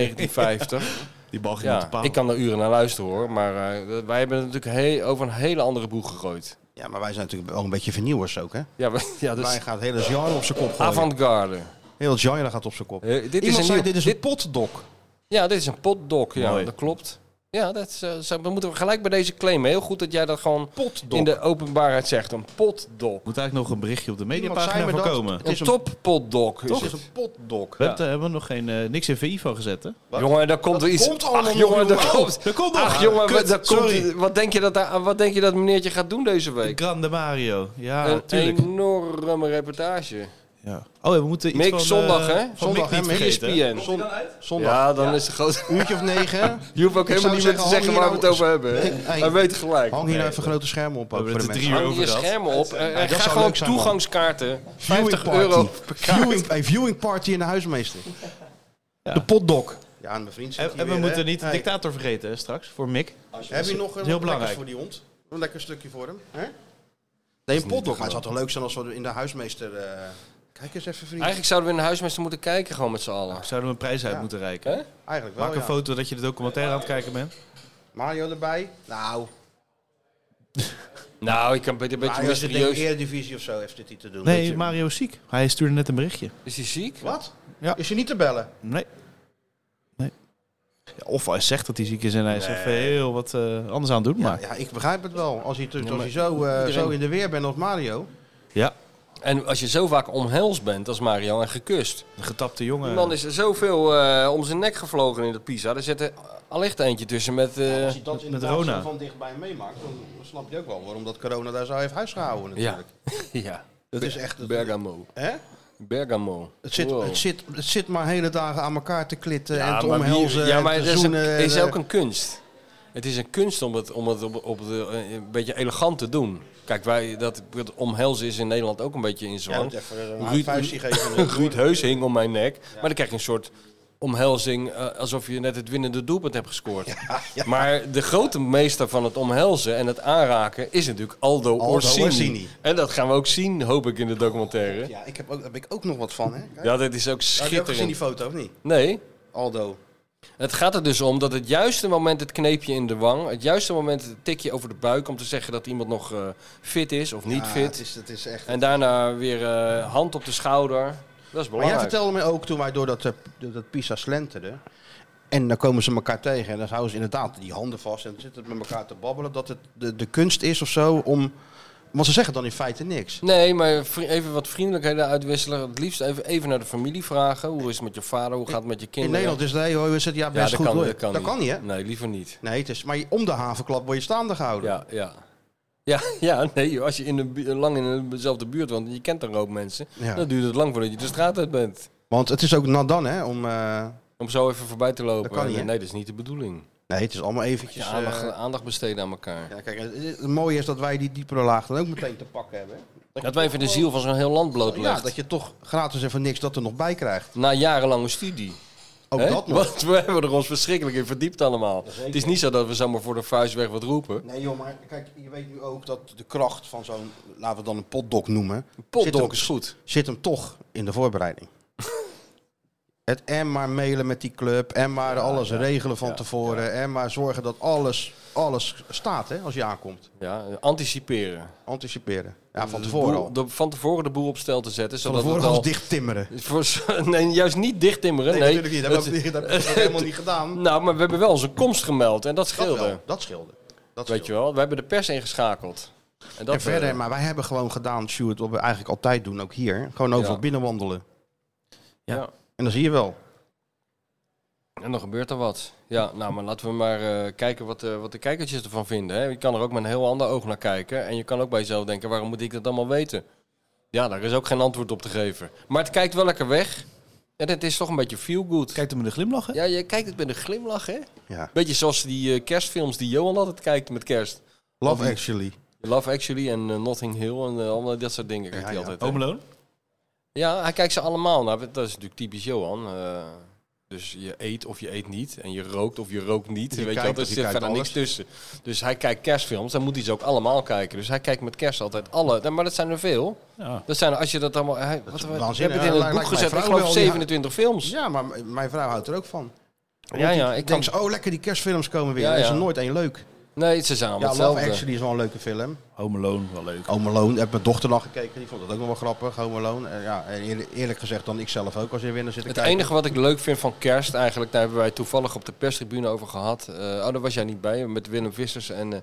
Speaker 3: 1950.
Speaker 4: die bal ging
Speaker 3: ja, ik kan er uren naar luisteren hoor, maar eh, wij hebben het natuurlijk heel, over een hele andere boeg gegooid.
Speaker 2: Ja, maar wij zijn natuurlijk wel een beetje vernieuwers ook, hè?
Speaker 3: Ja, we- ja dus
Speaker 2: Wij gaan het hele genre op zijn kop gooien.
Speaker 3: avant-garde.
Speaker 2: Heel het genre gaat op zijn kop.
Speaker 3: Eh, dit is
Speaker 2: Iemand
Speaker 3: een
Speaker 2: zei,
Speaker 3: nieuw-
Speaker 2: dit is een
Speaker 3: dit-
Speaker 2: potdok.
Speaker 3: Ja, dit is een potdok. Ja,
Speaker 4: Mooi.
Speaker 3: dat klopt. Ja, dat is, eh, zo- we moeten gelijk bij deze claimen. Heel goed dat jij dat gewoon
Speaker 2: Potdok.
Speaker 3: in de openbaarheid zegt. Een potdok.
Speaker 4: Moet eigenlijk nog een berichtje op de
Speaker 2: zei
Speaker 4: mediapagina
Speaker 2: me
Speaker 4: van
Speaker 2: dat.
Speaker 4: komen.
Speaker 2: Het
Speaker 3: Een
Speaker 2: is een-
Speaker 3: toppotdok is
Speaker 2: Toch?
Speaker 3: het.
Speaker 2: Het is een potdok.
Speaker 4: We hebben er- hebben we nog geen, eh, niks in VI van gezet, hè?
Speaker 2: Wat?
Speaker 3: Jongen, daar komt er iets.
Speaker 2: komt allemaal
Speaker 3: Ach, jongen,
Speaker 2: nog,
Speaker 3: daar
Speaker 2: jongen.
Speaker 3: komt.
Speaker 4: Er komt nog.
Speaker 3: Ach, jongen,
Speaker 4: Kut,
Speaker 3: daar komt,
Speaker 4: sorry.
Speaker 3: wat, denk je dat, daar- wat denk je dat meneertje gaat doen deze week?
Speaker 4: Grande Mario. Ja,
Speaker 3: Een
Speaker 4: tuurlijk.
Speaker 3: enorme reportage.
Speaker 4: Ja. Oh, en we moeten iets
Speaker 3: Mick,
Speaker 4: van... eh,
Speaker 3: zondag, E hè?
Speaker 4: Van
Speaker 2: Zondag,
Speaker 4: Mick
Speaker 2: hè,
Speaker 4: niet
Speaker 2: Mick?
Speaker 4: vergeten.
Speaker 3: ESPN.
Speaker 2: Zon- Zondag.
Speaker 3: Ja, dan is de grote...
Speaker 2: Uurtje of negen.
Speaker 3: Je hoeft
Speaker 2: Ik zou
Speaker 3: ook helemaal niet meer te
Speaker 2: zeggen,
Speaker 3: zeggen
Speaker 2: hang
Speaker 3: waar we
Speaker 2: hier
Speaker 3: het over
Speaker 2: nou-
Speaker 3: hebben. hè?
Speaker 2: Hey,
Speaker 3: Hij weet gelijk.
Speaker 2: Hang hier nou even grote schermen op.
Speaker 4: We
Speaker 2: Ook
Speaker 4: hebben
Speaker 2: voor de
Speaker 4: het er
Speaker 2: mensen.
Speaker 4: drie uur
Speaker 3: Hang
Speaker 4: over
Speaker 3: je
Speaker 4: gehad.
Speaker 3: schermen op. Eh,
Speaker 2: dat
Speaker 3: ga
Speaker 2: zou
Speaker 3: gewoon
Speaker 2: leuk zijn, man.
Speaker 3: toegangskaarten. 50
Speaker 2: party.
Speaker 3: euro per kaart.
Speaker 2: Viewing, hey, viewing party in de huismeester. De potdok. Ja, en mijn vriend zit
Speaker 4: En,
Speaker 2: hier
Speaker 4: en we
Speaker 2: weer,
Speaker 4: moeten
Speaker 2: hè?
Speaker 4: niet de
Speaker 2: Hey,
Speaker 4: dictator vergeten, hè, straks, voor Mick.
Speaker 2: Heb je nog een
Speaker 4: heel
Speaker 2: heel
Speaker 4: belangrijk.
Speaker 2: belangrijk voor die hond? Een lekker stukje voor hem. Hè? Nee, een potdok. Maar het zou toch leuk zijn als we in de huismeester... eh, Kijk eens even, vriend.
Speaker 3: Eigenlijk zouden we in de huismeester moeten kijken gewoon met z'n allen.
Speaker 4: Zouden we een prijs uit
Speaker 2: Ja.
Speaker 4: moeten reiken?
Speaker 3: Hè?
Speaker 2: Eigenlijk wel,
Speaker 4: Maak een
Speaker 2: ja.
Speaker 4: foto dat je de documentaire aan het kijken bent.
Speaker 2: Mario erbij. Nou,
Speaker 3: Nou, ik kan beter een beetje
Speaker 2: Mario is de denk ik
Speaker 3: mysterieus.
Speaker 2: Eredivisie of zo heeft dit niet te doen. Weet
Speaker 4: Nee,
Speaker 2: je.
Speaker 4: Mario is ziek. Hij stuurde net een berichtje.
Speaker 3: Is hij ziek?
Speaker 2: Wat?
Speaker 4: Ja.
Speaker 2: Is je niet te bellen?
Speaker 4: Nee. nee. Ja, of hij zegt dat hij ziek is en hij is even heel wat eh, anders aan het doen.
Speaker 2: Ja,
Speaker 4: maar.
Speaker 2: Nou ja, ik begrijp het wel. Als je, als
Speaker 3: maar
Speaker 2: je zo, eh,
Speaker 3: iedereen-
Speaker 2: zo in de weer bent als Mario.
Speaker 4: ja,
Speaker 3: En als je zo vaak omhels bent als Mario en gekust.
Speaker 4: een getapte
Speaker 3: Die
Speaker 4: jongen.
Speaker 3: man is er zoveel eh, om zijn nek gevlogen in dat Pisa. Daar zit er allicht eentje tussen met... eh,
Speaker 2: als je dat in
Speaker 4: Rona.
Speaker 2: de van dichtbij meemaakt, dan snap je ook wel waarom dat corona daar zo heeft huisgehouden
Speaker 3: ja.
Speaker 2: natuurlijk.
Speaker 3: ja.
Speaker 2: Dat is echt... Het,
Speaker 3: Bergamo.
Speaker 2: hè?
Speaker 3: Bergamo.
Speaker 2: Het, zit,
Speaker 3: Wow.
Speaker 2: het, zit, het zit maar hele dagen aan elkaar te klitten en te
Speaker 3: maar wie-
Speaker 2: omhelzen
Speaker 3: ja,
Speaker 2: en
Speaker 3: maar
Speaker 2: te
Speaker 3: het is, een,
Speaker 2: zoenen en,
Speaker 3: is
Speaker 2: eh,
Speaker 3: ook een kunst. Het is een kunst om het, om het op, op de, eh, een beetje elegant te doen. Kijk, wij, dat, dat omhelzen is in Nederland ook een beetje in
Speaker 2: Ja,
Speaker 3: zwang.
Speaker 2: moet even een
Speaker 3: Ruud-
Speaker 2: hard vuistje geven.
Speaker 3: Een Ruud Heus hing om mijn nek. Maar dan krijg je een soort omhelzing, eh, alsof je net het winnende doelpunt hebt gescoord. Maar de grote meester van het omhelzen en het aanraken is natuurlijk Aldo,
Speaker 2: Aldo
Speaker 3: Orsini.
Speaker 2: Orsini.
Speaker 3: En dat gaan we ook zien, hoop ik, in de documentaire.
Speaker 2: Ja, ik heb ook, daar heb ik ook nog wat van. Hè? Kijk,
Speaker 3: Ja, dat is ook
Speaker 2: heb je ook gezien die
Speaker 3: schitterend.
Speaker 2: foto of niet?
Speaker 3: Nee,
Speaker 2: Aldo.
Speaker 3: het gaat er dus om dat het juiste moment het kneepje in de wang, het juiste moment het tikje over de buik om te zeggen dat iemand nog eh, fit is of niet
Speaker 2: Ja, Ah, Het
Speaker 3: fit.
Speaker 2: is, het is echt...
Speaker 3: En daarna weer eh, hand op de schouder. Dat is
Speaker 2: Maar jij
Speaker 3: belangrijk.
Speaker 2: vertelde mij ook toen wij door dat, eh, door dat Pisa slenteren. En dan komen ze elkaar tegen en dan houden ze inderdaad die handen vast en dan zitten ze met elkaar te babbelen. Dat het de, de kunst is of zo om. Want ze zeggen dan in feite niks.
Speaker 3: Nee, maar vri- even wat vriendelijkheden uitwisselen. Het liefst even, even naar de familie vragen. Hoe is het met je vader? Hoe gaat het met je
Speaker 2: In
Speaker 3: kinderen?
Speaker 2: Nederland is het, hey, hoor, we zitten ja
Speaker 3: ja,
Speaker 2: best
Speaker 3: dat
Speaker 2: goed
Speaker 3: kan,
Speaker 2: hoor.
Speaker 3: dat kan,
Speaker 2: niet, hè?
Speaker 3: Nee, liever niet.
Speaker 2: Nee, het is, maar om de havenklap word je staande gehouden.
Speaker 3: Ja, ja. Ja, ja, nee, joh, als je in de, bu- lang in dezelfde buurt woont en je kent een hoop mensen,
Speaker 2: Ja.
Speaker 3: dan duurt het lang voordat je de straat uit bent.
Speaker 2: Want het is ook nadan, hè? Om, eh,
Speaker 3: Om zo even voorbij te lopen.
Speaker 2: Dat kan niet,
Speaker 3: nee,
Speaker 2: hè?
Speaker 3: nee, dat is niet de bedoeling. Dus,
Speaker 2: nee, het is allemaal
Speaker 3: Je
Speaker 2: eventjes. eh,
Speaker 3: aandacht, aandacht besteden aan elkaar.
Speaker 2: ja, kijk, het, het mooie is dat wij die diepere laag dan ook meteen te pakken hebben.
Speaker 3: Dat wij even de ziel van zo'n heel land blootlegt.
Speaker 2: Ja, dat je toch gratis en voor niks dat er nog bij krijgt.
Speaker 3: Na jarenlange studie.
Speaker 2: Ook
Speaker 3: Hè?
Speaker 2: dat nog.
Speaker 3: Want we hebben er ons verschrikkelijk in verdiept allemaal. Het is niet zo dat we zomaar voor de vuist weg wat roepen.
Speaker 2: Nee joh, maar kijk, je weet nu ook dat de kracht van zo'n, laten we het dan een potdok noemen, zit,
Speaker 3: Potdok
Speaker 2: hem,
Speaker 3: is goed.
Speaker 2: zit hem toch in de voorbereiding. het en maar mailen met die club, en maar alles regelen van tevoren, en maar zorgen dat alles, alles staat hè, als je aankomt.
Speaker 3: Ja, anticiperen.
Speaker 2: Anticiperen. Ja, van
Speaker 3: De
Speaker 2: tevoren
Speaker 3: boel-
Speaker 2: al.
Speaker 3: de- van tevoren de boel op stel te zetten.
Speaker 2: Van
Speaker 3: Zodat
Speaker 2: tevoren
Speaker 3: het al,
Speaker 2: alles dicht timmeren.
Speaker 3: Voor, zo- nee, juist niet dicht timmeren.
Speaker 2: Nee,
Speaker 3: Nee,
Speaker 2: natuurlijk niet. Dat hebben we
Speaker 3: Het-
Speaker 2: ook niet- dat hebben we ook helemaal niet gedaan.
Speaker 3: Nou, maar we hebben wel onze komst gemeld en dat
Speaker 2: Dat
Speaker 3: scheelde.
Speaker 2: wel, dat scheelde. Dat
Speaker 3: Weet je wel, we hebben de pers ingeschakeld. En, dat,
Speaker 2: en verder,
Speaker 3: eh,
Speaker 2: maar wij hebben gewoon gedaan, Stuart, wat we eigenlijk altijd doen, ook hier. Gewoon overal
Speaker 3: Ja.
Speaker 2: binnenwandelen.
Speaker 3: Ja.
Speaker 2: En dan zie je wel.
Speaker 3: En dan gebeurt er wat. Ja, nou, maar laten we maar eh, kijken wat, eh, wat de kijkertjes ervan vinden. Hè. Je kan er ook met een heel ander oog naar kijken. En je kan ook bij jezelf denken, waarom moet ik dat allemaal weten? Ja, daar is ook geen antwoord op te geven. Maar het kijkt wel lekker weg. En het is toch een beetje feel good.
Speaker 4: Kijkt hem in de glimlach, hè?
Speaker 3: Ja, je kijkt het met een glimlach, hè?
Speaker 2: Ja.
Speaker 3: Beetje zoals die eh, kerstfilms die Johan altijd kijkt met kerst.
Speaker 2: Love Actually.
Speaker 3: Love Actually en eh, Notting Hill en eh, allemaal dat soort dingen kijkt
Speaker 2: Ja,
Speaker 3: hij
Speaker 2: ja.
Speaker 3: altijd. hè?
Speaker 4: Home Alone?
Speaker 3: Ja, hij kijkt ze allemaal naar. Dat is natuurlijk typisch Johan. eh, dus je eet of je eet niet. En je rookt of je rookt niet.
Speaker 2: Je
Speaker 3: Weet
Speaker 2: kijkt
Speaker 3: je, wel,
Speaker 2: of
Speaker 3: er
Speaker 2: je
Speaker 3: zit
Speaker 2: kijkt
Speaker 3: verder niks tussen. Dus hij kijkt kerstfilms, dan moet hij ze ook allemaal kijken. Dus hij kijkt met kerst altijd alle. nou, Maar dat zijn er veel.
Speaker 4: Ja.
Speaker 3: Dat zijn, als je dat allemaal... Hij, wat, we hebben
Speaker 2: waanzinnig.
Speaker 3: het
Speaker 2: Ja,
Speaker 3: in het
Speaker 2: lijkt-
Speaker 3: boek
Speaker 2: lijkt
Speaker 3: gezet,
Speaker 2: mijn
Speaker 3: ik
Speaker 2: vrouw
Speaker 3: geloof
Speaker 2: wel, ja.
Speaker 3: 27 films.
Speaker 2: Ja, maar m- mijn vrouw houdt er ook van.
Speaker 3: Ja, ja, ik
Speaker 2: Ik
Speaker 3: kan...
Speaker 2: denk, zo, oh lekker die kerstfilms komen weer.
Speaker 3: Ja,
Speaker 2: Er is
Speaker 3: ja.
Speaker 2: er nooit één leuk.
Speaker 3: Nee, ze zijn allemaal
Speaker 2: Ja, Love
Speaker 3: hetzelfde.
Speaker 2: Actually is wel een leuke film.
Speaker 4: Home Alone, wel leuk.
Speaker 2: Home Alone, heb mijn dochter nog gekeken. Die vond dat ook nog wel grappig, Home Alone. En ja, en eerlijk, eerlijk gezegd dan ik zelf ook als je weer naar zit te
Speaker 3: Het
Speaker 2: kijken.
Speaker 3: enige wat ik leuk vind van kerst eigenlijk, daar hebben wij toevallig op de perstribune over gehad. Eh, oh, daar was jij niet bij, met Willem Vissers en... eh,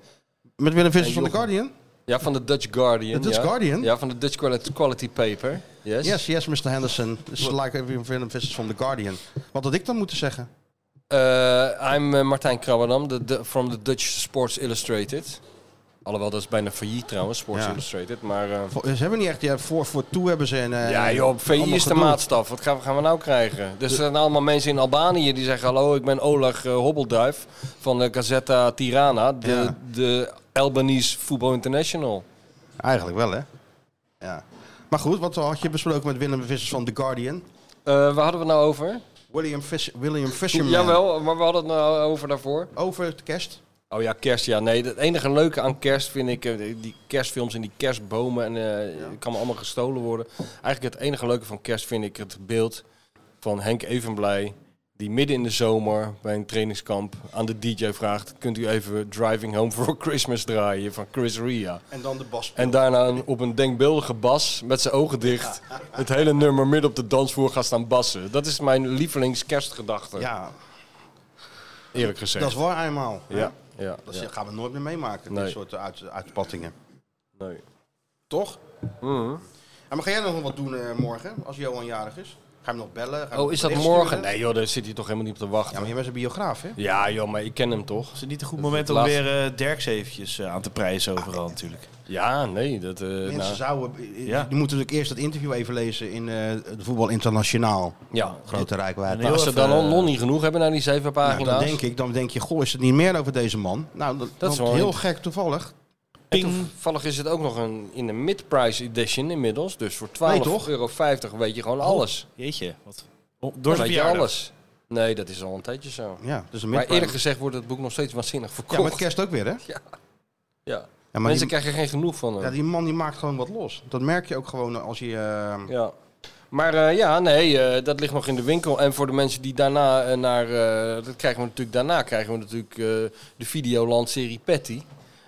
Speaker 2: Met Willem Vissers
Speaker 3: En
Speaker 2: van The
Speaker 3: Jochem.
Speaker 2: Guardian?
Speaker 3: ja, van de Dutch Guardian.
Speaker 2: The Dutch
Speaker 3: ja.
Speaker 2: Guardian?
Speaker 3: Ja, van de Dutch Quali- Quality Paper. Yes.
Speaker 2: Yes, yes, Mr. Henderson. Dus It's like Willem Vissers van The Guardian. Wat had ik dan moeten zeggen?
Speaker 3: Eh, I'm eh, Martijn Krabbenam, de, de- from the Dutch Sports Illustrated. Alhoewel, dat is bijna failliet trouwens, Sports
Speaker 2: Ja.
Speaker 3: Illustrated. Maar eh,
Speaker 2: Vo- Ze hebben niet echt, ja, voor, voor toe hebben ze een... eh,
Speaker 3: ja, joh, VI
Speaker 2: allemaal
Speaker 3: is de
Speaker 2: gedoe.
Speaker 3: maatstaf. Wat gaan, we- gaan we nou krijgen? Dus er zijn allemaal mensen in Albanië die zeggen... Hallo, ik ben Oleg eh, Hobbelduif van de Gazzetta Tirana. De,
Speaker 2: Ja.
Speaker 3: de Albanese Football International.
Speaker 2: Eigenlijk wel, hè? Ja. Maar goed, wat had je besproken met Willem Vissers van The Guardian?
Speaker 3: Eh, waar hadden we het nou over?
Speaker 2: William, Fish, William Fisherman.
Speaker 3: Jawel, maar we hadden het nou over daarvoor.
Speaker 2: Over het kerst.
Speaker 3: Oh ja, kerst. Ja, nee. Het enige leuke aan kerst vind ik eh, die kerstfilms en die kerstbomen. En eh kan me allemaal gestolen worden. Eigenlijk het enige leuke van kerst vind ik het beeld van Henk Evenblij. Die midden in de zomer bij een trainingskamp aan de DJ vraagt: Kunt u even Driving Home for Christmas draaien van Chris Ria?
Speaker 2: En dan de bas.
Speaker 3: En daarna een- op een denkbeeldige bas met zijn ogen dicht. Het hele nummer midden op de dansvloer gaat staan bassen. Dat is mijn lievelingskerstgedachte,
Speaker 2: Ja,
Speaker 3: eerlijk gezegd.
Speaker 2: dat is waar eenmaal. hè?
Speaker 3: ja, ja,
Speaker 2: Dat
Speaker 3: ja.
Speaker 2: gaan we nooit meer meemaken,
Speaker 3: Nee.
Speaker 2: dit soort uit, uitspattingen.
Speaker 3: Nee.
Speaker 2: Toch?
Speaker 3: Mhm.
Speaker 2: En maar ga jij nog wat doen eh, morgen, als Johan jarig is? Ga je hem nog bellen? Ga je
Speaker 3: Oh,
Speaker 2: hem
Speaker 3: is dat
Speaker 2: bericht
Speaker 3: morgen?
Speaker 2: sturen?
Speaker 3: Nee joh, daar zit hij toch helemaal niet op te
Speaker 2: Ja,
Speaker 3: wachten.
Speaker 2: maar je bent een biograaf, hè?
Speaker 3: Ja joh, maar ik ken hem toch?
Speaker 4: Is het niet een goed moment om
Speaker 3: laat-
Speaker 4: weer eh, Derks eventjes eh, aan te prijzen overal natuurlijk?
Speaker 3: Ja, nee, dat... eh,
Speaker 2: Mensen
Speaker 3: nou,
Speaker 2: zouden... eh,
Speaker 4: Ja.
Speaker 2: Die moeten natuurlijk eerst dat interview even lezen in eh, de Voetbal Internationaal.
Speaker 3: ja,
Speaker 2: Grote
Speaker 4: En
Speaker 2: Rijkwaard.
Speaker 3: Maar als ze
Speaker 4: Heel even,
Speaker 3: dan al
Speaker 4: eh,
Speaker 3: nog niet genoeg hebben naar die zeven
Speaker 2: Nou,
Speaker 3: pagina's...
Speaker 2: dan denk ik, dan denk je, goh, is het niet meer over deze man? Nou, dat,
Speaker 3: Dat is
Speaker 2: want
Speaker 3: wel
Speaker 2: heel
Speaker 3: een-
Speaker 2: gek toevallig.
Speaker 3: En toevallig is het ook nog een, in de mid-price edition inmiddels. Dus voor 12,50
Speaker 2: toch? Oh,
Speaker 3: euro weet je gewoon alles.
Speaker 4: Jeetje, wat...
Speaker 3: Dan
Speaker 4: Door zijn
Speaker 3: weet je
Speaker 4: verjaardag.
Speaker 3: alles. Nee, dat is al een tijdje zo.
Speaker 2: Ja, dus een
Speaker 3: Maar
Speaker 2: midprime.
Speaker 3: eerlijk gezegd wordt het boek nog steeds waanzinnig
Speaker 2: Ja, met
Speaker 3: verkocht. Ja,
Speaker 2: kerst ook weer, hè? Ja, maar
Speaker 3: Mensen
Speaker 2: die,
Speaker 3: krijgen geen genoeg van hem.
Speaker 2: ja, die man die maakt gewoon wat los. Dat merk je ook gewoon als je... eh,
Speaker 3: Ja. Maar eh, ja, nee, eh, dat ligt nog in de winkel. En voor de mensen die daarna eh, naar... eh, dat krijgen we natuurlijk daarna, krijgen we natuurlijk eh, de Videoland-serie Patty.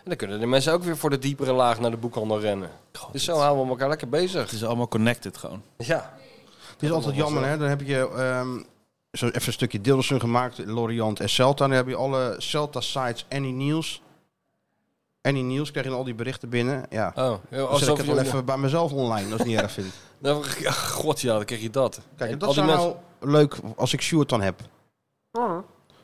Speaker 3: En dan kunnen de mensen ook weer voor de diepere laag naar de boekhandel rennen. dus zo houden we elkaar lekker bezig.
Speaker 4: Het is allemaal connected gewoon.
Speaker 3: Ja.
Speaker 2: Het is altijd jammer,
Speaker 3: eh.
Speaker 2: hè? Dan heb je ehm, zo even een stukje Dillerson gemaakt, Lorient en Celta. Dan heb je alle Celta-sites, Annie Niels. Annie Niels krijg je dan al die berichten binnen. Ja,
Speaker 3: Oh,
Speaker 2: dan zet dus ik
Speaker 3: alsof
Speaker 2: het
Speaker 3: je...
Speaker 2: wel even bij mezelf online, als ik het niet erg vind.
Speaker 3: Nou, ach, God, ja, dan krijg je dat.
Speaker 2: Kijk, en
Speaker 3: En
Speaker 2: dat
Speaker 3: al die
Speaker 2: zou nou leuk als ik Sjoerd dan heb. Dan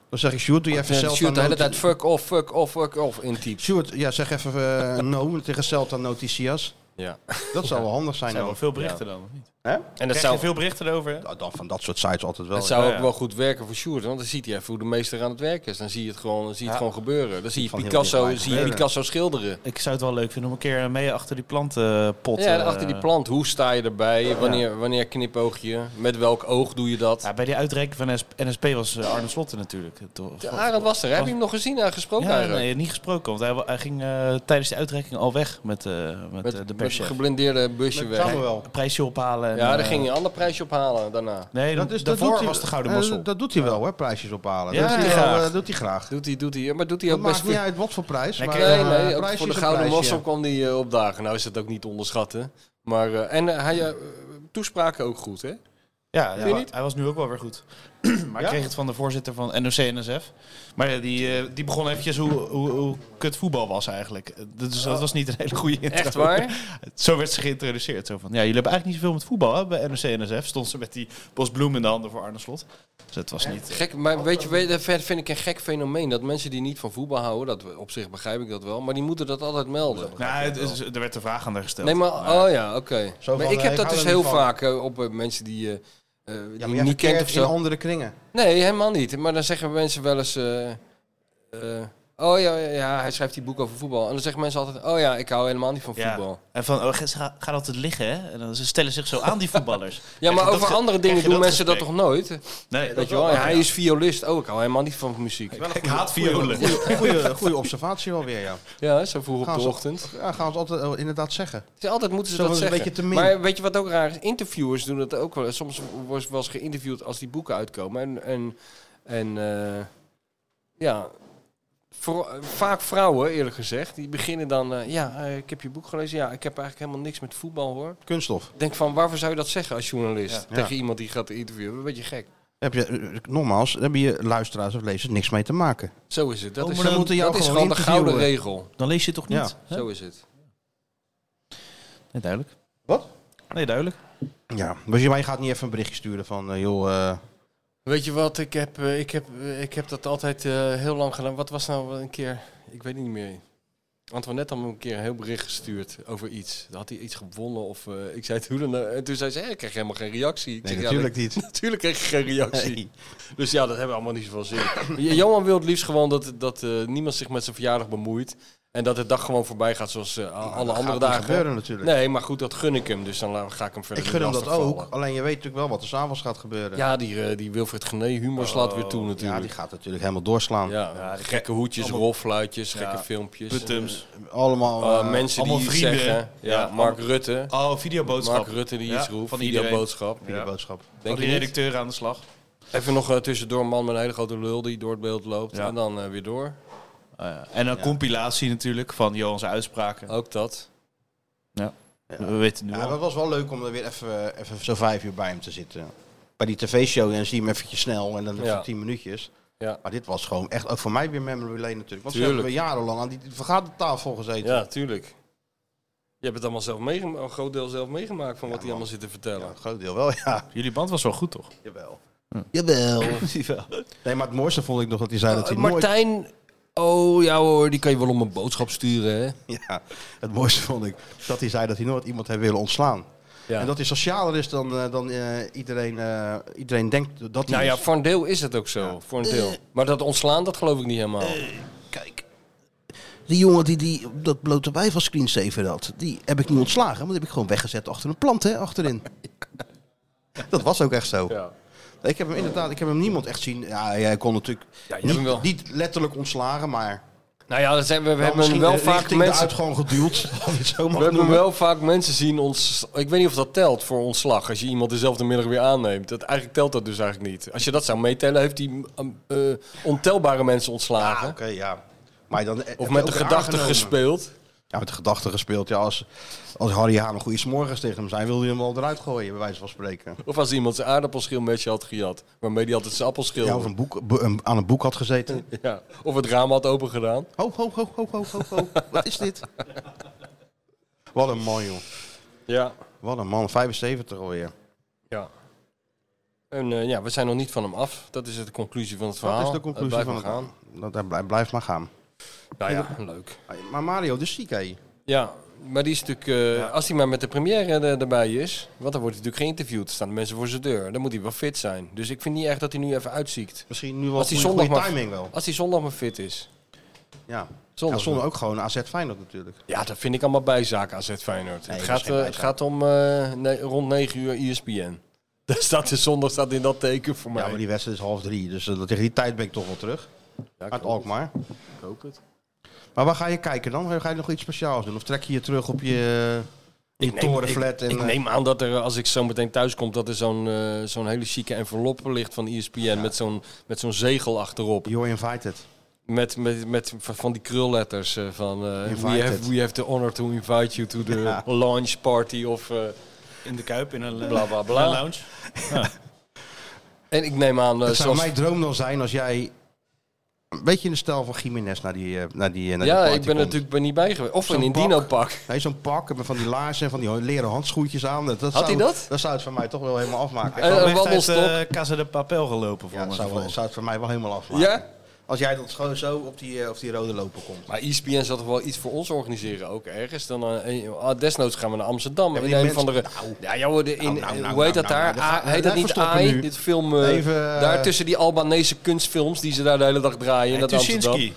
Speaker 2: zeg ik, Sjoerd, doe je even
Speaker 3: mensen...
Speaker 2: Celta...
Speaker 3: Je Oh, de hele
Speaker 2: noti-
Speaker 3: tijd fuck off, fuck off, fuck off intypt.
Speaker 2: Sjoerd, ja, zeg even eh, no tegen Celta Noticias.
Speaker 3: Ja.
Speaker 2: Dat zou wel handig zijn.
Speaker 4: zijn wel
Speaker 2: Dan.
Speaker 4: veel berichten dan, of niet?
Speaker 3: En dat
Speaker 4: Krijg
Speaker 3: zou,
Speaker 4: je veel berichten over, hè?
Speaker 2: Nou, dan van dat soort sites altijd wel.
Speaker 3: dat
Speaker 2: ja.
Speaker 3: zou
Speaker 4: Ja,
Speaker 3: ook
Speaker 4: ja.
Speaker 3: wel goed werken voor Sjoerd. Want dan ziet hij even hoe de meester aan het werk is. Dan zie je het gewoon, dan zie je het gewoon gebeuren. Dan zie je,
Speaker 2: Van heel
Speaker 3: Picasso,
Speaker 2: dichtbij
Speaker 3: zie je
Speaker 2: gebeuren.
Speaker 3: Picasso schilderen.
Speaker 4: Ik zou het wel leuk vinden om een keer eh, mee achter die plantenpot...
Speaker 3: Ja, en
Speaker 4: eh,
Speaker 3: achter die plant. Hoe sta je erbij? Wanneer, wanneer knipoog je? Met welk oog doe je dat?
Speaker 4: Ja, bij die uitreiking van NS NSP was eh, Arne Slotten natuurlijk. Toch?
Speaker 3: De Arend was er. Heb je hem nog gezien en gesproken
Speaker 4: Ja,
Speaker 3: eigenlijk?
Speaker 4: nee, niet gesproken, want hij, wa- hij ging eh, tijdens de uitreiking al weg met, eh, met,
Speaker 3: Met,
Speaker 4: eh, de
Speaker 3: met
Speaker 4: perschef.
Speaker 3: het geblindeerde busje
Speaker 2: Met
Speaker 3: weg.
Speaker 2: Samuel.
Speaker 4: Prijsje ophalen. en,
Speaker 3: Ja, daar
Speaker 4: eh,
Speaker 3: ging je een ander prijsje ophalen daarna.
Speaker 4: Nee,
Speaker 2: Dat
Speaker 4: dat
Speaker 2: is, dat
Speaker 4: daarvoor
Speaker 2: doet hij-
Speaker 4: was de Gouden
Speaker 2: eh,
Speaker 4: Mossel.
Speaker 2: Dat doet hij wel, hè, prijsjes ophalen.
Speaker 4: Ja,
Speaker 2: dat, doet hij
Speaker 4: graag.
Speaker 2: Wel, eh, doet hij graag.
Speaker 3: Doet hij, doet hij. Maar doet hij
Speaker 2: Het
Speaker 3: ook
Speaker 2: maakt
Speaker 3: best
Speaker 2: niet
Speaker 3: veel.
Speaker 2: uit wat voor prijs.
Speaker 4: Lekker.
Speaker 2: Maar,
Speaker 4: Nee,
Speaker 2: eh,
Speaker 3: nee, ook
Speaker 2: prijs
Speaker 3: voor
Speaker 2: is
Speaker 3: de
Speaker 2: een
Speaker 3: Gouden
Speaker 2: prijsje.
Speaker 3: Mossel kwam die eh, opdagen. Nou is dat ook niet te onderschatten. Maar, eh, en eh, hij eh, toespraken ook goed, hè?
Speaker 4: Ja, ja,
Speaker 3: je niet?
Speaker 4: hij was nu ook wel weer goed. maar ik kreeg het van de voorzitter van NOC-NSF. Maar ja, die, eh, die begon eventjes hoe, hoe, hoe kut voetbal was eigenlijk. Eh, Dus dat was niet een hele goede intro.
Speaker 3: Echt waar?
Speaker 4: Zo werd ze geïntroduceerd. Zo van, ja, jullie hebben eigenlijk niet zoveel met voetbal hè? bij NOC-NSF. Stond ze met die bos bloem in de handen voor Arne Slot. Dus het was niet...
Speaker 3: Gek, maar weet je,
Speaker 2: eh,
Speaker 3: weet, dat vind vind ik een gek fenomeen. Dat mensen die niet van voetbal houden, dat we- op zich begrijp ik dat wel. Maar die moeten dat altijd melden.
Speaker 4: Nou, het is- er werd de vraag aan haar gesteld.
Speaker 3: Nee, maar, oh ja, oké.
Speaker 2: Zo
Speaker 3: Maar
Speaker 2: van,
Speaker 3: ik
Speaker 2: eh,
Speaker 3: heb
Speaker 2: ik
Speaker 3: dat
Speaker 2: hou
Speaker 3: dus
Speaker 2: er niet
Speaker 3: heel
Speaker 2: van.
Speaker 3: vaak eh, op eh, mensen die eh, eh,
Speaker 2: Ja,
Speaker 3: die
Speaker 2: maar
Speaker 3: je
Speaker 2: jij
Speaker 3: niet kent of
Speaker 2: verkeert in
Speaker 3: zo.
Speaker 2: andere kringen.
Speaker 3: Nee, helemaal niet. Maar dan zeggen mensen wel eens... eh, eh, Oh ja, ja, ja, hij schrijft die boek over voetbal. En dan zeggen mensen altijd, oh ja, ik hou helemaal niet van voetbal.
Speaker 5: En van, oh, ze gaan gaan altijd liggen, hè? En dan, ze stellen zich zo aan, die voetballers.
Speaker 3: Ja,
Speaker 5: Krijg je
Speaker 3: maar
Speaker 5: dat
Speaker 3: over
Speaker 5: ge-
Speaker 3: andere
Speaker 5: krijg
Speaker 3: dingen
Speaker 5: je
Speaker 3: doen
Speaker 5: dat
Speaker 3: mensen dat toch
Speaker 5: gesprek?
Speaker 3: nooit?
Speaker 5: Nee,
Speaker 3: Weet je wel, en hij is violist. Oh, ik hou helemaal niet van muziek.
Speaker 4: Ik haat violen.
Speaker 2: Goede observatie wel weer, ja.
Speaker 3: Ja, zo vroeg op
Speaker 2: Gaan
Speaker 3: de
Speaker 2: ze-
Speaker 3: ochtend.
Speaker 2: Ja, gaan we het altijd eh, inderdaad zeggen.
Speaker 3: Ze- Altijd moeten ze
Speaker 2: Zo
Speaker 3: dat
Speaker 2: was het
Speaker 3: zeggen.
Speaker 2: een beetje te min.
Speaker 3: Maar weet je wat ook raar is? Interviewers doen dat ook wel. Soms wordt wel eens geïnterviewd als die boeken uitkomen. En, en, en eh, ja, voor, vaak vrouwen eerlijk gezegd. Die beginnen dan, eh, ja, eh, ik heb je boek gelezen. Ja, ik heb eigenlijk helemaal niks met voetbal hoor.
Speaker 2: Kunststof.
Speaker 3: Ik Denk van, waarvoor zou je dat zeggen als journalist?
Speaker 2: Ja.
Speaker 3: Tegen
Speaker 2: Ja.
Speaker 3: iemand die gaat interviewen. Een beetje gek.
Speaker 2: Heb je, eh, nogmaals, daar hebben je luisteraars of lezers niks mee te maken.
Speaker 3: Zo is het. Dat
Speaker 2: Oh,
Speaker 3: is,
Speaker 2: maar dan moeten jou
Speaker 3: dat is
Speaker 2: gewoon
Speaker 3: gewoon de gouden
Speaker 2: interviewen.
Speaker 3: regel.
Speaker 5: Dan lees je het toch
Speaker 2: Ja.
Speaker 5: niet? hè?
Speaker 3: Zo is het.
Speaker 4: Nee, duidelijk.
Speaker 2: Wat?
Speaker 4: Nee, duidelijk.
Speaker 2: Ja, dus je, maar je gaat niet even een berichtje sturen van, eh, joh, eh,
Speaker 3: Weet je wat, ik heb, eh, ik heb, eh, ik heb dat altijd eh, heel lang gedaan. Wat was nou een keer, ik weet het niet meer. Antoinette had me een keer een heel bericht gestuurd over iets. Dan had hij iets gewonnen of eh, ik zei het hoe dan ook. En toen zei ze, "Hé, ik krijg helemaal geen reactie. Ik
Speaker 2: nee,
Speaker 3: zeg,
Speaker 2: natuurlijk
Speaker 3: Ja,
Speaker 2: niet.
Speaker 3: dat- natuurlijk kreeg ik geen reactie.
Speaker 2: Nee.
Speaker 3: Dus ja, dat hebben we allemaal niet zoveel zin. J- Johan wil het liefst gewoon dat, dat eh, niemand zich met zijn verjaardag bemoeit. En dat de dag gewoon voorbij gaat zoals eh, alle
Speaker 2: Dat
Speaker 3: andere
Speaker 2: gaat
Speaker 3: dagen.
Speaker 2: niet gebeuren natuurlijk.
Speaker 3: Nee, maar goed, dat gun ik hem. Dus dan la- ga ik hem verder
Speaker 2: ik gun hem
Speaker 3: niet
Speaker 2: dat
Speaker 3: lastigvallen.
Speaker 2: ook, alleen je weet natuurlijk wel wat er s'avonds gaat gebeuren.
Speaker 3: Ja, die, eh, die Wilfred Gené humor slaat weer toe
Speaker 2: Oh, Ja,
Speaker 3: natuurlijk.
Speaker 2: die gaat natuurlijk helemaal doorslaan.
Speaker 3: Ja, gekke hoedjes, rolfluitjes, gekke filmpjes.
Speaker 4: Puttums.
Speaker 2: Allemaal
Speaker 3: Eh,
Speaker 2: eh,
Speaker 3: mensen die
Speaker 4: allemaal
Speaker 3: iets
Speaker 4: vrienden.
Speaker 3: zeggen. Ja,
Speaker 4: Ja,
Speaker 3: Mark Rutte.
Speaker 4: Oh, videoboodschap.
Speaker 3: Mark Rutte die iets
Speaker 4: Ja,
Speaker 3: roept.
Speaker 4: van
Speaker 3: die
Speaker 4: iedereen.
Speaker 3: boodschap.
Speaker 2: in de boodschap.
Speaker 4: Van
Speaker 3: Denk
Speaker 4: Oh, die
Speaker 3: je niet?
Speaker 4: redacteur aan de slag.
Speaker 3: Even nog eh, tussendoor een man met een hele grote lul die door het beeld loopt.
Speaker 4: Ja.
Speaker 3: En dan eh, weer door.
Speaker 4: En een compilatie natuurlijk van Johans uitspraken.
Speaker 3: Ook dat.
Speaker 4: We weten nu
Speaker 2: Oh, Ja,
Speaker 4: al.
Speaker 2: maar het was wel leuk om er weer even, even zo vijf uur bij hem te zitten. Bij die tv-show en zie je hem eventjes snel en dan even
Speaker 3: Ja.
Speaker 2: tien minuutjes.
Speaker 3: Ja.
Speaker 2: Maar dit was gewoon echt ook voor mij weer memory lane natuurlijk. Want we
Speaker 3: Tuurlijk.
Speaker 2: hebben we jarenlang aan die vergadertafel gezeten.
Speaker 3: Ja, tuurlijk. Je hebt het allemaal zelf meegemaakt, een groot deel zelf meegemaakt van wat die allemaal zit te vertellen.
Speaker 2: Ja, een groot deel wel, ja.
Speaker 4: Jullie band was wel goed, toch? Hm.
Speaker 2: Jawel. Jawel. Nee, maar het mooiste vond ik nog dat hij zei dat hij
Speaker 3: Eh,
Speaker 2: nooit...
Speaker 3: Martijn, oh ja hoor, die kan je wel om een boodschap sturen hè.
Speaker 2: Ja, het mooiste vond ik dat hij zei dat hij nooit iemand heeft willen ontslaan.
Speaker 3: Ja.
Speaker 2: En dat hij socialer is dan, eh, dan eh, iedereen, eh, iedereen denkt dat hij
Speaker 3: Nou ja,
Speaker 2: is.
Speaker 3: voor een deel is het ook zo. Voor een deel. Maar dat ontslaan, dat geloof ik niet helemaal.
Speaker 6: Kijk, die jongen die, die op dat blote wijf als screensaver had, die heb ik niet ontslagen. Maar die heb ik gewoon weggezet achter een plant, hè, achterin.
Speaker 2: Dat was ook echt zo.
Speaker 3: ja.
Speaker 2: Ik heb hem inderdaad, ik heb hem niemand echt zien. Ja, hij kon natuurlijk
Speaker 3: Ja, je hebt
Speaker 2: niet,
Speaker 3: hem wel.
Speaker 2: niet letterlijk ontslagen, maar
Speaker 3: Nou ja, dat zijn, we, we hebben hem
Speaker 2: misschien
Speaker 3: wel
Speaker 2: de
Speaker 3: vaak
Speaker 2: richting
Speaker 3: mensen.
Speaker 2: eruit gewoon geduwd. als je het zo mag
Speaker 3: We hebben
Speaker 2: noemen.
Speaker 3: wel vaak mensen zien ons. Ik weet niet of dat telt voor ontslag. Als je iemand dezelfde middag weer aanneemt. Dat, eigenlijk telt dat dus eigenlijk niet. Als je dat zou meetellen, heeft hij eh, eh, ontelbare mensen
Speaker 2: Ja,
Speaker 3: ontslagen.
Speaker 2: oké, ja. Maar dan heb
Speaker 3: Of
Speaker 2: je
Speaker 3: met de
Speaker 2: ook
Speaker 3: gedachte
Speaker 2: aangenomen.
Speaker 3: gespeeld.
Speaker 2: Ja, met de gedachte gespeeld. Ja, als, als Harry Haan een goede smorgens tegen hem zijn, wilde hij hem wel eruit gooien, bij wijze van spreken.
Speaker 3: Of als iemand zijn aardappelschil met je had gejat. Waarmee die altijd zijn appelschil.
Speaker 2: Ja, of een boek, bo- een- aan een boek had gezeten.
Speaker 3: Ja. Of het raam had open gedaan.
Speaker 2: Ho, ho, ho, ho, ho, ho, ho. Wat is dit? Wat een man, joh.
Speaker 3: Ja.
Speaker 2: Wat een man. 75 alweer.
Speaker 3: ja. En eh, ja, we zijn nog niet van hem af. Dat is de conclusie van het verhaal.
Speaker 2: Dat is de conclusie
Speaker 3: Het
Speaker 2: van
Speaker 3: blijft
Speaker 2: het
Speaker 3: maar
Speaker 2: gaan. Dat, hij blijft- blijft maar gaan.
Speaker 3: Nou ja, leuk.
Speaker 2: Maar Mario, dus ziek, hè?
Speaker 3: Ja, maar die is natuurlijk, eh, als hij maar met de première eh, er- erbij is, want dan wordt hij natuurlijk geïnterviewd, staan de mensen voor zijn deur, dan moet hij wel fit zijn. Dus ik vind niet echt dat hij nu even uitziekt.
Speaker 2: Misschien nu wel
Speaker 3: Als die
Speaker 2: goede-
Speaker 3: zondag
Speaker 2: goede
Speaker 3: maar-
Speaker 2: timing wel.
Speaker 3: Als hij zondag maar fit is.
Speaker 2: Ja.
Speaker 3: Zondag.
Speaker 2: ja, zondag ook gewoon AZ Feyenoord natuurlijk.
Speaker 3: Ja, dat vind ik allemaal bijzaak AZ Feyenoord.
Speaker 2: Nee,
Speaker 3: het,
Speaker 2: dat
Speaker 3: gaat,
Speaker 2: is geen
Speaker 3: eh, het
Speaker 2: bijzaak.
Speaker 3: gaat om eh, ne- rond 9 uur E ESPN. Dus dat is zondag staat in dat teken voor mij.
Speaker 2: Ja, maar die wedstrijd is half drie, dus eh, tegen die tijd ben ik toch wel terug.
Speaker 3: Ja, ik
Speaker 2: Uit
Speaker 3: hoop
Speaker 2: Alkmaar.
Speaker 3: het, ik hoop het.
Speaker 2: Maar waar ga je kijken dan? Ga je nog iets speciaals doen? Of trek je je terug op je... eh,
Speaker 3: Ik
Speaker 2: torenflat
Speaker 3: ik,
Speaker 2: en,
Speaker 3: ik
Speaker 2: eh,
Speaker 3: neem aan dat er, als ik zo meteen thuis kom, dat er zo'n eh, zo'n hele chique envelop ligt van E ESPN met zo'n met zo'n zegel achterop.
Speaker 2: You're invited.
Speaker 3: Met, met, met van die krulletters eh, van eh, we,
Speaker 2: Invited.
Speaker 3: have, we have the honor to invite you to the launch party of eh,
Speaker 4: In de Kuip, in een,
Speaker 3: bla bla
Speaker 4: een
Speaker 3: bla.
Speaker 4: lounge.
Speaker 3: En ik neem aan, eh,
Speaker 2: Het zou
Speaker 3: zoals,
Speaker 2: mijn droom dan zijn als jij... Een beetje in de stijl van Jiménez naar die, eh, naar die, eh, naar die
Speaker 3: ja,
Speaker 2: party
Speaker 3: ik ben
Speaker 2: komt.
Speaker 3: natuurlijk ben niet bij geweest. Of in
Speaker 2: Zo'n
Speaker 3: een
Speaker 2: bak.
Speaker 3: dino pak.
Speaker 2: Nee, zo'n pak met van die laarzen en van die leren handschoentjes aan. Dat, dat
Speaker 3: Had
Speaker 2: zou,
Speaker 3: hij dat?
Speaker 2: Dat zou het voor mij toch wel helemaal afmaken.
Speaker 3: Eh,
Speaker 4: Hij
Speaker 3: een
Speaker 4: heeft uit
Speaker 3: wabbelstok.
Speaker 4: eh, Casa de Papel gelopen voor
Speaker 2: Ja,
Speaker 4: mijn
Speaker 2: dat zou, wel-
Speaker 4: gevoel.
Speaker 2: zou het voor mij wel helemaal afmaken.
Speaker 3: ja?
Speaker 2: Als jij dat gewoon zo op die, eh, op die rode lopen komt.
Speaker 3: Maar E ESPN zal toch wel iets voor ons organiseren ook ergens. Dan, eh, eh, ah, desnoods gaan we naar Amsterdam.
Speaker 2: maar
Speaker 3: in
Speaker 2: die
Speaker 3: een
Speaker 2: mensen-
Speaker 3: van de... ja, joh, de- in,
Speaker 2: Nou, nou, nou,
Speaker 3: hoe heet
Speaker 2: nou,
Speaker 3: dat
Speaker 2: nou,
Speaker 3: daar?
Speaker 2: nou,
Speaker 3: Ah,
Speaker 2: dat-
Speaker 3: heet dat
Speaker 2: dat
Speaker 3: niet
Speaker 2: verstoppen
Speaker 3: AI?
Speaker 2: nu.
Speaker 3: Dit film... eh,
Speaker 2: Even, eh,
Speaker 3: daar tussen die Albanese kunstfilms die ze daar de hele dag draaien. in dat Amsterdam.
Speaker 4: Tuschinski.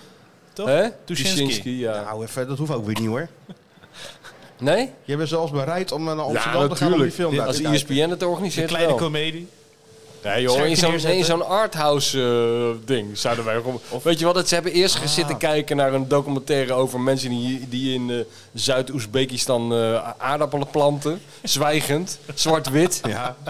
Speaker 4: toch?
Speaker 3: Hè?
Speaker 4: Tuschinski.
Speaker 3: Tuschinski, ja.
Speaker 2: Nou, even, dat hoeft ook weer niet hoor.
Speaker 3: Nee?
Speaker 2: Je bent zelfs bereid om eh, naar Amsterdam te gaan om die
Speaker 3: natuurlijk. E
Speaker 2: film daar
Speaker 3: Als
Speaker 2: te kijken.
Speaker 3: ESPN het organiseert
Speaker 4: Kleine
Speaker 3: wel.
Speaker 4: komedie.
Speaker 3: Nee joh,
Speaker 4: Scherpje
Speaker 3: in zo'n,
Speaker 4: neerzetten.
Speaker 3: in zo'n arthouse eh, ding zouden wij gewoon... Weet je wat, het- ze hebben eerst gezitten kijken naar een documentaire over mensen die, die in eh, Zuid-Oezbekistan eh, aardappelen planten. Zwijgend, zwart-wit.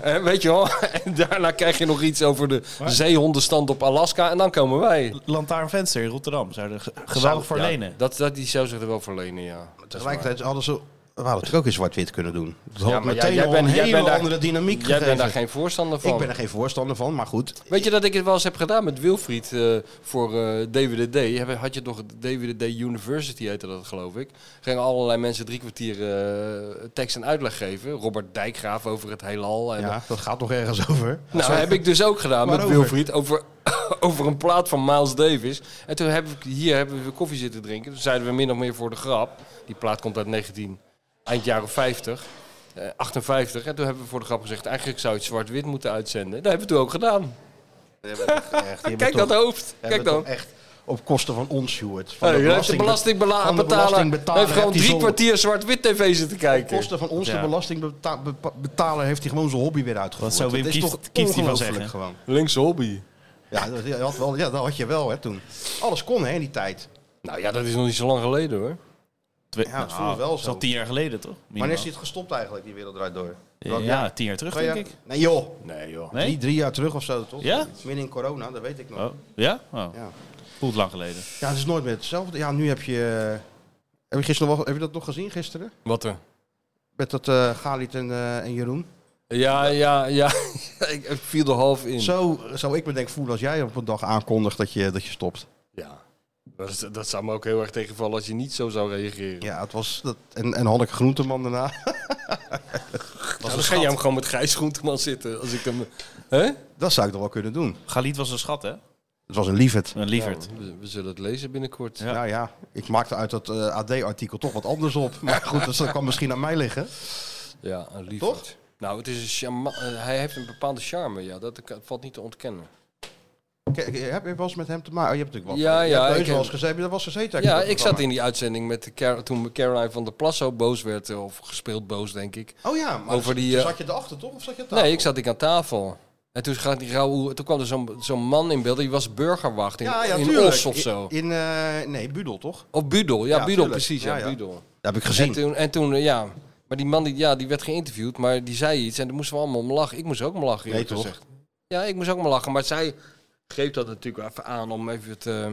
Speaker 3: Eh, weet je wel, en daarna krijg je nog iets over de zeehondenstand op Alaska en dan komen wij.
Speaker 4: Lantaarnvenster in Rotterdam. Zouden ge- geweldig
Speaker 2: Zou-
Speaker 4: voor
Speaker 2: ja.
Speaker 4: lenen.
Speaker 3: Dat, dat, die zou zich er wel voor lenen, ja.
Speaker 2: Tegelijkertijd hadden ze, we hadden het ook in zwart-wit kunnen doen. Dat had
Speaker 3: maar ja,
Speaker 2: meteen
Speaker 3: jij
Speaker 2: al
Speaker 3: bent-
Speaker 2: een
Speaker 3: jij
Speaker 2: hele
Speaker 3: bent daar-
Speaker 2: andere dynamiek
Speaker 3: Jij
Speaker 2: gegeven.
Speaker 3: bent daar geen voorstander van.
Speaker 2: ik ben er geen voorstander van, maar goed.
Speaker 3: Weet je dat ik het wel eens heb gedaan met Wilfried eh, voor eh, DWDD? Heb- Had je toch DWDD University heette dat geloof ik. Gingen allerlei mensen drie kwartier eh, tekst en uitleg geven. Robert Dijkgraaf over het heelal. En
Speaker 2: Ja, dat gaat nog ergens over.
Speaker 3: Nou, heb ik dus ook gedaan met
Speaker 2: Waarover?
Speaker 3: Wilfried over, over een plaat van Miles Davis. En toen hebben we hier hebben we koffie zitten drinken. Toen zeiden we min of meer voor de grap. Die plaat komt uit 19, eind jaren 50. eh, 58. En toen hebben we voor de grap gezegd, eigenlijk zou je het zwart-wit moeten uitzenden. Dat hebben we toen ook gedaan. Kijk dat hoofd. Kijk dan.
Speaker 2: Echt op kosten van ons, Sjoerd. Van
Speaker 3: Hey,
Speaker 2: de
Speaker 3: je hebt de
Speaker 2: belasting- van de
Speaker 3: belastingbetaler
Speaker 2: belastingbetaler
Speaker 3: heeft gewoon
Speaker 2: heeft die
Speaker 3: drie
Speaker 2: zon-
Speaker 3: kwartier zwart-wit tv zitten
Speaker 2: Op
Speaker 3: kijken.
Speaker 2: kosten van ons, de
Speaker 4: Ja.
Speaker 2: belastingbetaler, heeft hij gewoon zijn hobby weer uitgevoerd.
Speaker 4: Wat zou Wim
Speaker 2: Dat is
Speaker 4: Kieft-
Speaker 2: toch
Speaker 4: Kieft hiervan
Speaker 2: ongelooflijk
Speaker 4: zeggen?
Speaker 2: Gewoon.
Speaker 3: Links hobby.
Speaker 2: Ja, dat, ja, had wel, ja, dat had je wel hè, toen. Alles kon hè, in die tijd.
Speaker 3: Nou ja, dat is nog niet zo lang geleden hoor.
Speaker 4: Twee-
Speaker 2: Ja, dat
Speaker 4: nou,
Speaker 2: voelde wel
Speaker 4: is al
Speaker 2: zo.
Speaker 4: tien jaar geleden, toch?
Speaker 2: Wanneer is
Speaker 4: Minimaal.
Speaker 2: dit gestopt eigenlijk, die wereld draait door? Welk
Speaker 4: Ja, tien jaar terug,
Speaker 2: Twee
Speaker 4: denk
Speaker 2: jaar?
Speaker 4: ik.
Speaker 2: Nee joh,
Speaker 3: Nee joh.
Speaker 4: Nee?
Speaker 2: drie, drie jaar terug of zo toch?
Speaker 4: Ja?
Speaker 2: Midden in corona, dat weet ik nog.
Speaker 4: Oh, ja? Oh.
Speaker 2: Ja.
Speaker 4: Voelt lang geleden.
Speaker 2: Ja, het is nooit meer hetzelfde. Ja, nu heb je... eh, Heb je, gisteren wel, heb je dat nog gezien gisteren?
Speaker 3: Wat er?
Speaker 2: Met dat eh Galit en, eh, en Jeroen.
Speaker 3: Ja, ja, ja. ik ik viel er half in.
Speaker 2: Zo zou ik me denk voelen als jij op een dag aankondigt dat je, dat je stopt.
Speaker 3: Ja. Dat, is- dat zou me ook heel erg tegenvallen als je niet zo zou reageren.
Speaker 2: Ja, het was... Dat, en, en Hanneke Groenteman daarna.
Speaker 3: Nou, dan ga je hem gewoon met Gijs Groenteman zitten. Als ik hem... Hè?
Speaker 2: Dat zou ik nog wel kunnen doen.
Speaker 4: Galit was een schat, hè?
Speaker 2: Het was een liefheid.
Speaker 4: Een lieverd.
Speaker 3: Nou, we, we zullen het lezen binnenkort.
Speaker 4: Ja.
Speaker 2: Nou ja, ik maakte uit dat eh, AD-artikel toch wat anders op. Maar goed, dus dat kan misschien aan mij liggen.
Speaker 3: Ja, een liefde.
Speaker 2: Toch?
Speaker 3: Nou, het is een charma- eh, hij heeft een bepaalde charme, ja. Dat kan- valt niet te ontkennen.
Speaker 2: Kijk, eh, heb je wel eens met hem te maken? Oh, je hebt natuurlijk wat.
Speaker 3: Ja,
Speaker 2: je
Speaker 3: ja,
Speaker 2: hebt heus
Speaker 3: ik
Speaker 2: wel
Speaker 3: heb-
Speaker 2: eens gezeten. Heb je daar was gezeten?
Speaker 3: Ja, ik zat in die uitzending met Car- toen Caroline van der Plas zo boos werd, eh, of gespeeld boos, denk ik.
Speaker 2: Oh ja, maar
Speaker 3: Over
Speaker 2: over
Speaker 3: die,
Speaker 2: die,
Speaker 3: eh,
Speaker 2: zat je erachter toch? Of zat je aan tafel?
Speaker 3: Nee, ik zat ik aan tafel. En toen, gaat die rauwe, toen kwam er zo'n zo'n man in beeld, die was burgerwacht in,
Speaker 2: Ja, ja,
Speaker 3: in
Speaker 2: tuurlijk.
Speaker 3: Os of zo.
Speaker 2: In, in, eh, nee, Budel toch?
Speaker 3: Of Budel, ja,
Speaker 2: Ja,
Speaker 3: Budel
Speaker 2: tuurlijk.
Speaker 3: precies, ja,
Speaker 2: Ja, ja.
Speaker 3: Budel.
Speaker 2: Dat heb ik
Speaker 3: En toen, en toen, eh, ja, maar die man die, ja, die werd geïnterviewd, maar die zei iets en daar moesten we allemaal om lachen. Ik moest ook om lachen, eerlijk
Speaker 2: Nee, toch?
Speaker 3: gezegd. Ja, ik moest ook om lachen, maar zij geeft dat natuurlijk wel even aan om even het... eh,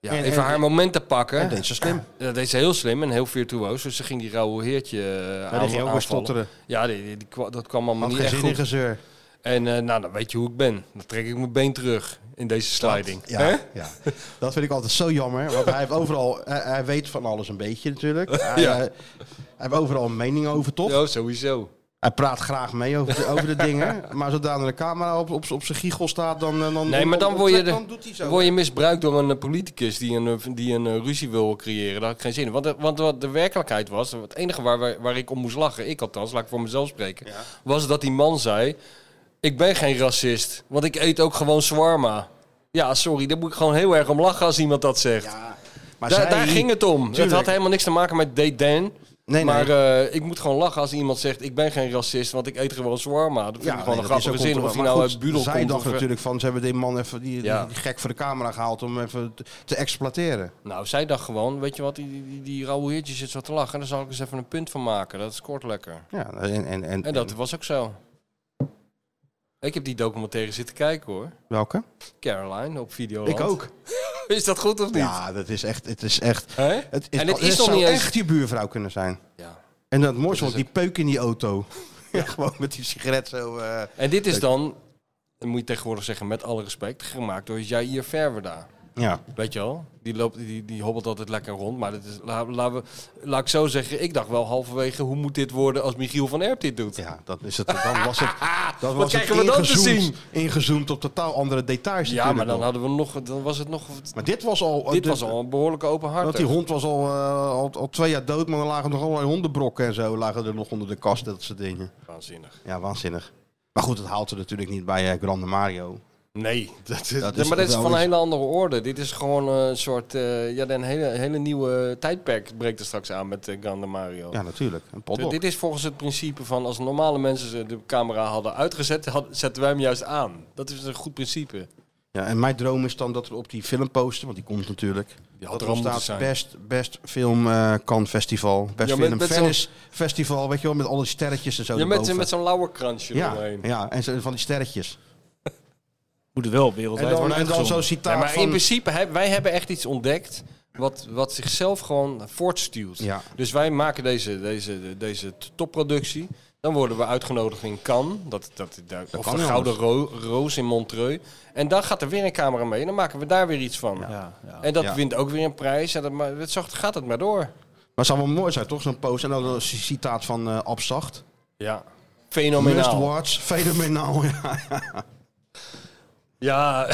Speaker 3: ja,
Speaker 2: En-
Speaker 3: even
Speaker 2: en-
Speaker 3: haar moment te pakken.
Speaker 2: En deed ze slim.
Speaker 3: Dat deed ze heel slim en heel virtuoos. Dus ze ging die rauwe heertje eh,
Speaker 2: Ja, die
Speaker 3: aan-
Speaker 2: ging ook weer
Speaker 3: aanvallen.
Speaker 2: stotteren.
Speaker 3: Ja, die, die- die kwa- dat kwam allemaal
Speaker 2: Had geen
Speaker 3: niet echt
Speaker 2: zin in
Speaker 3: goed.
Speaker 2: gezeur.
Speaker 3: En eh, nou, dan weet je hoe ik ben. Dan trek ik mijn been terug in deze sliding. Hè?
Speaker 2: Ja, ja, dat vind ik altijd zo jammer. Want hij heeft overal... Hij, hij weet van alles een beetje natuurlijk. Hij,
Speaker 3: Ja.
Speaker 2: eh, hij heeft overal een mening over, toch?
Speaker 3: Ja, sowieso.
Speaker 2: Hij praat graag mee over de, over de dingen. Maar zodra er een camera op, op, op zijn giegel staat, dan... eh, dan
Speaker 3: Nee, maar dan word je, de-
Speaker 2: dan doet hij zo.
Speaker 3: word je misbruikt door een eh, politicus die een, eh, die een eh, ruzie wil creëren. Daar had ik geen zin in. Want, eh, want wat de werkelijkheid was, het enige waar, waar, waar ik om moest lachen, ik althans, laat ik voor mezelf spreken, was dat die man zei, ik ben geen racist, want ik eet ook gewoon shawarma. Ja, sorry, daar moet ik gewoon heel erg om lachen als iemand dat zegt.
Speaker 2: Ja, maar
Speaker 3: Daar-
Speaker 2: zij-
Speaker 3: daar ging het om. Het
Speaker 2: Tuurlijk.
Speaker 3: had helemaal niks te maken met Dayden.
Speaker 2: Nee,
Speaker 3: maar
Speaker 2: nee.
Speaker 3: eh, ik moet gewoon lachen als iemand zegt... ik ben geen racist, want ik eet gewoon shawarma. Dat vind ik gewoon
Speaker 2: nee,
Speaker 3: een
Speaker 2: dat is
Speaker 3: grappige
Speaker 2: ook
Speaker 3: zin. Of
Speaker 2: onterecht.
Speaker 3: hij
Speaker 2: Maar
Speaker 3: nou
Speaker 2: goed,
Speaker 3: uit Budel
Speaker 2: Zij
Speaker 3: komt.
Speaker 2: dacht
Speaker 3: Of, eh,
Speaker 2: natuurlijk van, ze hebben die man even die,
Speaker 3: Ja.
Speaker 2: die gek voor de camera gehaald om hem even te, te exploiteren.
Speaker 3: nou, zij dacht gewoon... weet je wat, die, die, die rauwe heertje zit zo te lachen... en daar zal ik eens even een punt van maken. Dat scoort lekker.
Speaker 2: Ja, en, en, en,
Speaker 3: En dat was ook zo. Ik heb die documentaire zitten kijken, hoor.
Speaker 2: welke?
Speaker 3: Caroline op video.
Speaker 2: Ik ook.
Speaker 3: Is dat goed of niet?
Speaker 2: Ja, dat is echt, het is echt.
Speaker 3: Hè?
Speaker 2: Het,
Speaker 3: En het
Speaker 2: het
Speaker 3: is nog
Speaker 2: zou
Speaker 3: niet eens-
Speaker 2: echt je buurvrouw kunnen zijn.
Speaker 3: Ja.
Speaker 2: En dat mooiste
Speaker 3: Dat
Speaker 2: was
Speaker 3: is
Speaker 2: die peuk in die auto. Ja, gewoon met die sigaret zo. eh,
Speaker 3: En dit is dan... dan moet je tegenwoordig zeggen, met alle respect... gemaakt door Jair Verwerda.
Speaker 2: ja.
Speaker 3: Weet je wel, die, loopt, die, die hobbelt altijd lekker rond. Maar dat is, la- laten we, laat ik zo zeggen, ik dacht wel halverwege... hoe moet dit worden als Michiel van Erp dit doet?
Speaker 2: ja, dat is het. Dan was het. Dat
Speaker 3: Wat
Speaker 2: was
Speaker 3: krijgen we
Speaker 2: het
Speaker 3: dan te
Speaker 2: ingezoomd-
Speaker 3: zien?
Speaker 2: Ingezoomd op totaal andere details.
Speaker 3: Ja,
Speaker 2: natuurlijk
Speaker 3: maar dan
Speaker 2: nog.
Speaker 3: hadden we nog... dan was het nog
Speaker 2: Maar dit was al.
Speaker 3: dit was al een behoorlijke open
Speaker 2: Want die
Speaker 3: hart.
Speaker 2: hond was al, eh, al, al twee jaar dood, maar er lagen nog allerlei hondenbrokken en zo lagen er nog onder de kast, dat soort dingen.
Speaker 3: Waanzinnig.
Speaker 2: Ja, waanzinnig. Maar goed, het haalt er natuurlijk niet bij eh, Grande Mario.
Speaker 3: Nee, dat is,
Speaker 6: Dat is
Speaker 3: maar dat is
Speaker 6: wel
Speaker 3: van een
Speaker 6: iets-
Speaker 3: hele andere orde. Dit is gewoon eh, een soort... eh, ja, een hele, hele nieuwe tijdperk breekt er straks aan met eh, Grande Mario.
Speaker 2: Ja, natuurlijk. Een
Speaker 3: D-
Speaker 2: potlood.
Speaker 3: dit is volgens het principe van als normale mensen ze de camera hadden uitgezet, had- zetten wij hem juist aan. Dat is een goed principe.
Speaker 2: Ja, en mijn droom is dan dat er op die filmposter, want die komt natuurlijk,
Speaker 3: Die had
Speaker 2: dat
Speaker 3: er
Speaker 2: er
Speaker 3: al
Speaker 2: dan
Speaker 3: moeten
Speaker 2: staat
Speaker 3: zijn.
Speaker 2: best, best film kan festival, best
Speaker 3: Ja, met-
Speaker 2: film
Speaker 3: met zo'n-
Speaker 2: Venice festival, weet je wel, met alle sterretjes en zo
Speaker 3: Ja, met,
Speaker 2: erboven.
Speaker 3: met zo'n lauwerkransje
Speaker 2: ja,
Speaker 3: eromheen.
Speaker 2: ja, en zo, van die sterretjes.
Speaker 4: Moet het wel
Speaker 2: En
Speaker 4: wereldwijd
Speaker 2: dan,
Speaker 4: worden
Speaker 2: en dan
Speaker 4: uitgezonden.
Speaker 2: zo'n
Speaker 3: Nee,
Speaker 2: citaat
Speaker 3: maar in
Speaker 2: van...
Speaker 3: principe, he- wij hebben echt iets ontdekt wat, wat zichzelf gewoon voortstuwt.
Speaker 2: Ja,
Speaker 3: Dus wij maken deze, deze, deze t- topproductie. Dan worden we uitgenodigd in Cannes. Dat, dat, daar- of
Speaker 2: kan
Speaker 3: de
Speaker 2: niet
Speaker 3: Gouden Ro- Roos in Montreux. En dan gaat er weer een camera mee. En dan maken we daar weer iets van.
Speaker 4: Ja, ja.
Speaker 3: En dat
Speaker 2: Ja.
Speaker 3: wint ook weer een prijs. En dat, maar, dat, zo gaat het maar door.
Speaker 2: maar het zou wel mooi zijn, toch? Zo'n poster. En dan een c- citaat van eh Abzacht.
Speaker 3: Ja.
Speaker 2: Must
Speaker 3: Fenomenaal.
Speaker 2: watch, fenomenaal. Ja.
Speaker 3: Ja.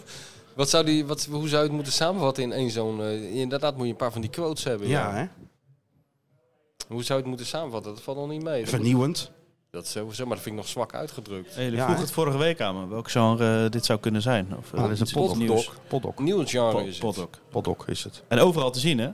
Speaker 3: wat zou die, wat, hoe zou je het moeten samenvatten in één zo'n... eh, inderdaad moet je een paar van die quotes hebben.
Speaker 2: Ja, hè?
Speaker 3: Hoe zou je het moeten samenvatten? Dat valt nog niet mee. Dat, moet-
Speaker 2: Vernieuwend.
Speaker 3: dat is sowieso, maar dat vind ik nog zwak uitgedrukt.
Speaker 4: Hey, jullie
Speaker 2: Ja,
Speaker 4: vroegen
Speaker 2: hè?
Speaker 4: het vorige week aan me welk genre eh, dit zou kunnen zijn. Of, eh,
Speaker 2: Ah, dit is een
Speaker 4: iets nieuws.
Speaker 3: potdoc.
Speaker 2: Potdok.
Speaker 3: Nieuw genre
Speaker 4: Pot-
Speaker 3: is het.
Speaker 4: potdoc.
Speaker 2: Potdok is het.
Speaker 4: En overal te zien, hè?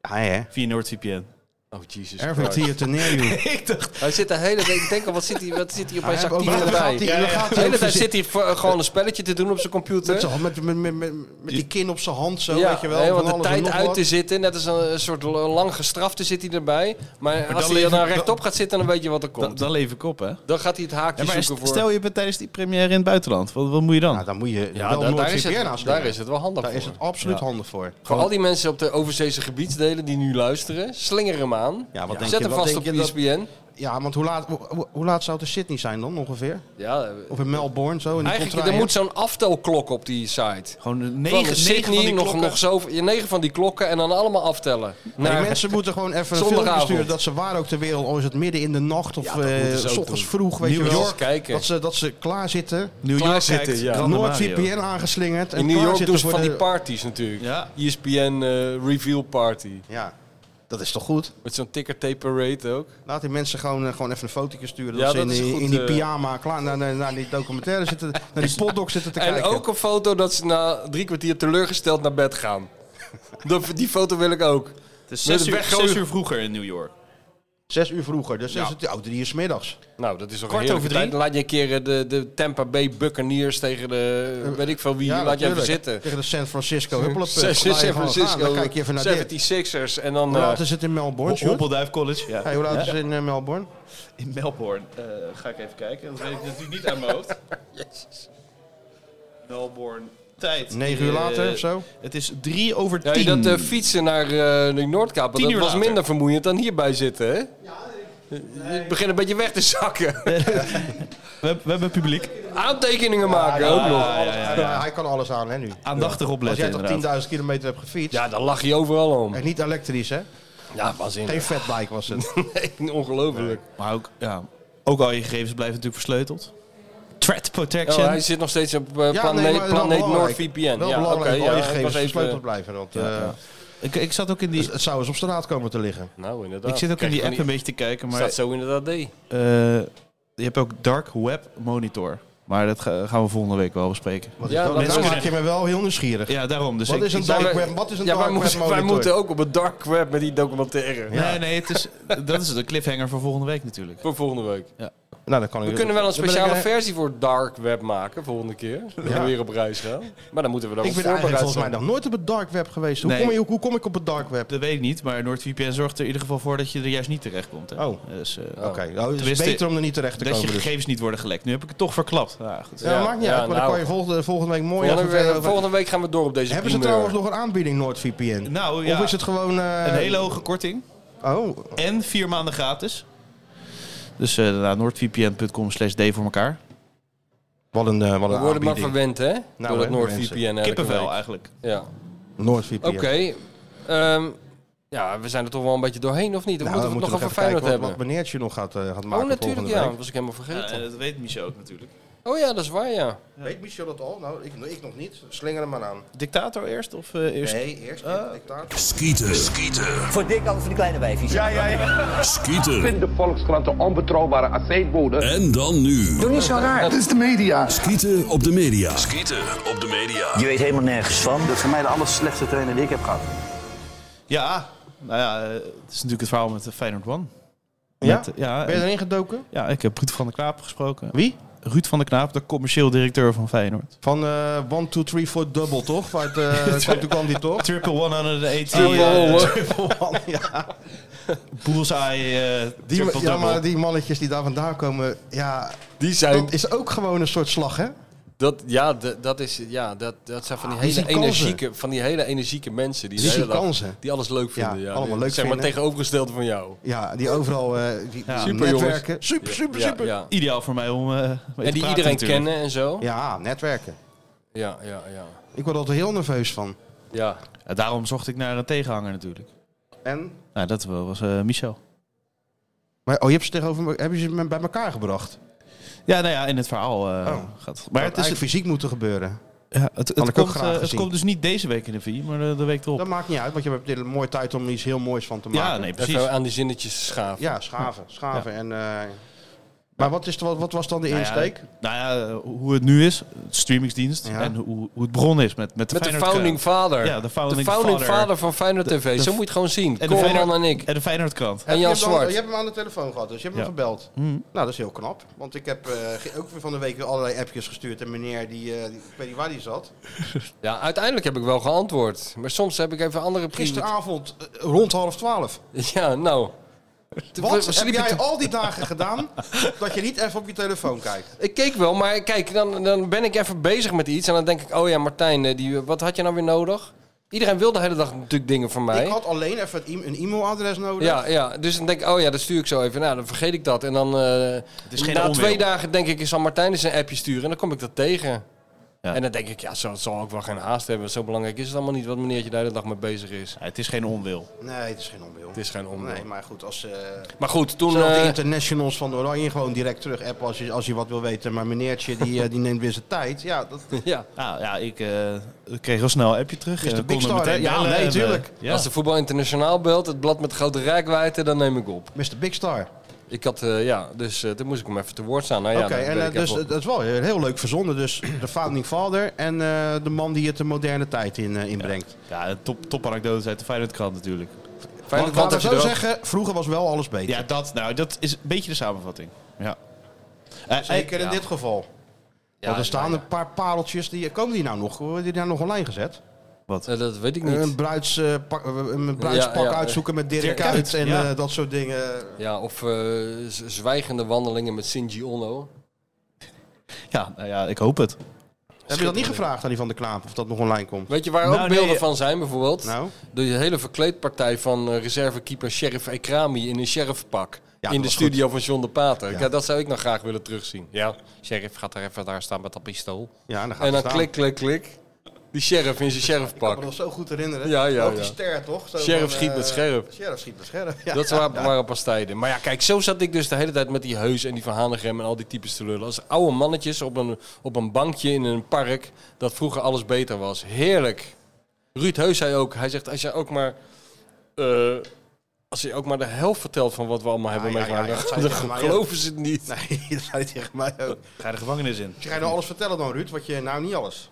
Speaker 2: Ja, hè?
Speaker 4: Via NordVPN.
Speaker 3: Oh, Jesus
Speaker 2: Ervan
Speaker 3: Christ.
Speaker 2: Theater neer, joh.
Speaker 4: Ik dacht...
Speaker 3: Hij zit de hele tijd, ik denk al, wat zit hij, wat zit hij
Speaker 2: Hij
Speaker 3: opeens
Speaker 2: heeft
Speaker 3: actief
Speaker 2: ook-
Speaker 3: in
Speaker 2: waar gaat hij-
Speaker 3: bij?
Speaker 2: waar
Speaker 4: Ja,
Speaker 2: gaat
Speaker 3: De
Speaker 2: hij
Speaker 3: hele
Speaker 2: ook
Speaker 3: tijd
Speaker 2: voor
Speaker 3: zit hij voor- eh, gewoon een spelletje te doen op zijn
Speaker 2: Met,
Speaker 3: computer.
Speaker 2: z'n hand- met, met, met, met, met die kin op zijn hand zo,
Speaker 3: Ja,
Speaker 2: weet je wel.
Speaker 3: helemaal
Speaker 2: van
Speaker 3: de
Speaker 2: alles en
Speaker 3: tijd
Speaker 2: nog
Speaker 3: uit
Speaker 2: wat.
Speaker 3: te zitten. Net als een, een soort l- lang gestrafte zit hij erbij. Maar, als
Speaker 4: dan
Speaker 3: hij er dan
Speaker 4: leven-
Speaker 3: rechtop gaat zitten, dan weet je wat er komt.
Speaker 4: Dan, dan leef ik op, hè?
Speaker 3: dan gaat hij het haakje
Speaker 4: Ja, maar
Speaker 3: zoeken voor...
Speaker 4: stel je bent tijdens die première in het buitenland. Wat, wat moet je dan?
Speaker 2: Nou, dan moet je
Speaker 3: ja,
Speaker 2: wel
Speaker 3: da- daar, is
Speaker 2: NordVPN
Speaker 3: het,
Speaker 2: aansluiten.
Speaker 3: daar is het wel handig
Speaker 2: Daar
Speaker 3: voor.
Speaker 2: is het absoluut
Speaker 4: Ja.
Speaker 2: handig voor.
Speaker 3: Voor al die mensen op de overzeese gebiedsdelen die nu luisteren, slinger hem aan.
Speaker 2: Ja, wat denk
Speaker 3: Zet
Speaker 2: je-
Speaker 3: hem
Speaker 2: wat
Speaker 3: vast
Speaker 2: denk
Speaker 3: op E
Speaker 2: je
Speaker 3: de
Speaker 2: dat-
Speaker 3: ISBN.
Speaker 2: Ja, want hoe laat, hoe, hoe- hoe laat zou het in Sydney zijn dan ongeveer?
Speaker 3: Ja, eh,
Speaker 2: Of in Melbourne zo? In die
Speaker 3: eigenlijk, er
Speaker 2: contraien?
Speaker 3: moet zo'n aftelklok op die site.
Speaker 4: Gewoon
Speaker 3: Van
Speaker 4: negen, negen
Speaker 3: Sydney,
Speaker 4: van die
Speaker 3: nog,
Speaker 4: klokken.
Speaker 3: nog zo, je negen van die klokken en dan allemaal aftellen.
Speaker 2: Nee,
Speaker 3: Naar-
Speaker 2: mensen moeten gewoon even een
Speaker 3: Zondagavond.
Speaker 2: filmpje sturen dat ze waar ook ter wereld, al is het midden in de nacht of
Speaker 3: Ja,
Speaker 2: eh
Speaker 3: dat moeten ze ook
Speaker 2: s ochtends
Speaker 3: doen.
Speaker 2: vroeg, weet
Speaker 3: New
Speaker 2: je wel.
Speaker 3: York kijken.
Speaker 2: Dat ze, dat ze klaar zitten.
Speaker 4: New
Speaker 3: Klaar
Speaker 4: York
Speaker 3: zitten,
Speaker 4: kijkt
Speaker 3: ja.
Speaker 4: Gran Mario.
Speaker 2: NordVPN aangeslingerd. En
Speaker 3: in New
Speaker 2: klaar
Speaker 3: York
Speaker 2: zitten
Speaker 3: doen ze
Speaker 2: voor
Speaker 3: van
Speaker 2: de-
Speaker 3: die parties natuurlijk. E
Speaker 4: Ja.
Speaker 3: ESPN eh, Reveal Party.
Speaker 2: Ja, dat is toch goed?
Speaker 3: Met zo'n ticker tape parade ook.
Speaker 2: Laat die mensen gewoon, eh, gewoon even een fotootje sturen.
Speaker 3: Ja,
Speaker 2: Dat ze in,
Speaker 3: dat is
Speaker 2: die-
Speaker 3: goed,
Speaker 2: in die
Speaker 3: eh.
Speaker 2: pyjama klaar naar, naar, naar die documentaire zitten, naar die potdoc zitten te
Speaker 3: En
Speaker 2: kijken.
Speaker 3: ook een foto dat ze na drie kwartier teleurgesteld naar bed gaan. Dat- Die foto wil ik ook.
Speaker 4: Het is
Speaker 3: Met
Speaker 4: zes uur,
Speaker 3: weggooien.
Speaker 4: zes uur vroeger in New York.
Speaker 2: Zes uur vroeger, dus is het oh, drie uur 's middags.
Speaker 3: Nou, dat is toch een
Speaker 4: Kwart
Speaker 3: heerlijke
Speaker 4: over drie.
Speaker 3: tijd. Dan Laat je een keer eh, de, de Tampa Bay Buccaneers tegen de, weet ik veel wie, laat je
Speaker 2: Eh,
Speaker 3: even
Speaker 2: natuurlijk.
Speaker 3: zitten.
Speaker 2: Tegen de San Francisco Huppelepup.
Speaker 3: San
Speaker 2: Laat je gewoon
Speaker 3: Francisco,
Speaker 2: gaan, Dan kijk je even naar dit.
Speaker 3: 76ers en dan...
Speaker 2: Hoe
Speaker 3: eh,
Speaker 2: laat is het in Melbourne, Sjoerd?
Speaker 4: Hoppelduif College. Ja.
Speaker 2: Hey, hoe laat
Speaker 4: Ja.
Speaker 2: is het in eh, Melbourne?
Speaker 4: In Melbourne. Eh, ga ik even kijken. Dat weet ik natuurlijk niet aan mijn hoofd. Melbourne. Tijd.
Speaker 2: Negen uur
Speaker 4: Eh,
Speaker 2: later of zo?
Speaker 4: Het is drie over
Speaker 3: Ja,
Speaker 4: tien.
Speaker 3: dat eh, fietsen naar eh de Noordkaap, dat
Speaker 4: Tien uur
Speaker 3: was
Speaker 4: later.
Speaker 3: minder vermoeiend dan hierbij zitten, hè? Je begint een beetje weg te zakken.
Speaker 4: we, we hebben publiek.
Speaker 3: Aantekeningen maken ook nog.
Speaker 4: ja, ja, ja.
Speaker 2: Hij kan alles aan, hè, nu.
Speaker 4: Aandachtig
Speaker 2: Als
Speaker 4: opletten
Speaker 2: jij toch
Speaker 4: inderdaad.
Speaker 2: 10.000 kilometer hebt gefietst.
Speaker 3: Ja, dan lach je overal om.
Speaker 2: En niet elektrisch, hè?
Speaker 3: Ja, waanzinnig.
Speaker 2: Geen fatbike was het.
Speaker 3: Nee, ongelooflijk.
Speaker 4: Maar ook, ja, ook al je gegevens blijven natuurlijk versleuteld. Threat
Speaker 3: Oh,
Speaker 4: protection.
Speaker 3: hij zit nog steeds op eh,
Speaker 2: Ja,
Speaker 3: planeet,
Speaker 2: maar wel
Speaker 3: planeet
Speaker 2: belangrijk.
Speaker 3: NordVPN.
Speaker 2: Wel
Speaker 3: ja,
Speaker 2: belangrijk
Speaker 3: oké,
Speaker 2: dat al je
Speaker 3: ja, ik was
Speaker 2: gegevens
Speaker 3: even-
Speaker 2: gesleuteld blijven. Want, eh,
Speaker 4: ik, ik zat ook in die...
Speaker 2: Dus Het zou eens op straat komen te liggen.
Speaker 3: Nou, inderdaad.
Speaker 4: Ik zit ook in
Speaker 3: Kijk,
Speaker 4: die
Speaker 3: van
Speaker 4: app een beetje te kijken, maar
Speaker 3: Staat zo inderdaad D.
Speaker 4: eh, je hebt ook Dark Web Monitor. Maar dat ga- gaan we volgende week wel bespreken.
Speaker 2: Wat
Speaker 3: Ja,
Speaker 2: is dat?
Speaker 3: dat
Speaker 2: Nou
Speaker 3: is-
Speaker 2: maak je me wel heel nieuwsgierig.
Speaker 4: Ja, daarom. Dus
Speaker 2: Wat
Speaker 4: ik,
Speaker 2: is een
Speaker 4: ik-
Speaker 3: zou-
Speaker 2: dark web? Wat is een
Speaker 3: Ja, wij,
Speaker 2: dark web
Speaker 3: moesten- wij
Speaker 2: monitor?
Speaker 3: moeten ook op het dark web met die documentaire.
Speaker 2: Ja.
Speaker 4: Nee, nee, het is, dat is de cliffhanger voor volgende week natuurlijk.
Speaker 3: Voor volgende week.
Speaker 2: Nou, dan kan ik
Speaker 3: We
Speaker 2: het-
Speaker 3: kunnen wel een
Speaker 2: dan ben ik
Speaker 3: speciale
Speaker 2: er-
Speaker 3: versie voor dark web maken volgende keer. Dat we weer op reis gaan. Maar dan moeten we daar
Speaker 2: Ik
Speaker 3: wel
Speaker 2: ben eigenlijk
Speaker 3: voorbereid
Speaker 2: volgens mij
Speaker 3: zijn.
Speaker 2: nog nooit op het dark web geweest. Hoe,
Speaker 4: Nee.
Speaker 2: kom, je, hoe kom ik op het dark web?
Speaker 4: Dat weet ik niet, maar NordVPN zorgt er in ieder geval voor dat je er juist niet terecht komt. Hè?
Speaker 2: Oh.
Speaker 4: Dus, eh,
Speaker 2: Oké, nou, het is
Speaker 4: Tenminste,
Speaker 2: beter om er niet terecht te
Speaker 4: dat je
Speaker 2: komen. dus.
Speaker 4: gegevens niet worden gelekt. Nu heb ik het toch verklapt. Ja, goed.
Speaker 2: Ja,
Speaker 3: Ja,
Speaker 2: maakt niet
Speaker 3: ja,
Speaker 2: uit, maar dan
Speaker 3: nou.
Speaker 2: kan je volgende, volgende week mooi
Speaker 3: Volgende,
Speaker 2: even verder
Speaker 3: week,
Speaker 2: over-
Speaker 3: volgende week gaan we door op deze
Speaker 2: Hebben ze
Speaker 3: primeur.
Speaker 2: trouwens nog een aanbieding NordVPN?
Speaker 4: Nou ja,
Speaker 2: Of is het gewoon... eh,
Speaker 4: een hele hoge korting.
Speaker 2: Oh,
Speaker 4: En vier maanden gratis. Dus eh naar noordvpn.com slash d voor elkaar.
Speaker 2: wat een, eh, wat
Speaker 3: We
Speaker 2: een
Speaker 3: worden maar
Speaker 2: aanbieding. Nou,
Speaker 3: verwend, hè? door dat
Speaker 2: hè,
Speaker 3: NordVPN elke
Speaker 4: Kippenvel
Speaker 3: week.
Speaker 4: eigenlijk.
Speaker 3: Ja.
Speaker 2: NordVPN. Nou,
Speaker 3: Oké. ehm, ja, we zijn er toch wel een beetje doorheen, of niet? Of
Speaker 2: Nou,
Speaker 3: moeten
Speaker 2: dan
Speaker 3: we het nog
Speaker 2: moeten
Speaker 3: over
Speaker 2: even kijken
Speaker 3: Feyenoord
Speaker 2: wat,
Speaker 3: hebben?
Speaker 2: wat meneertje nog gaat, eh, gaat maken
Speaker 3: oh, natuurlijk,
Speaker 2: volgende
Speaker 3: ja.
Speaker 2: week.
Speaker 3: Dat was ik helemaal
Speaker 4: Ja,
Speaker 3: vergeten.
Speaker 4: en dat weet Eh, Michel ook natuurlijk.
Speaker 3: Oh ja, dat is waar, ja.
Speaker 2: Weet Michel dat al? Nou, ik, ik nog niet. Slinger hem maar aan.
Speaker 4: Dictator eerst of eh, eerst?
Speaker 2: Nee, eerst de dictator.
Speaker 7: Skieten. Skieten.
Speaker 8: Voor dik als voor die kleine wijfjes. Ja, ja, ja.
Speaker 7: Skieten.
Speaker 9: de Volkskrant de onbetrouwbare aceetbode.
Speaker 7: En dan nu.
Speaker 8: Doe niet zo raar.
Speaker 9: Het is de media.
Speaker 7: Skieten op de media. Skieten op de media.
Speaker 8: Je weet helemaal nergens van.
Speaker 9: Dat is voor mij de aller slechtste trainer die ik heb gehad.
Speaker 4: Ja, nou ja, eh, het is natuurlijk het verhaal met de Feyenoord One.
Speaker 2: Ja?
Speaker 4: Met, eh, ja,
Speaker 2: Ben je
Speaker 4: eh,
Speaker 2: erin gedoken?
Speaker 4: ja, ik heb Ruud van der Knaap gesproken.
Speaker 2: Wie?
Speaker 4: Ruud van der Knaap, de commercieel directeur van Feyenoord.
Speaker 2: Van eh, 1, 2, 3, 4, double toch? Waar het, eh, toen kwam die toch?
Speaker 4: Triple one under the 18.
Speaker 2: Oh, ja.
Speaker 4: eh,
Speaker 2: Triple one, ja.
Speaker 4: Bullseye, eh
Speaker 2: Die,
Speaker 4: triple
Speaker 2: ja,
Speaker 4: double.
Speaker 2: maar die mannetjes die daar vandaan komen, ja,
Speaker 3: Die
Speaker 2: dat is ook gewoon een soort slag, hè?
Speaker 3: Dat, ja, dat, dat, is, ja dat, dat zijn van die,
Speaker 2: Ah, die
Speaker 3: hele
Speaker 2: zien kansen.
Speaker 3: energieke, van die hele energieke mensen. Die,
Speaker 2: Die
Speaker 3: de hele
Speaker 2: zien
Speaker 3: dag-
Speaker 2: kansen.
Speaker 3: Die alles leuk vinden. Ja,
Speaker 2: allemaal
Speaker 3: Die-
Speaker 2: leuk
Speaker 3: zeg maar
Speaker 2: vinden.
Speaker 3: tegenovergestelde van jou.
Speaker 2: Ja, die overal eh die
Speaker 4: Ja.
Speaker 2: super
Speaker 3: Super, jongens.
Speaker 2: netwerken. Super, super,
Speaker 3: Ja,
Speaker 2: super. Ja,
Speaker 3: ja.
Speaker 4: Ideaal voor mij om eh, mee te
Speaker 3: En die
Speaker 4: praten
Speaker 3: iedereen
Speaker 4: natuurlijk.
Speaker 3: kennen en zo. Ja,
Speaker 2: netwerken.
Speaker 3: ja, ja. ja.
Speaker 2: Ik word altijd heel nerveus van.
Speaker 4: Ja, daarom zocht ik naar een tegenhanger natuurlijk.
Speaker 2: En?
Speaker 4: Nou, dat wel was eh, Michel.
Speaker 2: Maar, oh, je hebt ze tegenover me, heb je ze me- bij elkaar gebracht?
Speaker 4: Ja, nou ja, in het verhaal eh,
Speaker 2: Oh.
Speaker 4: gaat.
Speaker 2: Maar
Speaker 4: Maar het,
Speaker 2: is
Speaker 4: is,
Speaker 2: eigenlijk fysiek moeten gebeuren.
Speaker 4: ja, het, het,
Speaker 2: ik ook
Speaker 4: komt,
Speaker 2: graag
Speaker 4: eh, het
Speaker 2: gezien.
Speaker 4: komt dus niet deze week in de VI, maar de, de week erop.
Speaker 2: Dat maakt niet uit, want je hebt een mooie tijd om iets heel moois van te maken.
Speaker 4: Ja, nee, precies.
Speaker 3: Even aan die zinnetjes te schaven.
Speaker 2: Ja, schaven. Schaven en... eh, maar wat, is, de- wat, wat was dan de
Speaker 4: Nou ja,
Speaker 2: insteek?
Speaker 4: Nou ja, eh, hoe het nu is, het streamingsdienst
Speaker 2: Ja.
Speaker 4: en hoe, hoe het begonnen is met, met de
Speaker 3: Met de
Speaker 4: Feyenoord eh,
Speaker 3: founding vader.
Speaker 4: Ja, de founding
Speaker 3: vader.
Speaker 4: father.
Speaker 3: van Feyenoord
Speaker 4: De-
Speaker 3: TV.
Speaker 4: de-
Speaker 3: Zo moet je het gewoon zien.
Speaker 4: de
Speaker 3: Koolman
Speaker 4: Feyenoord-
Speaker 3: en ik.
Speaker 4: En de Feyenoordkrant.
Speaker 3: En
Speaker 2: je,
Speaker 3: Jan
Speaker 2: hebt hem al-
Speaker 3: Zwart.
Speaker 2: je hebt hem aan de telefoon gehad, dus je hebt hem
Speaker 4: Ja.
Speaker 2: gebeld.
Speaker 3: Mhm.
Speaker 4: Hmm.
Speaker 2: Nou, dat is heel knap. Want ik heb eh, ge- ook weer van de week allerlei appjes gestuurd. En meneer, die, eh, die- ik weet niet waar die zat.
Speaker 3: Ja, uiteindelijk heb ik wel geantwoord. Maar soms heb ik even andere privé...
Speaker 2: Gisteravond eh, rond half twaalf.
Speaker 3: Ja, nou. We-
Speaker 2: Wat
Speaker 3: we
Speaker 2: heb
Speaker 3: sliepen
Speaker 2: jij
Speaker 3: te-
Speaker 2: al die dagen gedaan dat je niet even op je telefoon kijkt?
Speaker 3: Ik keek wel, maar kijk, dan, dan ben ik even bezig met iets. En dan denk ik, oh ja, Martijn, eh, die, wat had je nou weer nodig? Iedereen wil de hele dag natuurlijk dingen van mij.
Speaker 2: Ik had alleen even het e- een e-mailadres nodig.
Speaker 3: Ja, ja, dus dan denk ik, oh ja, dat stuur ik zo even. Nou, dan vergeet ik dat. En dan eh,
Speaker 4: is geen
Speaker 3: na
Speaker 4: onwil.
Speaker 3: twee dagen denk ik, ik zal Martijn eens een appje sturen. En dan kom ik dat tegen.
Speaker 4: Ja.
Speaker 3: En dan denk ik, ja, zo, het zal ook wel geen haast hebben. Zo belangrijk is het allemaal niet wat meneertje de hele dag mee bezig is.
Speaker 4: Ja, het is geen onwil.
Speaker 2: Nee, het is geen onwil.
Speaker 3: Het is geen onwil.
Speaker 2: Nee, maar goed, als eh
Speaker 3: Maar goed, toen...
Speaker 2: zelfs de
Speaker 3: eh,
Speaker 2: internationals van Oranje gewoon direct terug appen als je, als je wat wil weten. Maar meneertje, die, eh, die neemt weer zijn tijd. Ja, dat
Speaker 3: ja,
Speaker 4: Nou ja, ik eh, ik kreeg al snel een appje terug.
Speaker 2: Is de
Speaker 4: Eh, kon
Speaker 2: Big
Speaker 4: er
Speaker 2: Star,
Speaker 4: meteen
Speaker 2: hè? Ja,
Speaker 4: bellen
Speaker 2: nee,
Speaker 4: en, eh,
Speaker 2: tuurlijk.
Speaker 4: ja.
Speaker 3: als de voetbal internationaal belt, het blad met grote rijkwijde, dan neem ik op.
Speaker 2: Mr. Big Star.
Speaker 3: Ik had, eh, ja, dus eh, toen moest ik hem even te woord staan. Nou, ja,
Speaker 2: Oké,
Speaker 3: dan
Speaker 2: en
Speaker 3: ben
Speaker 2: eh,
Speaker 3: ik
Speaker 2: dus
Speaker 3: even op-
Speaker 2: het- dat is wel heel heel leuk verzonnen. Dus de founding father en eh, de man die het de moderne tijd in, eh, inbrengt.
Speaker 4: Ja, een top, top anekdotes uit de Feyenoordkrant natuurlijk.
Speaker 2: Want
Speaker 3: Feyenoord
Speaker 2: laten we
Speaker 3: had je
Speaker 2: zo
Speaker 3: er ook-
Speaker 2: zeggen, vroeger was wel alles beter.
Speaker 4: Ja, dat, nou, dat is een beetje de samenvatting. Ja. Eh,
Speaker 2: Zeker in
Speaker 4: eh,
Speaker 2: dit geval. Want er staan een paar pareltjes. Die, komen die nou nog? Worden die nou nog online gezet?
Speaker 3: Eh, dat weet ik
Speaker 2: Een,
Speaker 3: niet.
Speaker 2: bruids, eh, pak- eh, een bruidspak
Speaker 3: Ja, ja, eh,
Speaker 2: uitzoeken met Dirk,
Speaker 4: Dirk
Speaker 2: uit,
Speaker 4: Kuyt,
Speaker 2: en
Speaker 4: ja.
Speaker 2: eh, dat soort dingen.
Speaker 3: Ja, of eh, z- zwijgende wandelingen met Shinji Ono.
Speaker 4: Ja, nou ja, ik hoop het.
Speaker 2: Heb je dat niet gevraagd aan die van de Klaap of dat nog online komt?
Speaker 3: Weet je waar
Speaker 4: Nou,
Speaker 3: ook
Speaker 4: nee,
Speaker 3: beelden
Speaker 4: eh,
Speaker 3: van zijn bijvoorbeeld?
Speaker 2: Nou,
Speaker 3: De hele verkleedpartij van eh, reservekeeper Sheriff Ekrami in een sheriffpak.
Speaker 2: dat
Speaker 3: in de
Speaker 2: was
Speaker 3: studio van John de Pater.
Speaker 2: Ja.
Speaker 3: Kijk, dat zou ik nog graag willen terugzien. Ja, sheriff gaat daar even daar staan met dat pistool.
Speaker 2: ja, dan gaat
Speaker 3: en dan
Speaker 2: het staan.
Speaker 3: klik, klik, klik. Die sheriff in zijn
Speaker 2: Ik kan me
Speaker 3: sheriffpak.
Speaker 2: nog zo goed herinneren.
Speaker 3: Ja, ja,
Speaker 2: Ook die
Speaker 3: ja.
Speaker 2: ster toch? Zo
Speaker 3: Sheriff
Speaker 2: van,
Speaker 3: schiet
Speaker 2: eh,
Speaker 3: met scherp.
Speaker 2: Sheriff schiet met scherp. Ja.
Speaker 3: Dat waren, waren pas tijden. Maar ja, kijk, zo zat ik dus de hele tijd met die heus en die verhanigem en al die types te lullen. Als oude mannetjes op een, op een bankje in een park dat vroeger alles beter was. Heerlijk. Ruud Heus zei ook, hij zegt, als je ook maar... eh, als je ook maar de helft vertelt van wat we allemaal hebben
Speaker 2: ja,
Speaker 3: meegemaakt,
Speaker 2: ja, ja.
Speaker 3: dan,
Speaker 2: Dat
Speaker 3: dan
Speaker 2: zei hij tegen mij
Speaker 3: geloven ze het niet.
Speaker 2: Nee, dat zei hij tegen mij ook.
Speaker 4: Ga de gevangenis in.
Speaker 2: Dus ga je nou alles vertellen dan, Ruud? Wat je nou niet alles.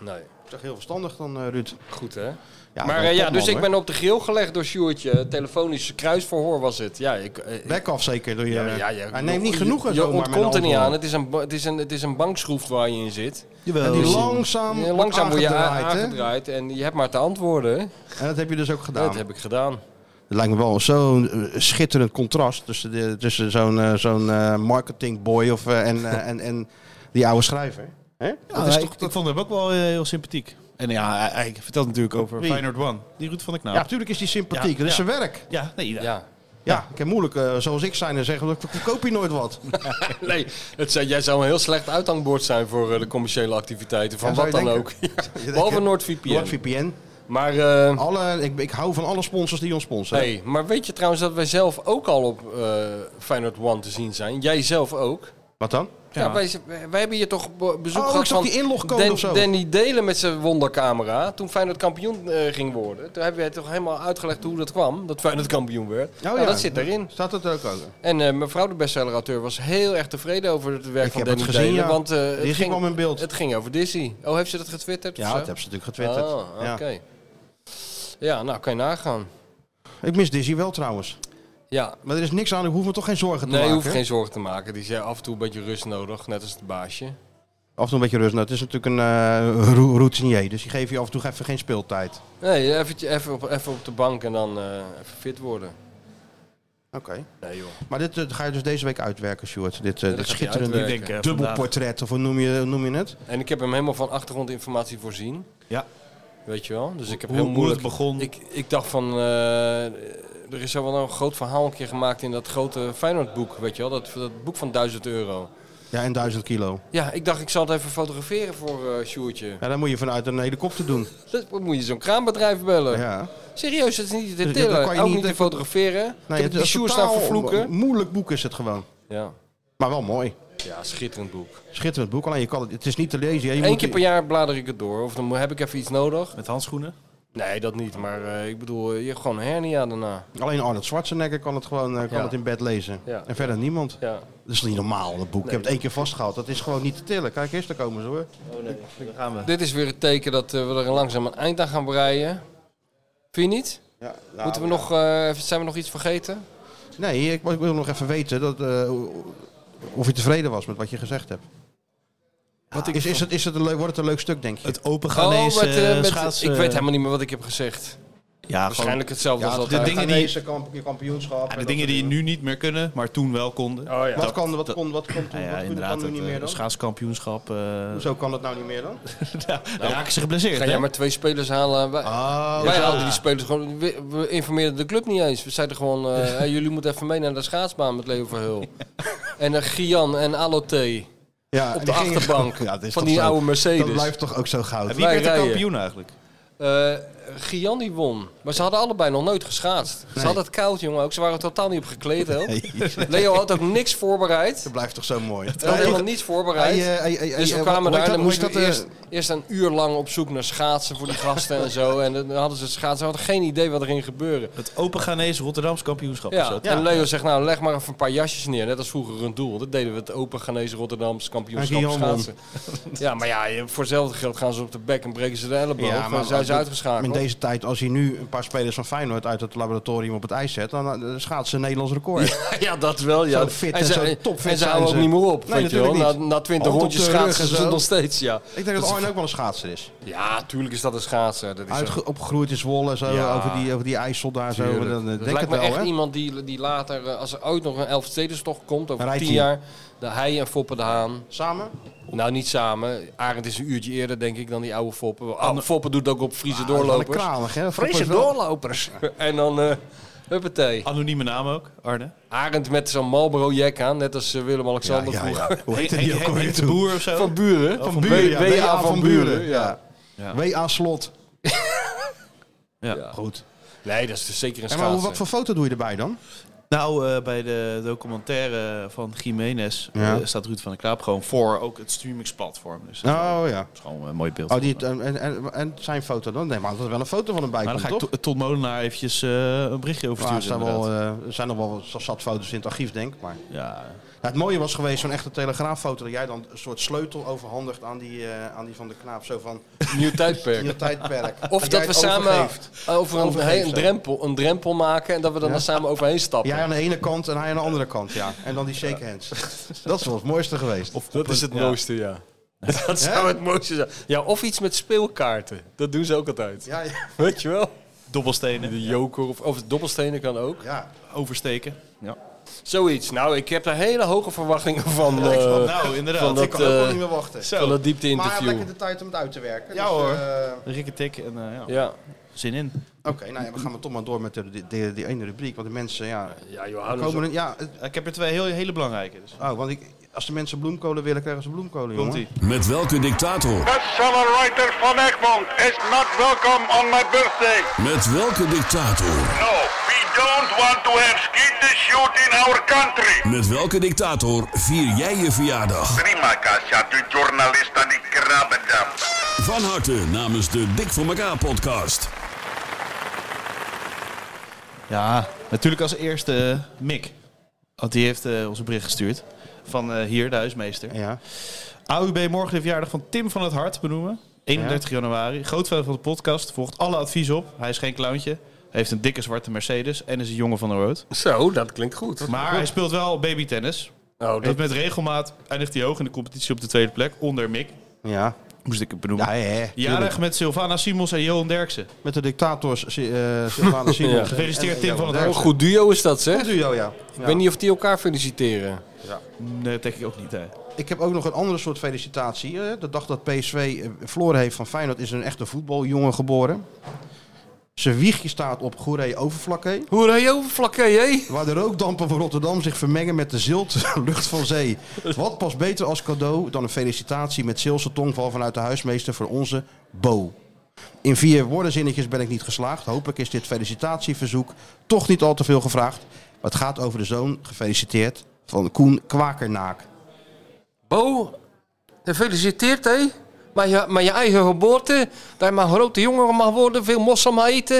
Speaker 3: Nee,
Speaker 2: Dat is toch heel verstandig dan, eh, Ruud?
Speaker 3: goed hè.
Speaker 2: Ja,
Speaker 3: maar
Speaker 2: wel
Speaker 3: eh, ja,
Speaker 2: topman,
Speaker 3: dus ik
Speaker 2: hoor.
Speaker 3: ben op de grill gelegd door Sjoertje. Telefonisch kruisverhoor was het. Ja, ik, eh, ik-
Speaker 2: Back off zeker. Door je, eh,
Speaker 3: Ja, maar ja, je-
Speaker 2: hij neemt niet
Speaker 3: je-
Speaker 2: genoegen.
Speaker 3: Je,
Speaker 2: zomaar met
Speaker 3: ontkomt er niet
Speaker 2: antwoorden.
Speaker 3: aan. Het is, een, ba- het, is een, het is een bankschroef waar je in zit.
Speaker 2: En die
Speaker 4: Wel,
Speaker 2: langzaam,
Speaker 3: Ja, langzaam word je a-
Speaker 2: aangedraaid, hè?
Speaker 3: aangedraaid en je hebt maar te antwoorden. hè.
Speaker 2: En dat heb je dus ook gedaan.
Speaker 3: Dat heb ik gedaan.
Speaker 2: Het lijkt me wel zo'n eh, schitterend contrast tussen, de, tussen zo'n eh, zo'n eh, marketingboy of, eh, en, eh, en, en die oude schrijver. Hè? dat is
Speaker 4: Ja,
Speaker 2: toch,
Speaker 4: Nou, ik,
Speaker 2: dat-
Speaker 4: ik vond hem ook wel eh, heel sympathiek. En ja, hij, hij vertelt natuurlijk over
Speaker 2: Wie?
Speaker 4: Feyenoord One. Die Ruud van
Speaker 3: Nou.
Speaker 4: de Knaap.
Speaker 2: ja, natuurlijk is die sympathiek.
Speaker 4: Ja,
Speaker 2: dat is
Speaker 4: ja.
Speaker 2: zijn werk.
Speaker 4: Ja, nee, ja.
Speaker 3: Ja.
Speaker 2: Ja, ik heb moeilijk, eh, zoals ik zijn, en zeggen, ik verkoop je nooit wat.
Speaker 3: Nee, het zou, jij zou een heel slecht uithangbord zijn voor eh, de commerciële activiteiten. Van
Speaker 2: Ja, zou
Speaker 3: wat
Speaker 2: je
Speaker 3: dan ook.
Speaker 2: denken.
Speaker 3: Ja,
Speaker 2: denken.
Speaker 3: Behalve NordVPN.
Speaker 2: NordVPN.
Speaker 3: Maar, eh,
Speaker 2: Alle, ik, ik hou van alle sponsors die ons sponsoren.
Speaker 3: hey, maar weet je trouwens dat wij zelf ook al op eh Feyenoord One te zien zijn? Jij zelf ook?
Speaker 2: Wat dan?
Speaker 3: Ja, wij, z- wij hebben hier toch be- bezoek
Speaker 2: Oh,
Speaker 3: gehad
Speaker 2: ik zag
Speaker 3: van
Speaker 2: die inlogcode of zo.
Speaker 3: Danny Delen met zijn wondercamera. Toen Feyenoord kampioen eh, ging worden. Toen hebben we toch helemaal uitgelegd hoe dat kwam. Dat Feyenoord kampioen werd. Nou,
Speaker 2: Oh, ja.
Speaker 3: dat zit erin.
Speaker 2: Staat dat ook over?
Speaker 3: En eh, mevrouw de bestsellerauteur was heel erg tevreden over het werk
Speaker 2: Ik
Speaker 3: van
Speaker 2: heb
Speaker 3: Danny
Speaker 2: het gezien,
Speaker 3: Delen.
Speaker 2: ja.
Speaker 3: Want eh,
Speaker 2: Dizzy
Speaker 3: het, ging,
Speaker 2: kwam in beeld.
Speaker 3: het ging over Dizzy. Oh, heeft ze dat getwitterd?
Speaker 2: Ja,
Speaker 3: of zo?
Speaker 2: dat hebben ze natuurlijk getwitterd.
Speaker 3: Oh, oké.
Speaker 2: Ja.
Speaker 3: Ja, nou kan je nagaan.
Speaker 2: Ik mis Dizzy wel trouwens.
Speaker 3: Ja.
Speaker 2: Maar er is niks aan, ik hoef me toch geen zorgen te
Speaker 3: Nee, je
Speaker 2: maken.
Speaker 3: hoeft geen zorgen te maken. Die zei af en toe een beetje rust nodig, net als het baasje.
Speaker 2: Af en toe een beetje rust. Nou, het is natuurlijk een eh, roe- routinier, dus die geeft je af en toe even geen speeltijd.
Speaker 3: Nee, eventje- even, op, even op de bank en dan eh, even fit worden.
Speaker 2: Oké.
Speaker 3: Nee joh.
Speaker 2: Maar dit eh, ga je dus deze week uitwerken, Stuart. Dit, eh,
Speaker 3: Ja, dat
Speaker 2: dit
Speaker 3: gaat hij
Speaker 2: schitterende
Speaker 3: uitwerken. Ik denk, eh,
Speaker 2: dubbelportret, of hoe noem je, hoe noem je het?
Speaker 3: En ik heb hem helemaal van achtergrondinformatie voorzien.
Speaker 2: Ja.
Speaker 3: Weet je wel? Dus ik heb
Speaker 4: Hoe-
Speaker 3: heel
Speaker 4: hoe
Speaker 3: moeilijk...
Speaker 4: het begon.
Speaker 3: Ik, ik dacht van... eh, er is zo wel een groot verhaal een keer gemaakt in dat grote Feyenoord-boek. Weet je wel? Dat, dat boek van 1000 euro.
Speaker 2: Ja, en 1000 kilo.
Speaker 3: Ja, ik dacht ik zal het even fotograferen voor eh Sjoertje.
Speaker 2: Ja, dan moet je vanuit een helikopter doen.
Speaker 3: Dat moet je zo'n kraanbedrijf bellen.
Speaker 2: Ja.
Speaker 3: Serieus, dat is niet te
Speaker 2: Dus ja,
Speaker 3: tillen.
Speaker 2: dat kan je
Speaker 3: Ook
Speaker 2: niet-
Speaker 3: niet te fotograferen.
Speaker 2: Nee,
Speaker 3: Nee,
Speaker 2: het
Speaker 3: die
Speaker 2: is
Speaker 3: Sjoerd
Speaker 2: totaal
Speaker 3: staan vervloeken.
Speaker 2: een moeilijk boek is het gewoon.
Speaker 3: Ja.
Speaker 2: Maar wel mooi.
Speaker 3: Ja, schitterend boek.
Speaker 2: Schitterend boek, alleen je kan het, het is niet te lezen. hè. Je
Speaker 3: Eén
Speaker 2: moet-
Speaker 3: keer per jaar blader ik het door. Of dan mo- heb ik even iets nodig.
Speaker 4: Met handschoenen?
Speaker 3: Nee, dat niet. Maar eh, ik bedoel, eh, je hebt gewoon een hernia daarna.
Speaker 2: Alleen Arnold Schwarzenegger kan het gewoon eh, kan
Speaker 3: Ja.
Speaker 2: het in bed lezen.
Speaker 3: Ja.
Speaker 2: En verder niemand.
Speaker 3: Ja.
Speaker 2: Dat is niet normaal, dat boek. Ik heb het één keer vastgehaald. Dat is gewoon niet te tillen. Kijk eens, daar komen ze hoor.
Speaker 4: Oh nee, daar gaan we.
Speaker 3: Dit is weer het teken dat eh, we er langzaam een eind aan gaan breien. Vind je niet?
Speaker 2: Nou, Ah, Ja,
Speaker 3: Moeten we nog, eh, even- zijn we nog iets vergeten?
Speaker 2: Nee, ik, ik wil nog even weten dat, eh, of je tevreden was met wat je gezegd hebt. is, is, het, is het een leuk, wordt het een leuk stuk, denk je?
Speaker 4: Het open Ghanese
Speaker 3: met, eh, met-
Speaker 4: schaatsen.
Speaker 3: Ik weet helemaal niet meer wat ik heb gezegd.
Speaker 4: Ja,
Speaker 3: Waarschijnlijk hetzelfde als
Speaker 2: de
Speaker 3: altijd.
Speaker 4: dingen
Speaker 2: dingen
Speaker 4: die-
Speaker 2: die... kampioenschap.
Speaker 4: Ja,
Speaker 2: en
Speaker 4: de
Speaker 2: dat
Speaker 4: dingen
Speaker 2: soort
Speaker 4: die nu niet meer kunnen, maar toen wel konden.
Speaker 3: Oh ja.
Speaker 2: Wat kan, wat kon, wat kon toen,
Speaker 4: Nou ja,
Speaker 2: wat kon-
Speaker 4: inderdaad,
Speaker 2: kan nu
Speaker 4: het
Speaker 2: niet
Speaker 4: eh,
Speaker 2: meer dan?
Speaker 4: schaatskampioenschap. eh
Speaker 2: Hoezo kan dat nou niet meer dan?
Speaker 4: dan raken ze geblesseerd.
Speaker 3: Ga
Speaker 4: hè?
Speaker 3: jij maar twee spelers halen. Wij,
Speaker 4: Ah,
Speaker 3: wij
Speaker 2: zo.
Speaker 3: haalden die spelers gewoon. We, we informeerden de club niet eens. We zeiden gewoon: eh, hey, jullie moeten even mee naar de schaatsbaan met Leo Verheul. en eh, Gian en Alote
Speaker 2: Ja,
Speaker 3: op de
Speaker 2: die gingen
Speaker 3: achterbank
Speaker 2: gewoon- Ja, dat is
Speaker 3: van
Speaker 2: toch
Speaker 3: die
Speaker 2: zo.
Speaker 3: oude Mercedes.
Speaker 2: Dat blijft toch ook zo goud.
Speaker 4: En wie
Speaker 3: wij
Speaker 4: werd de
Speaker 3: rijden.
Speaker 4: kampioen eigenlijk?
Speaker 3: Eh, Gian die won. Maar ze hadden allebei nog nooit geschaatst. Ze hadden het koud, jongen. Ook ze waren totaal niet op gekleed. Ook. Leo had ook niks voorbereid.
Speaker 2: Dat blijft toch zo mooi.
Speaker 3: Hij had helemaal niets voorbereid.
Speaker 2: Hey, eh, hey, hey,
Speaker 3: dus
Speaker 2: hey,
Speaker 3: we
Speaker 2: eh,
Speaker 3: kwamen
Speaker 2: wat- hoe
Speaker 3: daar
Speaker 2: heet
Speaker 3: en dan
Speaker 2: dat- eh?
Speaker 3: moesten
Speaker 2: hoe
Speaker 3: we
Speaker 2: heet
Speaker 3: eerst,
Speaker 2: dat,
Speaker 3: eerst een uur lang op zoek naar schaatsen voor die gasten en zo. En dan hadden ze schaatsen, ze hadden geen idee wat er ging gebeuren.
Speaker 4: Het Open Ghanese Rotterdams kampioenschap.
Speaker 3: Ja,
Speaker 4: is dat.
Speaker 3: en Leo zegt, nou leg maar even een paar jasjes neer. Net als vroeger een doel. Dat deden we het Open Ghanese Rotterdams
Speaker 2: En
Speaker 3: kampioenschap
Speaker 2: Guillaume won.
Speaker 3: schaatsen. Ja, maar ja, je- voor hetzelfde geld gaan ze op de bek en breken ze de elleboog.
Speaker 2: Ja,
Speaker 3: dan
Speaker 2: maar
Speaker 3: zijn ze
Speaker 2: dit- In
Speaker 3: uitgeschakeld.
Speaker 2: deze tijd, als hij nu een paar spelers van Feyenoord uit het laboratorium op het ijs zet, dan eh, schaatsen ze een Nederlands record.
Speaker 3: Ja, dat wel. Ja.
Speaker 2: Zo fit en
Speaker 3: ze-
Speaker 2: zo topfit
Speaker 3: en ze
Speaker 2: zijn
Speaker 3: houden
Speaker 2: ze.
Speaker 3: ook niet meer op.
Speaker 2: Nee,
Speaker 3: weet je wel.
Speaker 2: natuurlijk
Speaker 3: Na,
Speaker 2: niet.
Speaker 3: na twintig
Speaker 2: Hand op
Speaker 3: rondjes
Speaker 2: de rug en
Speaker 3: schaatsen ze
Speaker 2: zo.
Speaker 3: nog steeds. Ja.
Speaker 2: Ik denk dat Arne ook wel een schaatser is.
Speaker 3: ja, tuurlijk is dat een schaatser. Dat is een-
Speaker 2: Uitge- opgegroeid in Zwolle, zo,
Speaker 3: Ja.
Speaker 2: over, die, over die ijssel daar. Zo,
Speaker 3: Tuurlijk.
Speaker 2: dan, eh,
Speaker 3: dat
Speaker 2: denk
Speaker 3: lijkt
Speaker 2: het
Speaker 3: me
Speaker 2: wel,
Speaker 3: echt
Speaker 2: hè?
Speaker 3: iemand die, die later, eh, als er ooit nog een Elfstedenstocht komt, over
Speaker 2: Rijdt
Speaker 3: tien
Speaker 2: hij?
Speaker 3: jaar, dat hij en Foppe de Haan,
Speaker 2: Samen?
Speaker 3: nou niet samen, Arend is een uurtje eerder denk ik dan die oude Foppe. Oh, Foppe doet ook op
Speaker 2: Ah,
Speaker 3: Friese
Speaker 2: Wel
Speaker 3: doorlopers.
Speaker 2: kranig, hè?
Speaker 3: Friese
Speaker 2: Foppers wel.
Speaker 3: doorlopers. en dan, eh huppatee.
Speaker 4: Anonieme naam ook, Arne.
Speaker 3: Arend met zo'n Marlboro-jack aan, net als eh,
Speaker 2: Ja,
Speaker 3: Willem-Alexander
Speaker 2: ja,
Speaker 3: vroeger.
Speaker 2: ja. Hoe heette die
Speaker 4: Henk-
Speaker 2: ook alweer
Speaker 4: Henk de
Speaker 2: toen?
Speaker 4: Boer of zo?
Speaker 3: Van Buren.
Speaker 2: Oh, Van Buren, ja.
Speaker 3: W-
Speaker 2: W.A. van Buren.
Speaker 3: Ja.
Speaker 4: Ja.
Speaker 2: W.A. Slot.
Speaker 4: Ja.
Speaker 2: Goed.
Speaker 3: Nee, dat is dus zeker een
Speaker 2: En maar hoe-
Speaker 3: schaatser.
Speaker 2: wat voor foto doe je erbij dan?
Speaker 4: Nou, eh, bij de documentaire van Jiménez
Speaker 2: Ja.
Speaker 4: eh, staat Ruud van der Kraap gewoon voor ook het streamingsplatform. Dus dat
Speaker 2: Oh ja.
Speaker 4: is gewoon een mooi beeld.
Speaker 2: Oh, die, en, en- en, en zijn foto dan? Nee, maar dat is wel een foto van hem bij.
Speaker 4: maar dan
Speaker 2: eh, komt,
Speaker 4: ga ik
Speaker 2: toch?
Speaker 4: To- Ton Molenaar eventjes eh, een berichtje over
Speaker 2: Ja, er
Speaker 4: sturen.
Speaker 2: zijn,
Speaker 4: inderdaad.
Speaker 2: wel, eh, er zijn nog wel wat zat foto's in het archief, denk ik. Maar.
Speaker 4: ja.
Speaker 2: Nou, het mooie was geweest, zo'n echte telegraaffoto, dat jij dan een soort sleutel overhandigt aan die, eh, aan die van de knaap. Zo van,
Speaker 3: Nieuw tijdperk.
Speaker 2: nieuw tijdperk.
Speaker 3: Of dat,
Speaker 2: jij
Speaker 3: we
Speaker 2: het
Speaker 3: samen
Speaker 2: overgeeft.
Speaker 3: over een,
Speaker 2: Overgeeft,
Speaker 3: heen- een,
Speaker 2: zo.
Speaker 3: drempel, een drempel maken en dat we dan,
Speaker 2: Ja.
Speaker 3: er samen overheen stappen.
Speaker 2: Jij aan de ene kant en hij aan de andere kant, ja. En dan die shake hands. Dat is wel het mooiste geweest. Of
Speaker 3: dat is het mooiste, ja. Dat zou
Speaker 2: Hè?
Speaker 3: het mooiste zijn. Ja, of iets met speelkaarten. Dat doen ze ook altijd.
Speaker 2: Ja, ja.
Speaker 3: Weet je wel?
Speaker 4: Dobbelstenen,
Speaker 3: De joker of, of dobbelstenen kan ook.
Speaker 2: ja.
Speaker 4: oversteken.
Speaker 3: Zoiets. Nou, ik heb daar hele hoge verwachtingen van. eh,
Speaker 4: nou, inderdaad.
Speaker 3: van
Speaker 2: Ik
Speaker 3: dat,
Speaker 2: kan ook wel
Speaker 3: eh,
Speaker 2: niet meer wachten.
Speaker 3: van dat diepte
Speaker 2: Maar
Speaker 3: interview.
Speaker 2: lekker de tijd om het uit te werken.
Speaker 4: Ja,
Speaker 2: dus,
Speaker 4: hoor.
Speaker 2: eh,
Speaker 4: Rikke tik en eh, ja.
Speaker 3: Ja.
Speaker 4: zin in.
Speaker 2: Oké, nou ja, we gaan maar toch maar door met de, die, die, die ene rubriek. Want de mensen, ja...
Speaker 3: ja, joh, hou
Speaker 2: Komen
Speaker 3: nou zo-
Speaker 2: er, ja het-
Speaker 4: Ik heb er twee heel, hele belangrijke. Dus.
Speaker 2: oh, want ik, als de mensen bloemkolen willen, krijgen ze bloemkolen, jongen.
Speaker 4: Komt-ie.
Speaker 7: Met welke dictator?
Speaker 10: Accelerator van Egmond is not welcome on my birthday.
Speaker 7: Met welke dictator?
Speaker 10: No, we don't want to have skeeter shoot in our country.
Speaker 7: Met welke dictator vier jij je verjaardag?
Speaker 10: Prima casa, de journalist aan die krabbendam.
Speaker 7: Van harte namens de Dik voor elkaar podcast.
Speaker 4: Ja, natuurlijk als eerste eh, Mick. Want die heeft eh, ons een bericht gestuurd. Van eh, hier, de huismeester.
Speaker 2: Ja.
Speaker 4: AUB morgen de verjaardag van Tim van het Hart benoemen. 31 januari. Groot fan van de podcast. Volgt alle adviezen op. Hij is geen clowntje. Heeft een dikke zwarte Mercedes. En is een jongen van de road.
Speaker 3: Zo, dat klinkt goed.
Speaker 4: Maar hij speelt wel babytennis.
Speaker 3: Oh,
Speaker 4: Heeft met regelmaat eindigt hij hoog in de competitie op de tweede plek. Onder Mick.
Speaker 2: Ja.
Speaker 4: Moest ik het benoemen.
Speaker 2: Ja, ja, ja.
Speaker 4: Jarig met Sylvana Simons en Johan Derksen.
Speaker 2: Met de dictators eh Sylvana Simons.
Speaker 3: Ja.
Speaker 4: Gefeliciteerd,
Speaker 2: en-
Speaker 4: Tim
Speaker 2: en-
Speaker 4: van het
Speaker 2: en-
Speaker 4: Hart.
Speaker 3: Een goed duo is dat, zeg.
Speaker 2: Goed duo, ja.
Speaker 3: Ik weet niet of die elkaar feliciteren.
Speaker 4: Nee, dat denk ik ook niet. Hè.
Speaker 2: Ik heb ook nog een andere soort felicitatie. eh, De dag dat PSV eh, verloren heeft van Feyenoord is een echte voetbaljongen geboren. Zijn wiegje staat op Goeree Overflakke.
Speaker 3: Hoeree Overflakke, jee.
Speaker 2: Waar de rookdampen van Rotterdam zich vermengen met de zilte lucht van zee. Wat past beter als cadeau dan een felicitatie met Zeelse tongval vanuit de huismeester voor onze Bo. In vier woordenzinnetjes ben ik niet geslaagd. Hopelijk is dit felicitatieverzoek toch niet al te veel gevraagd. Maar het gaat over de zoon, gefeliciteerd, van Koen Kwakernaak.
Speaker 3: Bo, gefeliciteerd, hé. Met je, met je eigen geboorte. Dat je maar een grote jongen mag worden, veel mossel mag eten.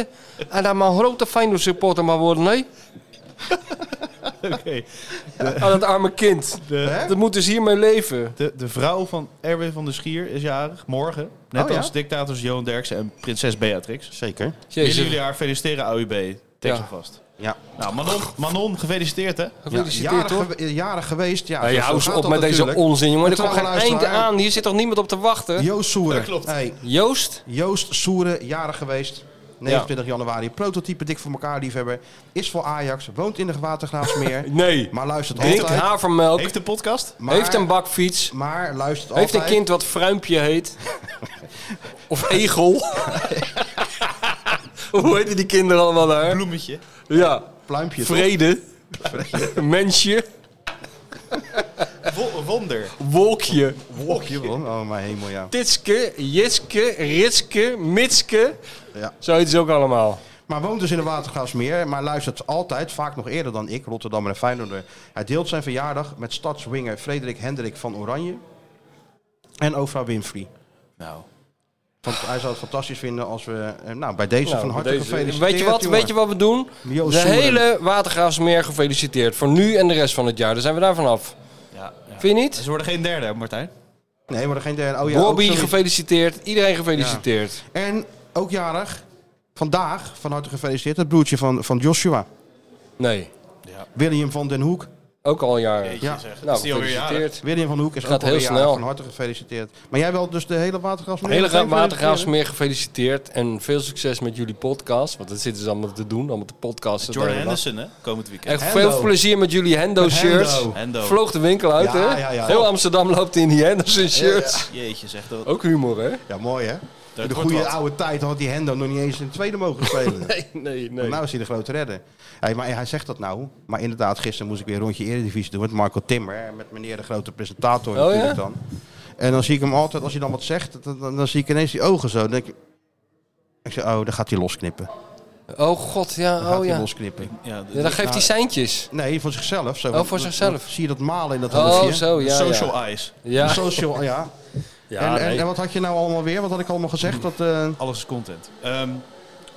Speaker 3: En dat je maar een grote Feyenoord supporter mag worden, hé.
Speaker 4: Oké.
Speaker 3: Aan het arme kind.
Speaker 4: De,
Speaker 3: Dat moet dus hiermee leven.
Speaker 4: de, de vrouw van Erwin van der Schier is jarig. Morgen. Net
Speaker 2: Oh, ja?
Speaker 4: als dictators Johan Derksen en prinses Beatrix.
Speaker 2: Zeker.
Speaker 4: Willen
Speaker 3: Jezus.
Speaker 4: jullie haar feliciteren, AUB? Tegen
Speaker 3: Ja.
Speaker 4: vast.
Speaker 2: Ja.
Speaker 4: Nou, Manon, Manon gefeliciteerd hè.
Speaker 3: Gefeliciteerd,
Speaker 2: jarig,
Speaker 3: hoor.
Speaker 2: ge- eh, jarig geweest. Ja,
Speaker 3: Ja, je
Speaker 2: zo
Speaker 3: houdt
Speaker 2: gaat
Speaker 3: op
Speaker 2: dat
Speaker 3: met deze
Speaker 2: natuurlijk.
Speaker 3: onzin, jongen. Er
Speaker 2: Een
Speaker 3: komt geen
Speaker 2: trouwe
Speaker 3: einde
Speaker 2: luisteraar.
Speaker 3: aan. Hier zit toch niemand op te wachten?
Speaker 2: Joost Soeren.
Speaker 4: klopt.
Speaker 2: Hey,
Speaker 3: Joost?
Speaker 2: Joost Soeren, jarig geweest. 29 januari. Prototype dik voor elkaar liefhebber. Is voor Ajax. Woont in de Watergraafsmeer.
Speaker 3: Nee.
Speaker 2: maar luistert
Speaker 3: Drinkt
Speaker 2: altijd.
Speaker 3: havermelk.
Speaker 4: Heeft de podcast?
Speaker 2: Maar,
Speaker 3: Heeft een bakfiets.
Speaker 2: Maar luistert
Speaker 3: Heeft een
Speaker 2: altijd.
Speaker 3: kind wat Fruimpje heet. of Egel. Hoe heten die kinderen allemaal daar?
Speaker 4: Bloemetje.
Speaker 3: Ja.
Speaker 2: Pluimpje. toch?
Speaker 3: Vrede. Mensje.
Speaker 4: Wo- wonder.
Speaker 3: Wolkje.
Speaker 2: Hier, man. Oh mijn hemel, ja.
Speaker 3: Titske. Jitske. Ritske. Mitske.
Speaker 2: Ja.
Speaker 3: Zo heet ze ook allemaal.
Speaker 2: Maar woont dus in de Watergraafsmeer. Maar luistert altijd, vaak nog eerder dan ik, Rotterdammer en Feyenoorder. Hij deelt zijn verjaardag met stadswinger Frederik Hendrik van Oranje. En Ofra Winfrey.
Speaker 4: Nou.
Speaker 2: Want hij zou het fantastisch vinden als we... eh, Nou, bij deze van
Speaker 3: Nou,
Speaker 2: harte
Speaker 3: deze-
Speaker 2: gefeliciteerd.
Speaker 3: Weet je wat,
Speaker 2: jongen.
Speaker 3: weet je wat we doen?
Speaker 2: Joost
Speaker 3: de
Speaker 2: Soeren.
Speaker 3: hele Watergraafsmeer gefeliciteerd. Voor nu en de rest van het jaar. Daar zijn we daar vanaf.
Speaker 4: Ja, ja.
Speaker 3: Vind je niet?
Speaker 4: Ze worden geen derde, Martijn.
Speaker 2: Nee, maar er geen derde. Oh ja, ook
Speaker 3: Bobby
Speaker 2: zoiets.
Speaker 3: gefeliciteerd. Iedereen gefeliciteerd.
Speaker 2: En ook jarig, vandaag, van harte gefeliciteerd, het broertje van, van Joshua.
Speaker 3: Nee.
Speaker 2: William van den Hoek.
Speaker 3: Ook al jaren.
Speaker 2: Ja,
Speaker 3: Nou,
Speaker 4: die alweer
Speaker 3: gefeliciteerd.
Speaker 2: William van den Hoek is
Speaker 3: Gaat
Speaker 2: ook alweer
Speaker 3: heel
Speaker 2: jarig,
Speaker 3: snel.
Speaker 2: van harte gefeliciteerd. Maar jij wel dus de hele watergasmeer?
Speaker 3: Hele
Speaker 2: meteen
Speaker 3: graag
Speaker 2: feliciteren?
Speaker 3: Watergraafsmeer gefeliciteerd. En veel succes met jullie podcast. Want dat zitten ze allemaal te doen. Allemaal te podcasten.
Speaker 4: Jordan
Speaker 3: de hele dag.
Speaker 4: Henderson, hè? Komend weekend.
Speaker 3: Echt
Speaker 2: Hendo.
Speaker 3: veel plezier met jullie
Speaker 2: Met
Speaker 3: Hendo-shirts.
Speaker 2: Hendo.
Speaker 4: Hendo.
Speaker 3: Vloog de winkel uit,
Speaker 2: Ja,
Speaker 3: hè?
Speaker 2: ja, ja.
Speaker 3: Heel Amsterdam loopt in die Henderson-shirts.
Speaker 4: Jeetje, zeg dat.
Speaker 3: Ook humor, hè?
Speaker 2: Ja, mooi hè? In de
Speaker 4: wordt
Speaker 2: goede
Speaker 4: wat.
Speaker 2: oude tijd had die Hendo nog niet eens in het tweede mogen spelen.
Speaker 3: Nee, nee, nee.
Speaker 2: Want nou is hij de grote redder. Hey, maar hij zegt dat nou. Maar inderdaad, gisteren moest ik weer een rondje Eredivisie doen met Marco Timmer. hè, Met meneer de grote presentator
Speaker 3: Oh,
Speaker 2: natuurlijk
Speaker 3: ja?
Speaker 2: dan. En dan zie ik hem altijd, als hij dan wat zegt, dan, dan, dan zie ik ineens die ogen zo. Dan denk ik, ik zeg, oh, dan gaat hij losknippen.
Speaker 3: Oh god,
Speaker 2: Dan
Speaker 3: ja.
Speaker 2: gaat
Speaker 3: Oh
Speaker 2: hij
Speaker 3: ja.
Speaker 2: losknippen.
Speaker 4: Ja, de-
Speaker 3: ja dan geeft hij seintjes.
Speaker 2: Nee, voor zichzelf. Zo.
Speaker 3: Oh, voor zichzelf.
Speaker 2: Zie je dat malen in dat
Speaker 3: Oh,
Speaker 2: hoofdje?
Speaker 3: zo, ja.
Speaker 4: social
Speaker 3: ja.
Speaker 4: eyes.
Speaker 3: Ja,
Speaker 2: Social, ja.
Speaker 3: ja
Speaker 2: en, en,
Speaker 3: nee.
Speaker 2: en wat had je nou allemaal weer? Wat had ik allemaal gezegd? Dat, eh,
Speaker 4: Alles is content. Ehm,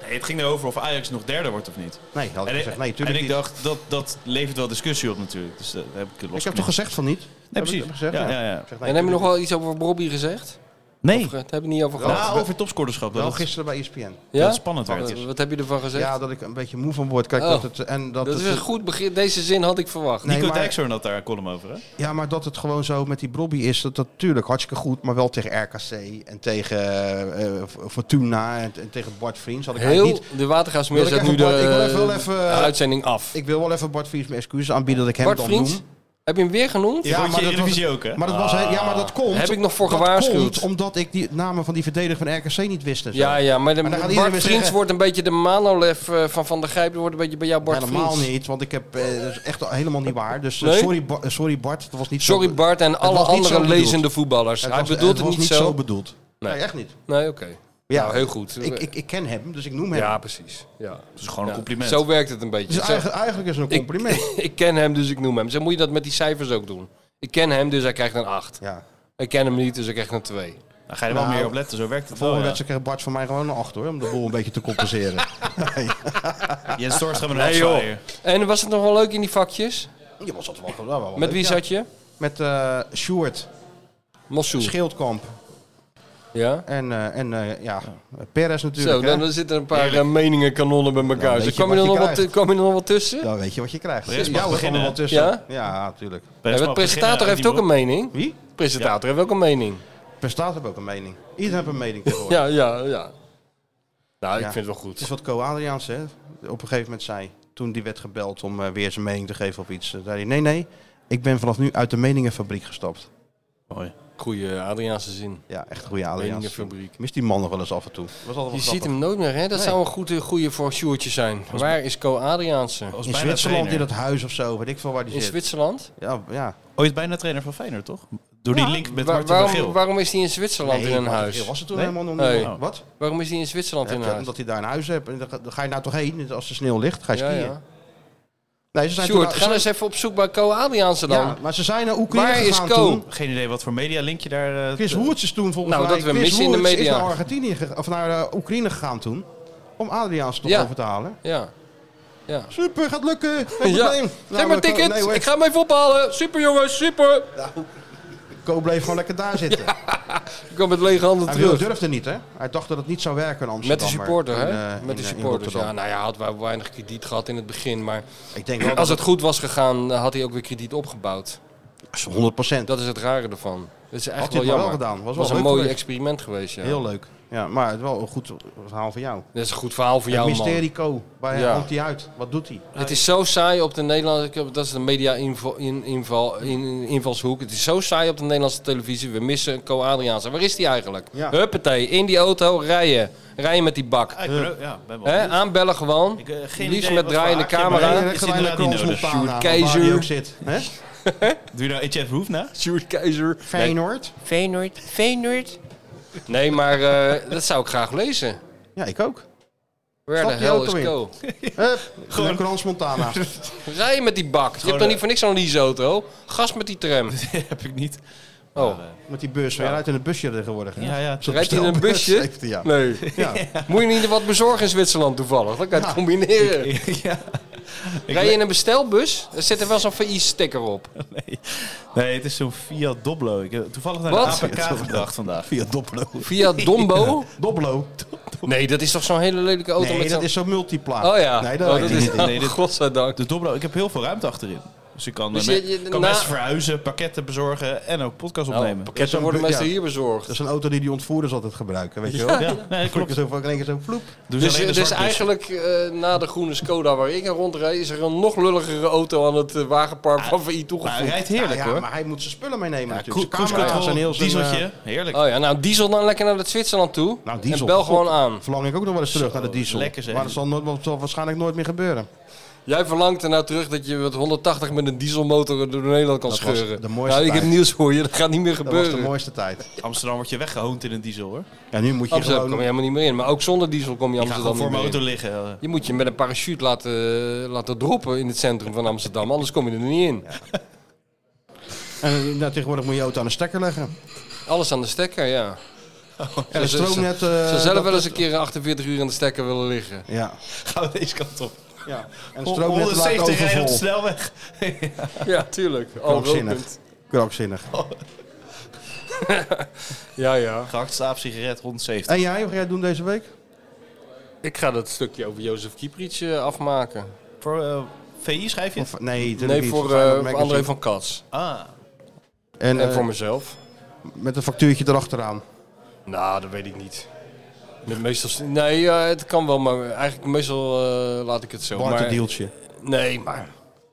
Speaker 4: nee, het ging erover of Ajax nog derde wordt of niet.
Speaker 2: Nee, had ik
Speaker 4: En,
Speaker 2: gezegd. Nee,
Speaker 4: en
Speaker 2: tuurlijk
Speaker 4: ik
Speaker 2: niet.
Speaker 4: dacht, dat, dat levert wel discussie op natuurlijk. Dus dat heb ik los.
Speaker 2: Ik heb toch gezegd van niet?
Speaker 4: Nee,
Speaker 2: Heb ik-
Speaker 4: precies.
Speaker 2: heb ik gezegd,
Speaker 4: ja,
Speaker 2: ja.
Speaker 4: ja, ja.
Speaker 2: Ik zeg, nee,
Speaker 3: En heb je nog
Speaker 2: tuurlijk
Speaker 3: wel iets over Bobby gezegd?
Speaker 4: Nee,
Speaker 3: Of, eh, Daar heb ik niet over gehad.
Speaker 4: nou, over topscorderschap.
Speaker 2: niet. Wel
Speaker 4: Dat,
Speaker 2: gisteren bij E ESPN.
Speaker 3: Ja?
Speaker 4: dat het spannend werd.
Speaker 3: Wat, wat heb je ervan gezegd?
Speaker 2: Ja, dat ik een beetje moe van word. Kijk,
Speaker 3: Oh.
Speaker 2: dat het, en dat,
Speaker 3: dat is
Speaker 2: het, dus-
Speaker 3: een goed begin. Deze zin had ik verwacht.
Speaker 2: Nee,
Speaker 4: Nico
Speaker 2: maar-
Speaker 4: Dijkshoorn had daar een column over, hè?
Speaker 2: Ja, maar dat het gewoon zo met die Brobby is. Dat dat natuurlijk hartstikke goed. Maar wel tegen RKC en tegen eh, eh, Fortuna en, en tegen Bart Vriends. Had ik
Speaker 3: Heel
Speaker 2: eigenlijk niet.
Speaker 3: de Watergaasmeer
Speaker 2: Wil ik
Speaker 3: zet nu
Speaker 2: even
Speaker 3: de,
Speaker 2: Bart- ik wil even wel
Speaker 3: eh,
Speaker 2: even-
Speaker 3: de uitzending af.
Speaker 2: Ik wil wel even Bart Vriends mijn excuses aanbieden dat ik hem
Speaker 3: Bart
Speaker 2: dan
Speaker 3: Vriends,
Speaker 2: noem.
Speaker 3: heb je hem weer genoemd?
Speaker 4: Je
Speaker 2: Ja,
Speaker 4: vond
Speaker 2: maar
Speaker 4: je
Speaker 2: dat was-
Speaker 4: Eredivisie ook, hè?
Speaker 2: Maar dat was, ja, maar dat komt.
Speaker 3: Ah. Heb ik nog voor
Speaker 2: dat
Speaker 3: gewaarschuwd.
Speaker 2: komt omdat ik die namen van die verdediger van RKC niet wist. En zo.
Speaker 3: Ja, ja, maar, de,
Speaker 2: Maar dan gaat
Speaker 3: Bart
Speaker 2: iedereen weer
Speaker 3: Vriends
Speaker 2: zeggen-
Speaker 3: wordt een beetje de manolef eh, van Van der Gijp. Die wordt een beetje bij jou Bart
Speaker 2: Helemaal
Speaker 3: Vriends.
Speaker 2: niet, want ik heb eh, dat is echt al helemaal niet waar. Dus eh,
Speaker 3: Nee?
Speaker 2: sorry, Ba- eh, sorry Bart, dat was niet zo
Speaker 3: Sorry
Speaker 2: be-
Speaker 3: Bart en alle
Speaker 2: was niet zo
Speaker 3: andere
Speaker 2: bedoeld.
Speaker 3: lezende voetballers.
Speaker 2: Het
Speaker 3: Hij
Speaker 2: was-
Speaker 3: bedoelt het
Speaker 2: was
Speaker 3: niet zo.
Speaker 2: bedoeld. Nee.
Speaker 3: Nee.
Speaker 2: echt niet.
Speaker 3: Nee, oké.
Speaker 6: Maar
Speaker 3: Nou, heel goed.
Speaker 6: Ik, ik, ik ken hem, dus ik noem hem.
Speaker 3: Ja, precies. Ja.
Speaker 6: is gewoon
Speaker 3: Ja. Zo werkt het een beetje.
Speaker 6: Dus
Speaker 3: Zo-
Speaker 6: eigenlijk- eigenlijk is het een
Speaker 3: Ik- Ik, ken hem, dus ik noem hem. Zo moet je dat met die cijfers ook doen. Ik ken hem, dus hij krijgt een 8. Ik ken hem niet, dus hij krijgt een 2.
Speaker 4: Dan ga je er
Speaker 3: Nou,
Speaker 4: wel meer op letten, zo werkt
Speaker 3: het
Speaker 2: Volgende
Speaker 3: wel, ja.
Speaker 2: wedstrijd krijgt Bart van mij gewoon een 8 hoor, om de boel een beetje te compenseren.
Speaker 4: Jens Torstra met een
Speaker 3: Nee, joh.
Speaker 4: afzwaaier.
Speaker 3: En was het nog wel leuk in die vakjes?
Speaker 6: Je was dat wel, wel, wel
Speaker 3: Met wie
Speaker 6: leuk, ja.
Speaker 3: zat je?
Speaker 2: Met eh Sjoerd. Schildkamp.
Speaker 3: Ja.
Speaker 2: En, eh, en eh, ja, Perez natuurlijk.
Speaker 3: Zo, dan,
Speaker 2: hè?
Speaker 3: dan zitten een paar eh,
Speaker 2: Heerlijk.
Speaker 3: meningen kanonnen bij elkaar.
Speaker 2: Nou,
Speaker 3: Dus
Speaker 2: weet je
Speaker 3: kwam je,
Speaker 2: wat
Speaker 3: er
Speaker 2: je
Speaker 3: nog wat,
Speaker 2: krijgt.
Speaker 3: kwam je er nog wat tussen?
Speaker 2: Dan weet je wat je krijgt.
Speaker 3: Rest mag
Speaker 2: Ja, we
Speaker 3: beginnen,
Speaker 2: komen wel
Speaker 3: hè?
Speaker 2: tussen.
Speaker 3: Ja?
Speaker 2: natuurlijk.
Speaker 3: Ja, maar de presentator heeft ook een mening.
Speaker 2: Wie?
Speaker 3: De presentator heeft ook een mening.
Speaker 2: De presentator heeft ook een mening. Iedereen heeft een mening tegenwoordig.
Speaker 3: Ja, ja, ja. Nou, ik
Speaker 2: Ja.
Speaker 3: vind het wel goed.
Speaker 2: Het is wat Co Adriaans hè, op een gegeven moment zei, toen die werd gebeld om eh, weer zijn mening te geven op iets. eh, zei hij, nee, nee, ik ben vanaf nu uit de meningenfabriek gestapt.
Speaker 3: Mooi. Goeie Adriaanse zin.
Speaker 2: Ja, echt goede Adriaans.
Speaker 3: Meningenfabriek.
Speaker 2: Ik mis die man nog wel eens af en toe. Was altijd wel
Speaker 3: Je
Speaker 2: grappig.
Speaker 3: ziet hem nooit meer, hè? Dat
Speaker 2: Nee.
Speaker 3: zou een goede, goede voor Sjoertje zijn. Waar is Co Adriaanse?
Speaker 2: In Zwitserland in dat huis of zo, weet ik veel waar die
Speaker 3: In
Speaker 2: zit.
Speaker 3: Zwitserland?
Speaker 2: Ja, ja.
Speaker 4: Ooit bijna trainer van Feyenoord, toch? Door die link
Speaker 3: Waar-
Speaker 4: met Martin van
Speaker 3: waarom,
Speaker 4: Geel.
Speaker 3: waarom is hij in Zwitserland
Speaker 2: Nee,
Speaker 3: in een
Speaker 2: Martin
Speaker 3: huis?
Speaker 2: Geel was er toen helemaal nog niet.
Speaker 3: Nee.
Speaker 2: Oh. Wat?
Speaker 3: Waarom is hij in Zwitserland in een
Speaker 2: Ja,
Speaker 3: huis?
Speaker 2: omdat hij daar een huis hebt. En dan ga- dan ga je nou toch heen als de sneeuw ligt. Ga je
Speaker 3: Ja,
Speaker 2: skiën.
Speaker 3: ja.
Speaker 2: Nee, ze zijn
Speaker 3: Sjoerd,
Speaker 2: toen-
Speaker 3: ga
Speaker 2: ze-
Speaker 3: eens even op zoek bij Co Adriaanse dan.
Speaker 2: Ja, maar ze zijn naar Oekraïne
Speaker 3: Waar is
Speaker 2: gegaan
Speaker 3: Co?
Speaker 2: toen.
Speaker 4: Geen idee wat voor media link je daar... eh,
Speaker 2: Chris
Speaker 4: te-
Speaker 2: Woerts is toen volgens
Speaker 3: Nou,
Speaker 2: mij...
Speaker 3: dat we
Speaker 2: Chris
Speaker 3: missen in de
Speaker 2: Woerts is
Speaker 3: media.
Speaker 2: naar, Argentinië ge- of naar eh, Oekraïne gegaan toen. Om Adriaans toch
Speaker 3: Ja.
Speaker 2: over te halen.
Speaker 3: Ja. Ja.
Speaker 2: Super, gaat lukken. Geen
Speaker 3: Ja.
Speaker 2: probleem. Nou,
Speaker 3: Geef maar tickets. ik ga hem even ophalen. Super jongens, super.
Speaker 2: Co bleef gewoon lekker daar zitten.
Speaker 3: Ik kwam met lege handen
Speaker 2: Hij wilde-
Speaker 3: terug.
Speaker 2: durfde niet, hè? Hij dacht dat het niet zou werken in
Speaker 3: Met de
Speaker 2: Amsterdam. maar
Speaker 3: supporter,
Speaker 2: in,
Speaker 3: hè?
Speaker 2: eh,
Speaker 3: Met de
Speaker 2: in- in
Speaker 3: supporters. Ja,
Speaker 2: Rotterdam.
Speaker 3: nou ja, had wel weinig krediet gehad in het begin. Maar
Speaker 2: Ik denk wel dat
Speaker 3: als het goed was gegaan, eh, had hij ook weer krediet opgebouwd.
Speaker 2: 100%.
Speaker 3: Dat is het rare ervan. Dat is echt
Speaker 2: Had hij
Speaker 3: wel
Speaker 2: het maar
Speaker 3: jammer.
Speaker 2: wel gedaan. Was wel
Speaker 3: een
Speaker 2: leuk
Speaker 3: mooi
Speaker 2: geweest.
Speaker 3: experiment geweest, ja.
Speaker 2: Heel leuk. Ja, maar het wel een goed verhaal van jou.
Speaker 3: Dat is een goed verhaal voor
Speaker 2: Het
Speaker 3: jou, man.
Speaker 2: mysterie Co. Waar
Speaker 3: Ja.
Speaker 2: komt hij uit? Wat doet hij?
Speaker 3: Het is zo saai op de Nederlandse... Dat is de media-invalshoek. het is zo saai op de Nederlandse televisie. We missen Co Adriaanse. Waar is die eigenlijk?
Speaker 4: Ja.
Speaker 3: Huppatee, in die auto, rijden. Rijden met die bak.
Speaker 4: Ah, ik ben ook- ja, ben
Speaker 3: Hè,
Speaker 4: wel benieuwd.
Speaker 3: aanbellen gewoon.
Speaker 4: Ik, eh, geen
Speaker 3: Liefst
Speaker 4: idee
Speaker 3: met
Speaker 4: wat
Speaker 3: draaiende
Speaker 4: voor haakje, maar
Speaker 3: camera.
Speaker 4: hij is inderdaad niet nodig.
Speaker 3: Sjoerd
Speaker 2: Waar hij ook
Speaker 3: Keizer.
Speaker 2: zit. Hè?
Speaker 4: Doe je nou Etje Verhoef na?
Speaker 3: Sjoerd Keizer.
Speaker 2: Feyenoord.
Speaker 3: Feyenoord. Feyenoord. Nee, maar eh, dat zou ik graag lezen.
Speaker 2: Ja, ik ook.
Speaker 3: Where
Speaker 2: Stap
Speaker 3: the
Speaker 2: die
Speaker 3: hell
Speaker 2: auto
Speaker 3: is
Speaker 2: in.
Speaker 3: go?
Speaker 2: Gewoon een Krans Montana.
Speaker 3: Rij je met die bak. Je hebt
Speaker 4: eh,
Speaker 3: toch niet voor niks zo'n leaseauto? Gas met die tram.
Speaker 4: heb ik niet.
Speaker 3: Oh.
Speaker 2: Met die bus. Hij rijdt in een busje tegenwoordig. hè?
Speaker 4: Ja, ja.
Speaker 2: Zo'n
Speaker 3: Rijdt hij in een
Speaker 2: bestelbus
Speaker 3: busje?
Speaker 2: heeft hij, ja.
Speaker 3: Nee.
Speaker 2: Ja.
Speaker 3: Moet je niet wat bezorgen in Zwitserland toevallig? Dan kan je het combineren. Rij je in een bestelbus? Er zit er wel zo'n VI-sticker op.
Speaker 4: Nee, het is zo'n Fiat Doblo. Ik heb toevallig naar
Speaker 3: Wat?
Speaker 4: de APK gebracht vandaag.
Speaker 2: Via Doblo.
Speaker 3: Via Dombo?
Speaker 2: Doblo.
Speaker 3: Nee, dat is toch zo'n hele lelijke auto
Speaker 2: Nee,
Speaker 3: met
Speaker 2: dat
Speaker 3: zo'n...
Speaker 2: is zo'n multipla.
Speaker 3: Oh ja.
Speaker 2: Nee, dat,
Speaker 3: Oh,
Speaker 2: weet
Speaker 3: dat
Speaker 2: ik
Speaker 3: is-
Speaker 2: niet.
Speaker 4: Nee, dit-
Speaker 3: Godzijdank.
Speaker 4: De Doblo, ik heb heel veel ruimte achterin. Dus ik kan,
Speaker 3: Dus
Speaker 4: eh,
Speaker 3: je- je-
Speaker 4: me- kan
Speaker 3: na-
Speaker 4: mensen verhuizen, pakketten bezorgen en ook podcast
Speaker 3: Nou,
Speaker 4: opnemen.
Speaker 3: pakketten worden
Speaker 2: Dus Ja. Dus-
Speaker 3: meestal hier
Speaker 2: Dat
Speaker 3: bezorgd.
Speaker 2: is een auto die die ontvoerders altijd gebruiken, weet je wel?
Speaker 4: Ja, nee, klopt.
Speaker 2: Zo van in één keer zo vloep.
Speaker 4: Doe ze
Speaker 3: Dus,
Speaker 4: alleen de
Speaker 3: eh, dus
Speaker 4: zwarte bussen.
Speaker 3: eigenlijk eh, na de groene Skoda waar ik aan rondrijd... is er een nog lulligere auto aan het eh, wagenpark van VI
Speaker 4: Maar hij
Speaker 3: toegevoegd.
Speaker 4: rijdt heerlijk
Speaker 2: ja,
Speaker 4: hoor.
Speaker 2: Ah, maar hij moet zijn spullen meenemen
Speaker 4: Cru-
Speaker 2: natuurlijk. Zijn
Speaker 4: Cruise
Speaker 2: camera's en heel
Speaker 4: control,
Speaker 2: zijn,
Speaker 4: dieseltje.
Speaker 2: eh,
Speaker 4: Heerlijk.
Speaker 3: Oh ja, nou diesel dan lekker naar dat Zwitserland toe.
Speaker 2: nou, diesel.
Speaker 3: En bel gewoon
Speaker 2: God,
Speaker 3: aan.
Speaker 2: Verlang ik ook nog wel eens terug naar de
Speaker 4: Zo,
Speaker 2: diesel.
Speaker 4: lekker zeg.
Speaker 2: Maar dat zal, nooit, dat zal waarschijnlijk nooit meer gebeuren.
Speaker 3: Jij verlangt er nou terug dat je met 180 met een dieselmotor door Nederland kan
Speaker 2: Dat was
Speaker 3: scheuren.
Speaker 2: de mooiste
Speaker 3: nou, ik heb
Speaker 2: tijd.
Speaker 3: nieuws voor je, dat gaat niet meer
Speaker 2: Dat was
Speaker 3: gebeuren.
Speaker 2: de mooiste tijd.
Speaker 4: Amsterdam wordt je weggehoond in een diesel hoor. Je
Speaker 2: Ja, nu moet je
Speaker 3: Amsterdam kom je
Speaker 2: gewoon...
Speaker 3: helemaal niet meer in, maar ook zonder diesel kom je
Speaker 4: gaat
Speaker 3: Amsterdam
Speaker 4: gewoon voor
Speaker 3: niet
Speaker 4: mijn
Speaker 3: meer
Speaker 4: auto
Speaker 3: in.
Speaker 4: liggen. eh.
Speaker 3: Je moet je met een parachute laten, eh, laten droppen in het centrum van Amsterdam, anders kom je er niet in.
Speaker 2: En, nou, tegenwoordig moet je je auto aan de stekker leggen.
Speaker 3: Alles aan de stekker, ja.
Speaker 2: En het
Speaker 3: Ze- ze-
Speaker 2: stroomnet...
Speaker 3: Ze
Speaker 2: eh,
Speaker 3: zou zelf
Speaker 2: dat-
Speaker 3: wel eens een keer 48 uur aan de stekker willen liggen.
Speaker 2: Ja.
Speaker 4: Gaan we deze kant op.
Speaker 2: ja. En het stroomnet laat
Speaker 4: 170 rijden op de
Speaker 2: overvol.
Speaker 4: snelweg.
Speaker 3: Ja, tuurlijk. Oh, Al
Speaker 2: Krankzinnig.
Speaker 3: rokend.
Speaker 2: Krankzinnig.
Speaker 3: Ja, ja.
Speaker 4: Gehakt slaap, sigaret, 170.
Speaker 2: En jij, wat ga jij doen deze week?
Speaker 3: Ik ga dat stukje over Jozef Kieprits eh, afmaken.
Speaker 4: Voor eh, VI schrijf je?
Speaker 2: Of, nee, natuurlijk
Speaker 3: Nee,
Speaker 2: niet.
Speaker 3: voor, eh,
Speaker 2: Feyenoord
Speaker 3: voor
Speaker 2: Magazine.
Speaker 3: André van Kats.
Speaker 4: Ah,
Speaker 2: En,
Speaker 3: En
Speaker 2: eh,
Speaker 3: voor mezelf.
Speaker 2: met een factuurtje erachteraan.
Speaker 3: Nou, dat weet ik niet. Met meestal, nee, eh, het kan wel, maar eigenlijk meestal eh, laat ik het zo.
Speaker 2: Wat
Speaker 3: Maar,
Speaker 2: een deeltje.
Speaker 3: Nee, maar...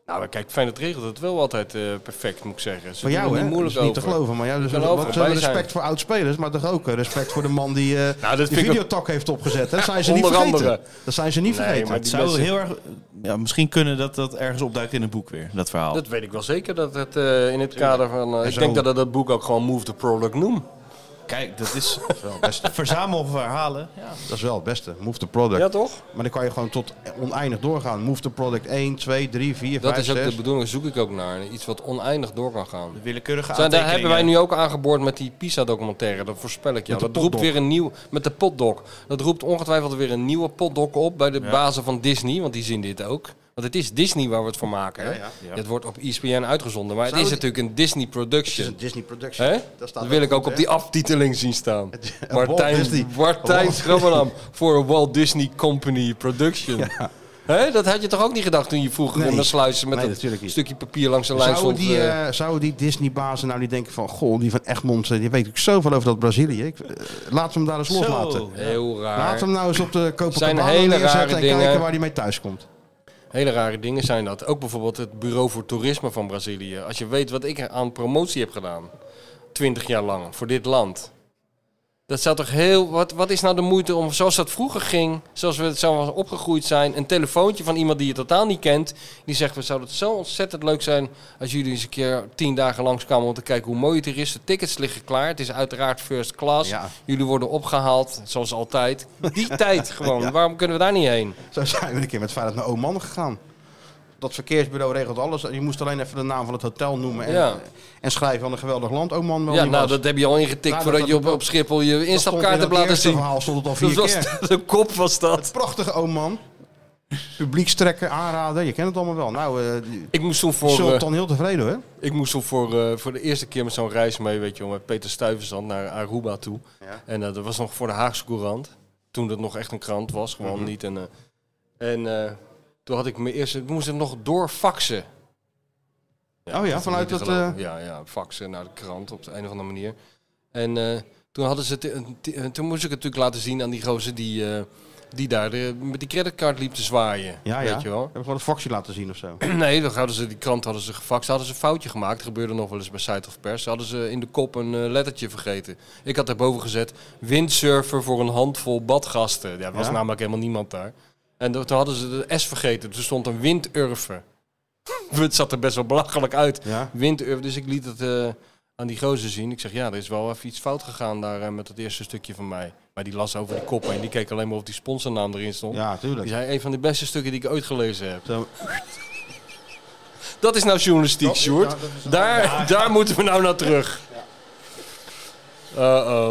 Speaker 3: Nou, maar kijk, Feyenoord regelt het wel altijd eh, perfect, moet ik zeggen. Ze
Speaker 2: Voor
Speaker 3: doen
Speaker 2: jou,
Speaker 3: er
Speaker 2: hè?
Speaker 3: Niet
Speaker 2: Dat
Speaker 3: moeilijk
Speaker 2: is niet te
Speaker 3: over.
Speaker 2: geloven. Maar ja, dus
Speaker 3: Kan
Speaker 2: wat-
Speaker 3: overal
Speaker 2: wat zijn
Speaker 3: bij
Speaker 2: respect
Speaker 3: zijn.
Speaker 2: voor oud-spelers, maar toch ook eh, respect voor de man die eh
Speaker 3: Nou, dat
Speaker 2: de
Speaker 3: vind ik ook-
Speaker 2: videotak heeft opgezet. hè? Dat zijn ze niet
Speaker 3: Onder
Speaker 2: vergeten.
Speaker 3: andere.
Speaker 2: Dat zijn ze niet
Speaker 3: Nee,
Speaker 2: vergeten.
Speaker 3: maar
Speaker 4: het
Speaker 3: die
Speaker 4: zou
Speaker 3: mensen-
Speaker 4: Oh, heel erg... Ja, misschien kunnen dat dat ergens opduikt in een boek weer, dat verhaal.
Speaker 3: Dat weet ik wel zeker, dat het eh, in het kader van... eh, ik denk dat ik dat boek ook gewoon Move the Product noem.
Speaker 4: kijk, dat is
Speaker 2: wel het beste.
Speaker 4: verzamel verhalen. Ja.
Speaker 2: Dat is wel het beste. Move the product.
Speaker 3: Ja, toch?
Speaker 2: Maar dan kan je gewoon tot oneindig doorgaan. Move the product 1, 2, 3, 4,
Speaker 3: Dat
Speaker 2: 5,
Speaker 3: is
Speaker 2: 6.
Speaker 3: ook de bedoeling, zoek ik ook naar. Iets wat oneindig door kan gaan.
Speaker 4: Willekeurige
Speaker 3: Zijn, daar hebben wij
Speaker 4: aantekeningen.
Speaker 3: nu ook aangeboord met die PISA-documentaire. Dat voorspel ik jou.
Speaker 4: Met de
Speaker 3: Dat roept
Speaker 4: potdoc.
Speaker 3: weer een nieuw... Met de potdoc. Dat roept ongetwijfeld weer een nieuwe potdoc op bij de bazen van Disney. Want die zien dit ook. Want het is Disney waar we het voor maken. hè?
Speaker 2: Ja, ja. Ja.
Speaker 3: Het wordt op E ESPN uitgezonden. Maar
Speaker 2: Zou
Speaker 3: het is
Speaker 2: het-
Speaker 3: natuurlijk een
Speaker 2: Het is
Speaker 3: Disney-production.
Speaker 2: een Disney production.
Speaker 3: Hè?
Speaker 2: Dat
Speaker 3: Dat,
Speaker 2: staat
Speaker 3: wil
Speaker 2: wel
Speaker 3: ik ook
Speaker 2: goed, hè?
Speaker 3: op die aftiteling zien staan.
Speaker 2: Walt
Speaker 3: Martijn,
Speaker 2: Disney.
Speaker 3: Martijn
Speaker 2: Walt-
Speaker 3: Schrammelam voor Walt Disney Company Production. Hè? Dat had je toch ook niet gedacht toen je vroeger
Speaker 2: Nee.
Speaker 3: om de sluizen met
Speaker 2: Nee, natuurlijk
Speaker 3: een
Speaker 2: niet.
Speaker 3: stukje papier langs de lijn
Speaker 2: Zouden
Speaker 3: stond.
Speaker 2: die,
Speaker 3: eh,
Speaker 2: eh, zouden die Disney-bazen nou niet denken van... Goh, die van Egmond, eh, die weet ik zoveel over dat Brazilië. Ik, eh, laten we hem daar eens loslaten.
Speaker 3: Heel raar.
Speaker 2: Laten we hem nou eens op de
Speaker 3: Zijn
Speaker 2: Copacabana
Speaker 3: hele rare
Speaker 2: neerzetten en
Speaker 3: dingen.
Speaker 2: kijken waar hij mee thuis komt.
Speaker 3: Hele rare dingen zijn dat. Ook bijvoorbeeld het Bureau voor Toerisme van Brazilië. Als je weet wat ik aan promotie heb gedaan. Twintig jaar lang. Voor dit land. Dat zou toch heel... Wat, wat is nou de moeite om, zoals dat vroeger ging... Zoals we het zo opgegroeid zijn... Een telefoontje van iemand die je totaal niet kent... Die zegt, we zouden het zo ontzettend leuk zijn... Als jullie eens een keer tien dagen langskwamen... Om te kijken hoe mooi het hier is. De tickets liggen klaar. Het is uiteraard first class.
Speaker 2: Ja.
Speaker 3: Jullie worden opgehaald. Zoals altijd. Die tijd gewoon. Waarom kunnen we daar niet heen?
Speaker 2: Zo zijn we een keer met Feyenoord naar Oman gegaan. Dat verkeersbureau regelt alles. Je moest alleen even de naam van het hotel noemen en,
Speaker 3: Ja.
Speaker 2: en schrijven van een geweldig land Oman. wel
Speaker 3: Ja,
Speaker 2: niet
Speaker 3: nou,
Speaker 2: was.
Speaker 3: dat heb je al ingetikt
Speaker 2: Nou, dat-
Speaker 3: voordat je op,
Speaker 2: dat-
Speaker 3: op Schiphol je
Speaker 2: Dat stond in
Speaker 3: instapkaart
Speaker 2: dat
Speaker 3: hebt laten
Speaker 2: eerste
Speaker 3: zien.
Speaker 2: verhaal stond het al
Speaker 3: Dat
Speaker 2: vier
Speaker 3: was
Speaker 2: keer.
Speaker 3: de kop was dat.
Speaker 2: Prachtige Oman. Publiekstrekker, aanrader, je kent het allemaal wel. Nou, eh die-
Speaker 3: Ik moest toen
Speaker 2: Zult
Speaker 3: voor, eh,
Speaker 2: dan heel tevreden hoor.
Speaker 3: ik moest toen voor, eh, voor de eerste keer met zo'n reis mee, weet je wel, met Peter Stuyvesant naar Aruba toe.
Speaker 2: Ja.
Speaker 3: En eh, dat was nog voor de Haagse Courant, toen dat nog echt een krant was, gewoon
Speaker 2: Mhm.
Speaker 3: niet. En, eh, en eh, toen had ik mijn eerste, ik moest het nog doorfaxen.
Speaker 2: Oh ja,
Speaker 3: dat is
Speaker 2: vanuit
Speaker 3: niet te
Speaker 2: dat,
Speaker 3: geloven. Ja, ja, faxen naar de krant op de een of andere manier. En eh, toen hadden ze het, een t- eh, toen moest ik het natuurlijk laten zien aan die gozer die, eh, die daar de- met die creditcard liep te zwaaien.
Speaker 2: Ja,
Speaker 3: weet
Speaker 2: ja.
Speaker 3: je wel.
Speaker 2: Hebben we gewoon een faxje laten zien of zo.
Speaker 3: Nee, dan hadden ze die krant hadden ze gefaxt. Hadden ze een foutje gemaakt. Dat gebeurde nog wel eens bij Site of Pers. Hadden ze in de kop een eh, lettertje vergeten. Ik had daarboven gezet windsurfer voor een handvol badgasten. Ja, er was
Speaker 2: Ja?
Speaker 3: namelijk helemaal niemand daar. En dat- toen hadden ze de S vergeten. Dus er stond een windurfer. Het zat er best wel belachelijk uit.
Speaker 2: Ja.
Speaker 3: Windurf. Dus ik liet het eh, aan die gozer zien. Ik zeg, ja, er is wel even iets fout gegaan daar eh, met dat eerste stukje van mij. Maar die las over die kop en die keek alleen maar of die sponsornaam erin stond.
Speaker 2: Ja, tuurlijk.
Speaker 3: Die zei, een van de beste stukken die ik ooit gelezen heb.
Speaker 2: Zo.
Speaker 3: Dat is nou journalistiek,
Speaker 2: Dat is-
Speaker 3: Sjoerd.
Speaker 2: ja, dat is-
Speaker 3: daar,
Speaker 2: ja.
Speaker 3: daar moeten we nou naar terug. Uh-oh.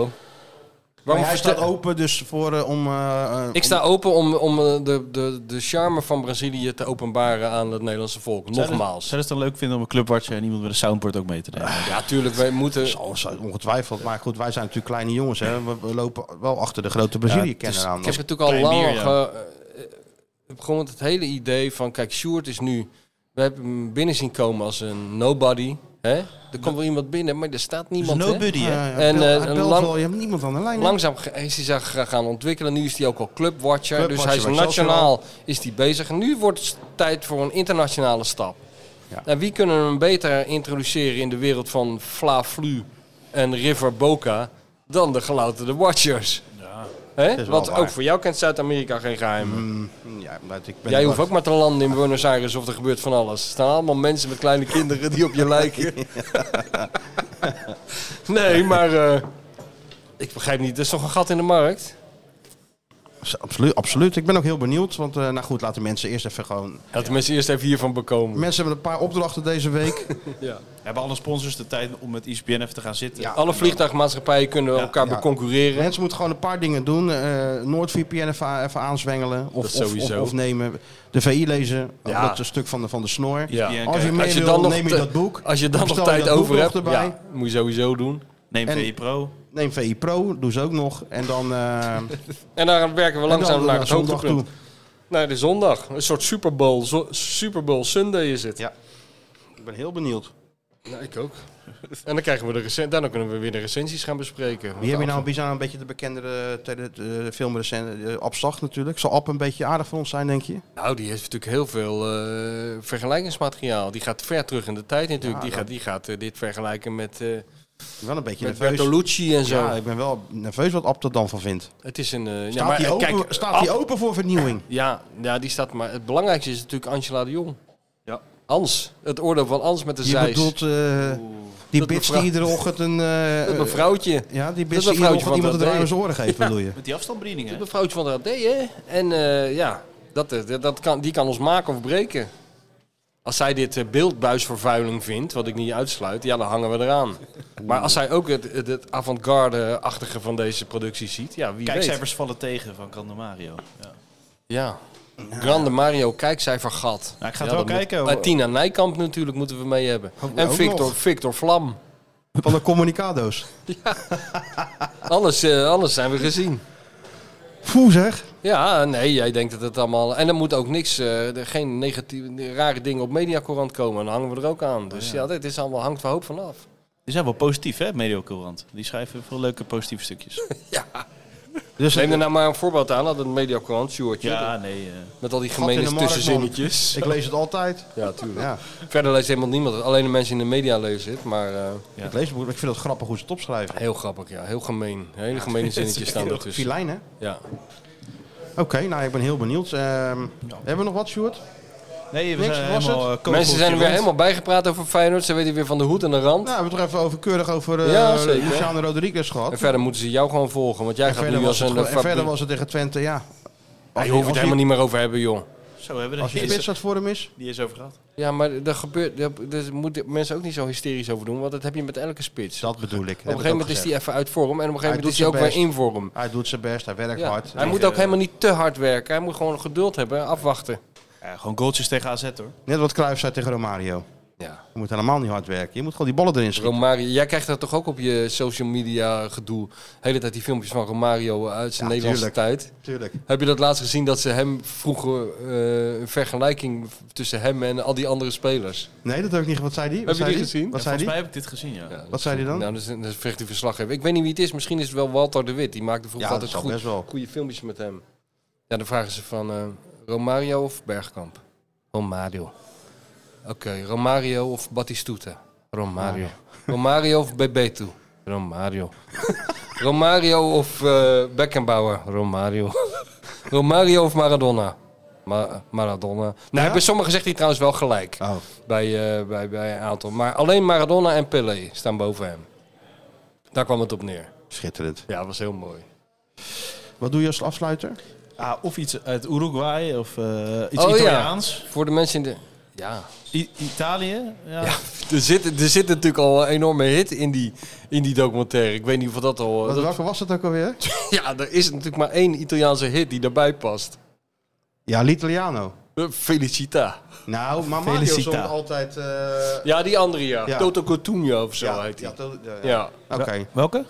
Speaker 2: Maar
Speaker 3: Waarom
Speaker 2: hij
Speaker 3: vertel-
Speaker 2: staat open dus voor eh, om... eh, eh,
Speaker 3: Ik sta open om, om eh, de, de, de charme van Brazilië te openbaren aan het Nederlandse volk. Nogmaals.
Speaker 4: Zou je het dan leuk vinden om een clubwartje en iemand met een soundboard ook mee te nemen?
Speaker 3: Ja, tuurlijk, wij moeten...
Speaker 2: Zal, zal- ongetwijfeld. Maar goed, wij zijn natuurlijk kleine jongens. Hè. We, we lopen wel achter de grote Brazilië-kenner aan.
Speaker 3: dus Ik heb natuurlijk al
Speaker 4: Klein
Speaker 3: lang
Speaker 4: bier,
Speaker 3: al ge- eh, eh, begonnen het hele idee van... Kijk, Sjoerd is nu... We hebben hem binnen zien komen als een nobody. Hè? Er komt wel iemand binnen, maar er staat
Speaker 2: Dus
Speaker 3: niemand. hè?
Speaker 4: nobody, hè?
Speaker 2: Ja, ja,
Speaker 3: En,
Speaker 2: bel-
Speaker 3: eh,
Speaker 2: hij
Speaker 3: een
Speaker 2: belt
Speaker 3: lang-
Speaker 2: wel, je hebt niemand aan de lijn. hè?
Speaker 3: Langzaam ge- is hij zich gaan ontwikkelen. Nu is hij ook al clubwatcher. dus hij
Speaker 2: Clubwatcher
Speaker 3: is
Speaker 2: bij Excelsior
Speaker 3: nationaal is hij bezig. En nu wordt het tijd voor een internationale stap.
Speaker 2: Ja.
Speaker 3: En wie kunnen hem beter introduceren in de wereld van Fla Flu en River Boca dan de gelouterde Watchers? Hè?
Speaker 2: is wel
Speaker 3: Want
Speaker 2: waar.
Speaker 3: ook voor jou kent Zuid-Amerika geen geheimen.
Speaker 2: Ja, maar ik ben
Speaker 3: Jij
Speaker 2: er
Speaker 3: hoeft
Speaker 2: wel-
Speaker 3: ook maar te landen in Buenos Aires of er gebeurt van alles. Er staan allemaal mensen met kleine kinderen die op je lijken. nee, maar eh, ik begrijp niet. Er is toch een gat in de markt?
Speaker 2: Absoluut, absoluut. Ik ben ook heel benieuwd. Want eh, nou goed, laten mensen eerst even gewoon...
Speaker 3: Laten de mensen eerst even hiervan bekomen.
Speaker 2: Mensen hebben een paar opdrachten deze week.
Speaker 3: Ja.
Speaker 4: Hebben alle sponsors de tijd om met E ESPN even te gaan zitten?
Speaker 2: Ja.
Speaker 3: Alle vliegtuigmaatschappijen kunnen elkaar
Speaker 2: ja.
Speaker 3: beconcurreren.
Speaker 2: Mensen moeten gewoon een paar dingen doen. Eh NoordVPN even, even aanzwengelen. Of,
Speaker 3: Dat
Speaker 2: of- of,
Speaker 3: sowieso.
Speaker 2: of nemen. De VI lezen.
Speaker 3: Ja.
Speaker 2: Dat stuk van de, van de snor.
Speaker 3: Ja.
Speaker 4: ESPN
Speaker 2: Als je
Speaker 4: kijken.
Speaker 2: mee
Speaker 3: Als je
Speaker 2: wil,
Speaker 3: dan nog
Speaker 2: neem je
Speaker 3: te-
Speaker 2: dat boek.
Speaker 3: Als je dan nog
Speaker 2: Bestel
Speaker 3: tijd
Speaker 2: dat boek
Speaker 3: over
Speaker 2: nog
Speaker 3: hebt,
Speaker 2: erbij.
Speaker 3: ja, moet je sowieso doen.
Speaker 4: Neem
Speaker 2: En-
Speaker 4: VI Pro.
Speaker 2: Neem VI Pro, doe ze ook nog. En dan, eh, en
Speaker 3: En daar werken we
Speaker 2: dan
Speaker 3: langzaam naar het
Speaker 2: zondag
Speaker 3: hoogtepunt. Naar de zondag. Een soort Super Bowl, zo- Super Bowl Sunday is het.
Speaker 2: Ja. Ik ben heel benieuwd.
Speaker 3: Nou, ik ook. En dan, krijgen we de recen- daarna kunnen we weer de recensies gaan bespreken.
Speaker 2: Wie heb je nou bizar een beetje de bekendere tele, de filmrecent, eh, Ab Zag natuurlijk. Zal Ab een beetje aardig voor ons zijn, denk je?
Speaker 3: Nou, die heeft natuurlijk heel veel eh, vergelijkingsmateriaal. Die gaat ver terug in de tijd natuurlijk.
Speaker 2: Ja,
Speaker 3: die,
Speaker 2: dat-
Speaker 3: gaat, die gaat eh, dit vergelijken met, eh,
Speaker 2: Wel een beetje
Speaker 3: met
Speaker 2: nerveus.
Speaker 3: Bertolucci en zo.
Speaker 2: Ja, ik ben wel nerveus wat Ab er dan van vindt. Staat
Speaker 3: Het is een... eh, ja,
Speaker 2: hij
Speaker 3: eh,
Speaker 2: open, staat die
Speaker 3: Ab-
Speaker 2: open voor vernieuwing?
Speaker 3: Ja, ja, die staat... Maar het belangrijkste is natuurlijk Angela de Jong.
Speaker 4: Ja.
Speaker 3: Hans. Het oordeel van Hans met de
Speaker 2: Je
Speaker 3: zeis.
Speaker 2: bedoelt eh, die bitch
Speaker 3: Dat mevrouw-
Speaker 2: die iedere ochtend een... eh,
Speaker 3: dat mevrouwtje.
Speaker 2: Ja, die bitch
Speaker 3: Dat
Speaker 2: die iedere
Speaker 3: mevrouwtje
Speaker 2: ochtend iemand
Speaker 3: van
Speaker 2: het
Speaker 3: dat
Speaker 2: ruim
Speaker 3: deed.
Speaker 2: zijn oren geeft,
Speaker 3: Ja.
Speaker 2: bedoel je?
Speaker 4: Met die afstandsbediening, hè?
Speaker 3: Dat mevrouwtje van de AD, hè? En eh, ja, dat, eh, dat, dat kan, die kan ons maken of breken. Als zij dit eh, beeldbuisvervuiling vindt, wat ik niet uitsluit, ja, dan hangen we eraan. Maar als zij ook het, het, het avant-garde-achtige van deze productie ziet, ja, wie weet.
Speaker 4: Kijkcijfers vallen tegen van Candemario. Ja.
Speaker 3: Ja. Grande Mario, kijkcijfer gat.
Speaker 4: Nou, ik ga het wel kijken, hoor.
Speaker 3: Maar Tina Nijkamp natuurlijk moeten we mee hebben.
Speaker 2: Ook
Speaker 3: En
Speaker 2: nog.
Speaker 3: Victor, Victor Vlam.
Speaker 2: Van de communicado's.
Speaker 3: Alles, eh, alles zijn we gezien.
Speaker 2: Foe zeg.
Speaker 3: Ja, nee, jij denkt dat het allemaal... En er moet ook niks, eh, er geen negatieve, rare dingen op Mediacorant komen. Dan hangen we er ook aan. Dus ja, dit is allemaal, hangt er hoop van af.
Speaker 4: Die zijn wel positief, hè, Mediocorant. Die schrijven veel leuke positieve stukjes.
Speaker 3: Dus Neem er nou maar een voorbeeld aan, dat het Mediacorant, Sjoerdje.
Speaker 4: ja, nee. eh.
Speaker 3: Met al die
Speaker 2: Gat in
Speaker 3: gemene
Speaker 2: de markt, man.
Speaker 3: tussenzinnetjes.
Speaker 2: Ik lees het altijd.
Speaker 3: Ja, tuurlijk.
Speaker 2: Ja.
Speaker 3: Verder leest helemaal niemand het. Alleen de mensen in de media lezen het, maar... eh, ja.
Speaker 2: Ik lees het, maar ik vind het grappig hoe ze het opschrijven.
Speaker 3: Heel grappig, ja. Heel gemeen. Hele gemene zinnetjes staan ertussen.
Speaker 2: Dus- Filijn, hè?
Speaker 3: Ja.
Speaker 2: Oké, nou, ik ben heel benieuwd. Ehm, Hebben we nog wat, Sjoerd? Nou,
Speaker 4: Nee, we
Speaker 2: Niks,
Speaker 4: zijn
Speaker 2: was
Speaker 4: helemaal
Speaker 2: het?
Speaker 4: eh,
Speaker 3: Mensen zijn er weer
Speaker 4: rond.
Speaker 3: helemaal bijgepraat over Feyenoord. Ze weten weer van de hoed en de
Speaker 2: Nou,
Speaker 3: rand.
Speaker 2: we hebben het er even over, keurig over eh,
Speaker 3: Ja, zeker.
Speaker 2: Luciano Rodriguez gehad.
Speaker 3: En verder moeten ze jou gewoon volgen. Want jij
Speaker 2: En
Speaker 3: gaat
Speaker 2: verder
Speaker 3: nu
Speaker 2: was het
Speaker 3: als een...
Speaker 2: gewoon- en
Speaker 3: fabrie-
Speaker 2: verder was het tegen Twente, ja.
Speaker 3: Ja, je hoeft het
Speaker 2: Als
Speaker 3: helemaal
Speaker 2: die-
Speaker 3: niet meer over hebben, joh.
Speaker 4: Zo hebben we
Speaker 2: Als
Speaker 4: er
Speaker 2: je
Speaker 4: die,
Speaker 2: spits
Speaker 4: is,
Speaker 2: dat voor hem is.
Speaker 4: die is over gehad.
Speaker 3: Ja, maar daar gebeurt, daar, daar moeten mensen ook niet zo hysterisch over doen. Want dat heb je met elke spits.
Speaker 2: Dat bedoel ik.
Speaker 3: op een gegeven moment is hij even uit vorm. En op een gegeven moment
Speaker 2: doet
Speaker 3: is hij ook
Speaker 2: zijn
Speaker 3: weer in
Speaker 2: best.
Speaker 3: vorm.
Speaker 2: Hij doet zijn best, hij werkt
Speaker 3: Ja.
Speaker 2: hard.
Speaker 3: Hij moet ook helemaal niet te hard werken. Hij moet gewoon geduld hebben. Afwachten.
Speaker 4: Ja, gewoon goaltjes tegen AZ, hoor.
Speaker 2: Net wat Cruijff zei tegen Romario.
Speaker 3: Ja.
Speaker 2: Je moet helemaal niet hard werken. Je moet gewoon die ballen erin schieten.
Speaker 3: Romario, jij krijgt dat toch ook op je social media gedoe. De hele tijd die filmpjes van Romario uit zijn
Speaker 2: Ja,
Speaker 3: Nederlandse
Speaker 2: tuurlijk.
Speaker 3: tijd.
Speaker 2: Tuurlijk.
Speaker 3: Heb je dat laatst gezien dat ze hem vroeger eh, een vergelijking tussen hem en al die andere spelers?
Speaker 2: Nee, dat heb ik niet. ge- Wat zei die?
Speaker 3: Heb
Speaker 2: Wat
Speaker 3: je
Speaker 2: zei
Speaker 3: die
Speaker 2: die?
Speaker 3: gezien?
Speaker 2: Wat
Speaker 4: Ja,
Speaker 2: zei
Speaker 4: volgens
Speaker 2: die?
Speaker 4: mij heb ik dit gezien, ja.
Speaker 3: Ja,
Speaker 2: Wat zei die dan?
Speaker 3: Nou, dat is een, dat is een vergeten verslaggever. Ik weet niet wie het is. Misschien is het wel Walter de Wit. Die maakte
Speaker 2: Ja,
Speaker 3: vroeger
Speaker 2: dat
Speaker 3: altijd
Speaker 2: zal
Speaker 3: goed,
Speaker 2: best wel.
Speaker 3: goede filmpjes met hem. Ja, dan vragen ze van eh, Romario of Bergkamp? Romario. Oké, Romario of Batistuta? Romario. Romario of Bebeto? Romario. Romario of eh, Beckenbauer? Romario. Romario of Maradona? Ma- Maradona. Nou, bij sommigen zegt hij trouwens wel gelijk.
Speaker 2: Oh.
Speaker 3: Bij, eh, bij, bij een aantal. Maar alleen Maradona en Pelé staan boven hem. Daar kwam het op neer.
Speaker 2: Schitterend.
Speaker 3: Ja, dat was heel mooi.
Speaker 2: Wat doe je als afsluiter?
Speaker 4: Ah, of iets uit Uruguay of eh, iets
Speaker 3: Oh, ja.
Speaker 4: Italiaans.
Speaker 3: Voor de mensen in de... Ja.
Speaker 4: I- Italië? Ja.
Speaker 3: Er zit, er zit natuurlijk al een enorme hit in die, in die documentaire. Ik weet niet of dat al...
Speaker 2: Wat,
Speaker 3: dat-
Speaker 2: welke was het ook alweer?
Speaker 3: ja, er is natuurlijk maar één Italiaanse hit die daarbij past.
Speaker 2: Ja, L'Italiano.
Speaker 3: Eh, Felicita.
Speaker 2: Nou, maar Mario
Speaker 4: Felicita.
Speaker 2: zong altijd... eh,
Speaker 3: Ja, die andere ja.
Speaker 2: Ja.
Speaker 3: Toto Cotugno of zo heet die.
Speaker 2: ja,
Speaker 3: Ja,
Speaker 2: to- ja, ja.
Speaker 3: ja.
Speaker 2: Oké.
Speaker 4: Welke?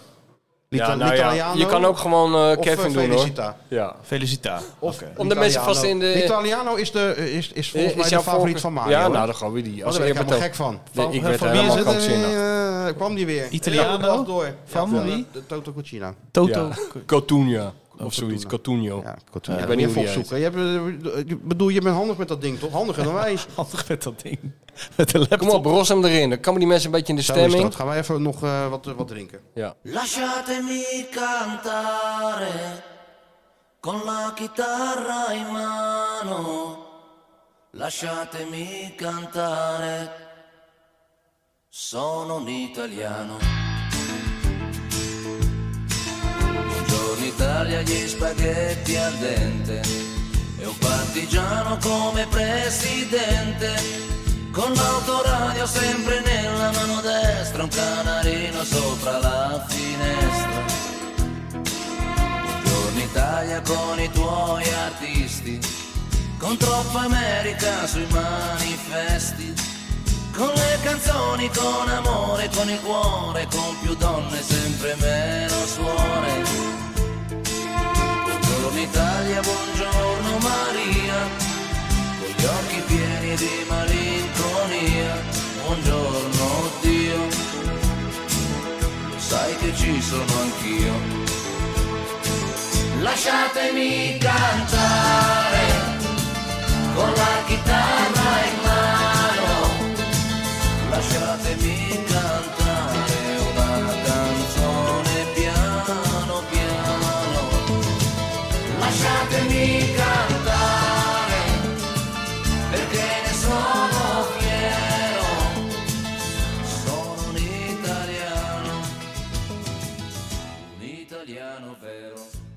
Speaker 2: L'Ita-
Speaker 3: nou ja.
Speaker 2: L'Italiano
Speaker 3: Je kan ook gewoon eh,
Speaker 2: of,
Speaker 3: Kevin
Speaker 2: eh,
Speaker 3: doen hoor.
Speaker 2: Felicita.
Speaker 3: Ja.
Speaker 4: Felicita.
Speaker 2: Of
Speaker 3: Om de mensen vast in de-
Speaker 2: Italiano is, de, is, is volgens mij
Speaker 3: Eh, jouw
Speaker 2: de favoriet
Speaker 3: voorkeur-
Speaker 2: van Mario.
Speaker 3: Ja,
Speaker 2: hè?
Speaker 3: nou, dan gaan we die.
Speaker 2: Oh,
Speaker 3: Als
Speaker 2: daar ben ik
Speaker 3: Eerbetoon.
Speaker 2: helemaal gek van.
Speaker 3: Nee, ik nou. werd
Speaker 4: Van- van
Speaker 3: er
Speaker 4: wie is
Speaker 2: Is
Speaker 3: helemaal
Speaker 2: het,
Speaker 3: krankzinnig.
Speaker 2: eh, eh, kwam die weer?
Speaker 4: Italiano?
Speaker 2: Ja, dat door.
Speaker 4: Van
Speaker 2: Ja,
Speaker 4: wie?
Speaker 2: De, de Toto Cucina.
Speaker 4: Toto.
Speaker 3: Ja. Cotugna. Of zoiets. Cotugno.
Speaker 2: Ja, Coutinho.
Speaker 3: ik
Speaker 2: ik
Speaker 3: weet
Speaker 2: ben niet
Speaker 3: niet hoe die
Speaker 2: even opzoeken. Je hebt, eh, je- bedoel, je bent handig met dat ding, toch? Handiger dan wij.
Speaker 4: Handig met dat ding. Met de laptop.
Speaker 3: Kom op, ros hem erin. Dan komen die mensen een beetje in de stemming.
Speaker 2: Gaan wij even nog eh, wat, wat drinken.
Speaker 3: Ja.
Speaker 8: Lasciatemi cantare con la chitarra in mano. Lasciatemi cantare. Sono un italiano. Buongiorno Italia, gli spaghetti al dente. E un partigiano come presidente. Con l'autoradio sempre nella mano destra, un canarino sopra la finestra. Buongiorno Italia con i tuoi artisti, con troppa America sui manifesti. Con le canzoni, con amore, con il cuore, con più donne, sempre meno suore. Buongiorno Italia, buongiorno Maria con gli occhi pieni di malinconia. Buongiorno Dio, lo sai che ci sono anch'io. Lasciatemi cantare con la chitarra in mano. Lasciatemi cantare una canzone piano piano. Lasciatemi cantare perché ne sono fiero. vero